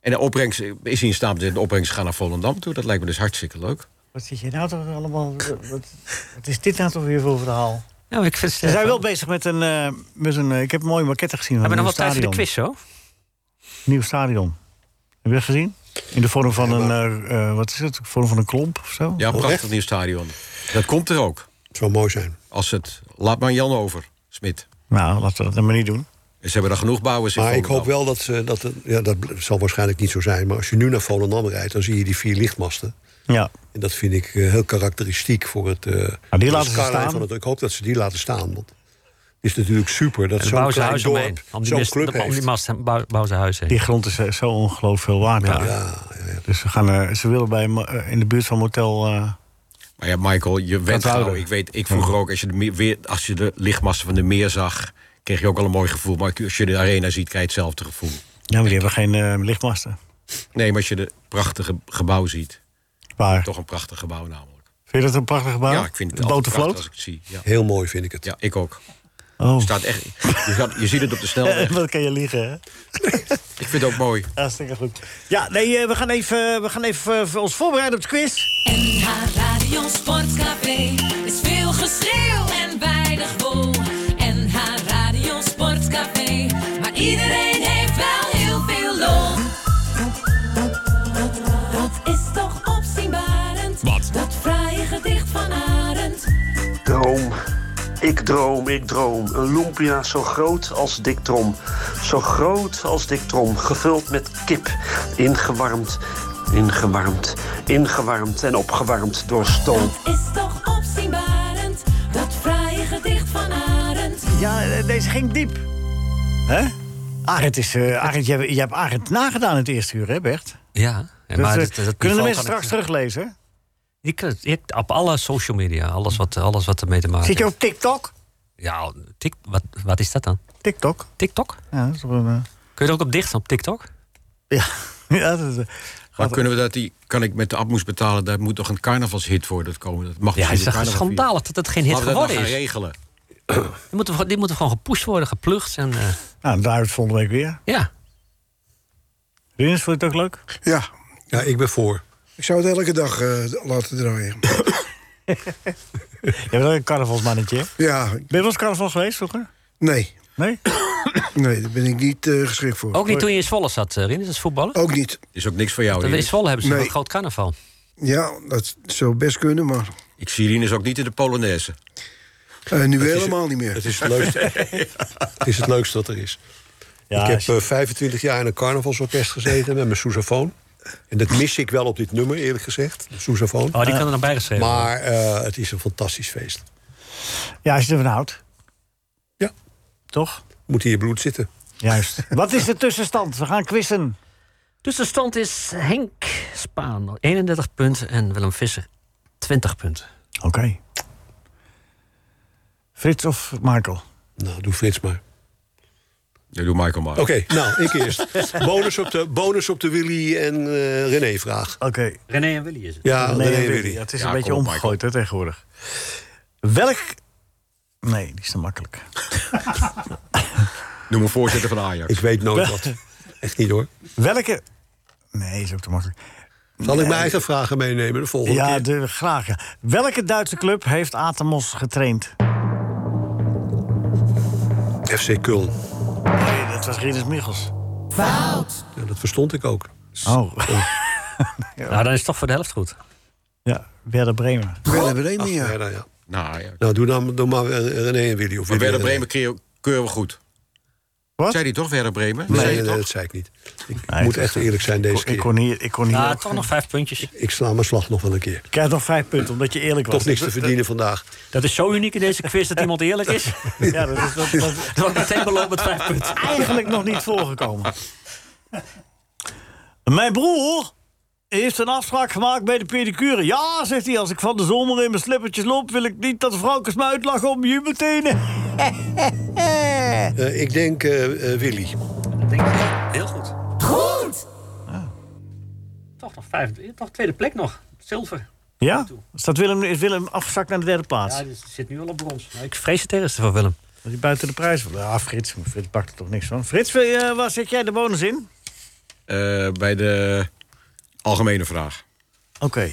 S9: En de opbrengst eh, is hij in staat om de opbrengst te gaan naar Volendam toe. Dat lijkt me dus hartstikke leuk.
S3: Wat zit je nou toch allemaal... Wat, wat is dit nou toch weer voor verhaal?
S7: Ja, maar Nou, ik vind het
S3: Ze zijn
S7: sterk.
S3: wel bezig met een... eh, met een eh, ik heb een mooie maquette gezien van
S7: Hebben
S3: een
S7: we nog
S3: nieuw
S7: wat tijd voor de
S3: stadion.
S7: quiz, zo?
S3: Nieuw stadion. Heb je dat gezien? In de vorm van een... eh, eh, wat is het? Vorm van een klomp of zo?
S9: Ja, prachtig
S4: echt?
S9: nieuw stadion. Dat komt er ook.
S4: Het zou mooi zijn.
S9: Als het... Laat maar Jan over, Smit.
S3: Nou, laten we dat dan maar niet doen.
S9: Ze hebben er genoeg bouwers in
S4: Maar ik hoop
S9: Volendam.
S4: wel dat ze... Dat, het- ja, dat bl- zal waarschijnlijk niet zo zijn. Maar als je nu naar Volendam rijdt, dan zie je die vier lichtmasten.
S3: Ja.
S4: En dat vind ik eh, heel karakteristiek voor het... eh, voor de
S3: laten ze
S4: skyline
S3: staan.
S4: Van het, ik hoop dat ze die laten staan. Want het is natuurlijk super dat
S7: En
S4: zo'n
S7: bouwen ze
S4: klein
S7: huis omheen.
S4: dorp
S7: Om die,
S4: zo'n
S7: mist,
S4: club
S7: om die
S4: heeft.
S7: mast bouwen bouwen ze huis heen.
S3: Die grond is eh, zo ongelooflijk veel waard. daar. Dus ze, gaan, eh, ze willen bij, mo- eh, in de buurt van motel... eh,
S9: Maar ja, Michael, je went gauw. Ik weet, ik vroeger ook, als je, de meer- weer, als je de lichtmassen van de meer zag... kreeg je ook al een mooi gevoel. Maar als je de arena ziet, krijg je hetzelfde gevoel.
S3: ja, maar die hebben geen eh, lichtmasten.
S9: Nee, maar als je de prachtige gebouw ziet.
S3: Waar?
S9: Toch een prachtig gebouw namelijk.
S3: Vind je dat een prachtig gebouw?
S9: Ja, ik vind het
S3: De
S9: altijd prachtig
S3: botenvloot?
S9: als ik het zie. Ja,
S4: Heel mooi vind ik het.
S9: ja ik ook.
S3: Oh.
S9: Staat echt, je, gaat- je ziet het op de
S3: [LAUGHS]
S7: eh.
S9: snelweg.
S3: Wat kan je liegen, hè?
S9: Ik vind het ook mooi.
S3: Hartstikke goed. Ja, nee, eh, we gaan even, we gaan even eh, ons voorbereiden op de quiz.
S1: NH Radio Sportcafé is veel geschreeuw en weinig wol. NH Radio Sportcafé, maar iedereen heeft wel heel veel lol. Dat is toch opzienbarend? Wat? Dat fraaie gedicht van Arend.
S11: Droom. Ik droom, ik droom. Een lumpia zo groot als Dick Trom. Zo groot als Dick Trom. Gevuld met kip. Ingewarmd, ingewarmd, ingewarmd en opgewarmd door stoom.
S1: Dat is toch opzienbarend? Dat fraaie gedicht van Arend.
S3: Ja, eh, deze ging diep. Hè? Arend is... eh, Arend, jij, jij hebt Arend nagedaan het eerste uur, hè, Bert?
S7: Ja. ja,
S3: Dus,
S7: maar
S3: eh,
S7: dat- dat
S3: kunnen de
S7: niveau
S3: mensen
S7: kan ik-
S3: straks teruglezen?
S7: Je kunt- je- op alle social media, alles wat, alles wat ermee te maken
S3: Zit je
S7: heeft.
S3: op TikTok?
S7: Ja, tik, wat, wat is dat dan?
S3: TikTok?
S7: TikTok?
S3: Ja, dat is op een... eh,
S7: Kun je er ook op dicht, op TikTok?
S3: Ja, ja dat is... eh,
S9: Maar kunnen we dat, die, kan ik met de abmoes betalen? Daar moet toch een carnavalshit voor dat komen? Dat mag
S7: Ja, het
S9: het
S7: is echt schandalig dat het geen hit
S9: Laten we dat nou
S7: geworden
S9: gaan
S7: is. Die
S9: regelen.
S7: moeten, we gewoon- die moeten gewoon gepusht worden, geplucht. En, eh,
S3: Nou, daaruit volgende week weer.
S7: ja.
S3: Rinus, vond je het ook leuk?
S5: Ja,
S4: Ja, ik ben voor.
S5: ik zou het elke dag eh, laten draaien.
S3: Je bent wel een carnavalsmannetje, hè? Ben
S5: Ja,
S3: je wel eens carnaval geweest vroeger?
S5: nee.
S3: Nee?
S5: Nee, daar ben ik niet eh, geschikt voor.
S7: Ook niet toen je in Zwolle zat, eh, Rinus, als voetballer.
S5: Ook niet.
S9: Is ook niks voor jou.
S7: In
S9: Rinus.
S7: Zwolle hebben ze
S5: Nee.
S7: een groot carnaval.
S5: Ja, dat zou best kunnen, maar
S9: Ik zie Rinus ook niet in de Polonaise.
S5: eh, nu
S4: Het is-
S5: helemaal niet meer.
S4: Het is het leukste,
S7: [LAUGHS]
S4: het is het leukste dat er is.
S3: Ja,
S4: ik heb
S3: is-
S4: eh, 25 jaar in een carnavalsorkest gezeten met mijn sousafoon. En dat mis ik wel op dit nummer, eerlijk gezegd. De sousafoon.
S7: Oh, die kan er dan bijgeschreven worden.
S4: Maar eh, het is een fantastisch feest.
S3: ja, als je ervan houdt.
S4: Ja.
S3: Toch?
S4: Moet hier bloed zitten.
S3: Juist. Wat is de tussenstand? We gaan quizzen.
S7: Dus de stand is Henk Spaan 31 punten en Willem Visser 20 punten.
S3: Oké. Frits of Michael?
S4: Nou, doe Frits maar.
S9: Dat doet Michael maar.
S4: Oké, nou, ik eerst. bonus, op de, bonus op de Willy en eh, René-vraag.
S3: Oké.
S7: René en Willy is het.
S4: Ja,
S3: Nee,
S4: René en
S3: Willy.
S4: Willy.
S3: Ja, het is
S9: Ja,
S3: een
S9: kom
S3: beetje
S9: op,
S3: omgegooid hè, tegenwoordig. Welk... Nee, die is te makkelijk.
S9: [LAUGHS] Noem een voorzitter van Ajax.
S4: Ik weet nooit wat. Echt niet hoor.
S3: Welke... [LAUGHS] Nee, is ook te makkelijk.
S4: Zal ik mijn eigen vragen meenemen de volgende
S3: Ja,
S4: keer?
S3: de, graag. ja. Welke Duitse club heeft Atemos getraind?
S4: FC Köln.
S3: Nee, dat was Rinus Michels.
S4: Ja, dat verstond ik ook.
S3: Oh, [LAUGHS]
S7: Nou, dan is het toch voor de helft goed.
S3: ja, Werder Bremen.
S5: Werder Bremen,
S4: Ja.
S5: ja.
S4: Werder, ja.
S9: Nou ja.
S4: Nou, doe, dan, doe maar eh, René en Willy. Of
S9: Maar
S4: Willy en
S9: Werder
S4: René.
S9: Bremen keer- keuren we goed.
S3: Wat?
S9: Zei hij toch, Werder Bremen?
S4: Nee,
S9: Zei
S4: nee,
S9: hij
S4: nee,
S9: toch?
S4: dat zei ik niet. Ik
S3: Nee,
S4: moet
S3: dat
S4: echt eerlijk zijn
S3: Ik,
S4: deze
S3: ik
S4: keer.
S3: kon hier, ik kon hier
S7: Nou,
S3: ook-
S7: toch nog vijf puntjes.
S4: Ik sla mijn slag nog wel een keer.
S3: Krijg nog vijf punten, omdat je eerlijk was.
S4: Toch niks te verdienen vandaag.
S7: Dat is zo uniek in deze quiz dat iemand eerlijk
S4: [LAUGHS]
S7: is.
S3: Ja, dat is, dat, dat is
S7: Dan wordt meteen beloond met vijf punten.
S3: eigenlijk nog niet voorgekomen. Mijn broer heeft een afspraak gemaakt bij de pedicure. Ja, zegt hij, als ik van de zomer in mijn slippertjes loop... wil ik niet dat de vrouwtjes me uitlachen om je
S7: [LAUGHS]
S3: meteen.
S4: Eh, ik denk eh, eh, Willy.
S7: Heel goed. Goed! Ah. Toch nog vijf, toch tweede plek nog. Zilver.
S3: Ja? Staat Willem, is Willem afgezakt naar de derde plaats?
S7: die zit nu al op brons. ik vrees het ergste van Willem.
S3: Dat hij buiten de prijs wil. Ja, Frits. maar Frits pakt er toch niks van. Frits, wil je- eh, waar zet jij de bonus in?
S9: Eh, bij de algemene vraag.
S3: Oké.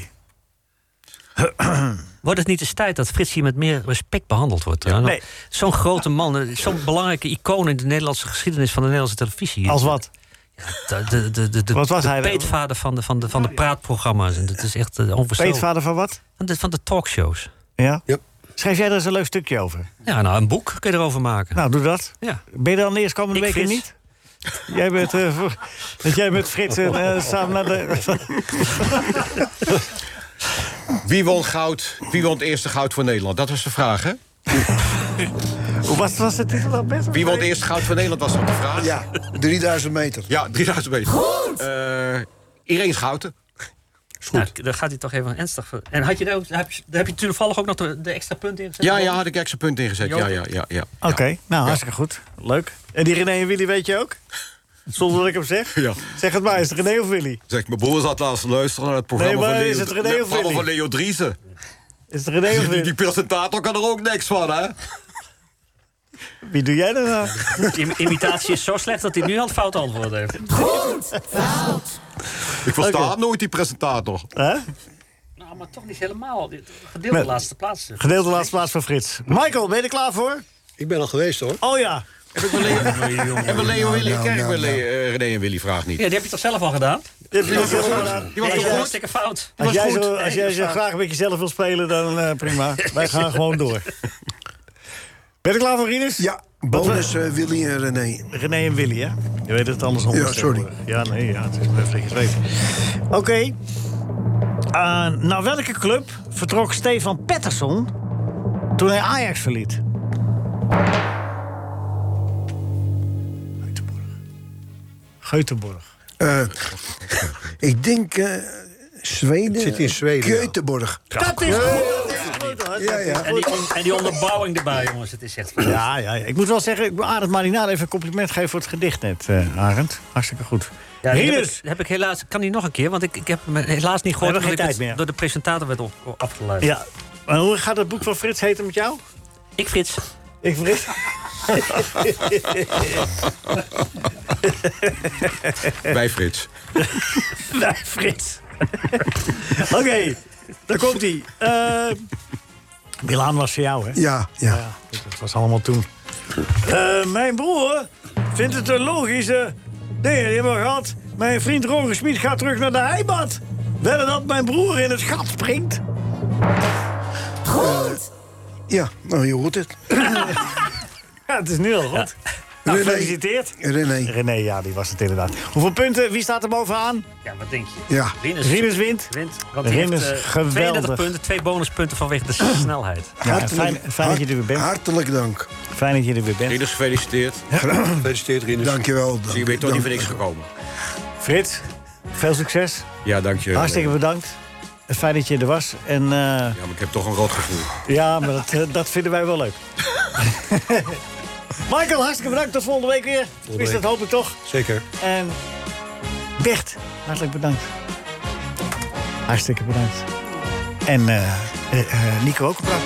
S7: [CLEARS THROAT] Wordt het niet eens tijd dat Frits hier met meer respect behandeld wordt? hè?
S3: nee.
S7: Zo'n grote man, eh,
S3: [CLEARS THROAT]
S7: zo'n belangrijke icoon in de Nederlandse geschiedenis van de Nederlandse televisie.
S3: Als wat?
S7: De, de, de, de, de,
S3: Wat was
S7: de
S3: hij?
S7: peetvader van de, van de, van de praatprogramma's. En dat is echt eh, onvoorstelbaar.
S3: Peetvader van wat?
S7: Van de, van de talkshows.
S3: Ja.
S4: Ja.
S3: Schrijf jij er eens een leuk stukje over?
S7: Ja, nou, een boek kun je erover maken.
S3: Nou, doe dat.
S7: ja.
S3: Ben je dan de eerstkomende
S7: Ik,
S3: week weer
S7: Frits.
S3: niet? Jij bent, eh, voor- dat jij met Frits en, eh, samen naar de...
S9: Wie won goud? Wie won het eerste goud voor Nederland? Dat was de vraag, hè?
S3: [LAUGHS] Hoe was, was de titel dan best?
S9: Wie won het eerste goud voor Nederland was dat de vraag?
S5: Ja, 3000 meter.
S9: Ja, 3000 meter. Goed! Irene Schouten.
S7: Nou, daar gaat hij toch even ernstig voor. En had je daar, ook- heb, je- daar heb je toevallig ook nog de, de extra punten in gezet?
S9: Ja, ja, had ik extra punt ingezet. Ja, ja, ja. ja.
S3: Oké, nou, hartstikke goed. Leuk. En die René en Willy weet je ook? Zonder dat ik hem zeg?
S9: Ja.
S3: Zeg het maar, is het René of Willy?
S9: Zeg, mijn broer zat laatst te luisteren naar het programma
S3: Nee, maar
S9: van
S3: is
S9: Leo,
S3: het René
S9: Nee,
S3: of
S9: programma van
S3: Willy?
S9: Leo Driessen.
S3: Is het René of
S9: Die,
S3: Willy?
S9: die presentator kan er ook niks van, hè?
S3: Wie doe jij dan nou?
S7: Im- imitatie is zo slecht dat hij nu al het fout antwoord heeft.
S9: Ik versta nooit die presentator.
S3: Hè?
S7: Nou, maar toch niet helemaal. Gedeelde
S3: Nee.
S7: laatste plaats.
S3: Gedeelde laatste plaats van Frits. Michael, ben je er klaar voor?
S4: Ik ben al geweest hoor.
S3: Oh ja.
S9: Heb ik mijn
S5: [LAUGHS]
S9: Leo, heb ik Leo Willy?
S5: Nou,
S9: Krijg ik mijn Leo- eh, René en Willy vraag niet.
S7: Ja, die heb je toch zelf al gedaan?
S3: Dit heb je zelf gedaan.
S9: Die was
S7: Nee,
S9: toch goed?
S7: hartstikke fout.
S3: Als jij,
S9: goed.
S3: zo, als jij zo graag met jezelf wil spelen, dan eh, prima. Wij gaan gewoon door. Ben je er klaar voor, Rinus?
S5: Ja, bonus eh, Willy en René.
S3: René en Willy, hè? Je weet het anders honderd
S5: Ja, sorry.
S3: keer. Ja, nee, ja, het is maar even dat je het weet. Oké. Eh, naar welke club vertrok Stefan Pettersson toen hij Ajax verliet? Geutenborg. Geutenborg.
S5: Eh, ik denk eh, Zweden.
S4: Het zit in Zweden, ja.
S5: Göteborg.
S3: Dat is goed! hoor.
S5: Ja, ja.
S7: En die, on- en die onderbouwing erbij, jongens. Het is echt...
S3: Ja, ja, ja. Ik moet wel zeggen, ik wil Arend Marinaar even een compliment geven voor het gedicht net, eh, Arend. Hartstikke goed.
S7: Ja, die heb, ik,
S3: Rinus!
S7: die heb ik helaas... Kan die nog een keer? Want ik, ik heb hem helaas niet gehoord...
S3: We hebben geen
S7: omdat ik
S3: tijd meer.
S7: door de presentator werd op- afgeleid.
S3: Ja, maar hoe gaat het boek van Frits heten met jou?
S7: Ik, Frits. [LAUGHS]
S3: Ik Frits.
S9: [LAUGHS] Bij Frits.
S3: Nee, Frits. Oké, daar komt hij. Eh, Milaan was voor jou, hè?
S5: Ja, ja.
S3: Ja, dat was allemaal toen. Eh, mijn broer vindt het een logische dingen die hebben we gehad. Mijn vriend Roger Smit gaat terug naar de heimat. Wedden dat mijn broer in het gat springt. Goed.
S5: Ja, nou je hoort het.
S3: Ja, het is nu al goed. Nou, gefeliciteerd.
S5: René.
S3: René, ja, die was het inderdaad. [LAUGHS] Hoeveel punten? Wie staat er bovenaan?
S7: Ja, wat denk je?
S5: Ja.
S7: Rinus,
S3: Rinus wint.
S7: wint. Want hij
S3: Rinus,
S7: heeft, eh,
S3: geweldig.
S7: 32 punten, twee bonuspunten vanwege de snelheid.
S3: Ja, fijn, fijn dat je er weer bent.
S5: Hartelijk dank.
S3: Fijn dat je er weer bent.
S9: Rinus, [CLEARS THROAT] gefeliciteerd.
S4: Gefeliciteerd, Rinus.
S5: Dankjewel.
S9: Zie je,
S5: dank-
S9: bent toch niet
S5: dank-
S9: voor niks gekomen.
S3: Frits, veel succes.
S9: Ja, dank je.
S3: Hartstikke bedankt. Fijn dat je er was. En eh,
S9: Ja, maar ik heb toch een rot gevoel.
S3: [LAUGHS] ja, maar dat, eh, dat vinden wij wel leuk. [LAUGHS] Michael, hartstikke bedankt. Tot volgende week weer. Is dat
S4: week.
S3: hoop ik toch.
S4: Zeker.
S3: En Bert, hartelijk bedankt. Hartstikke bedankt. En eh, eh, eh, Nico ook bedankt.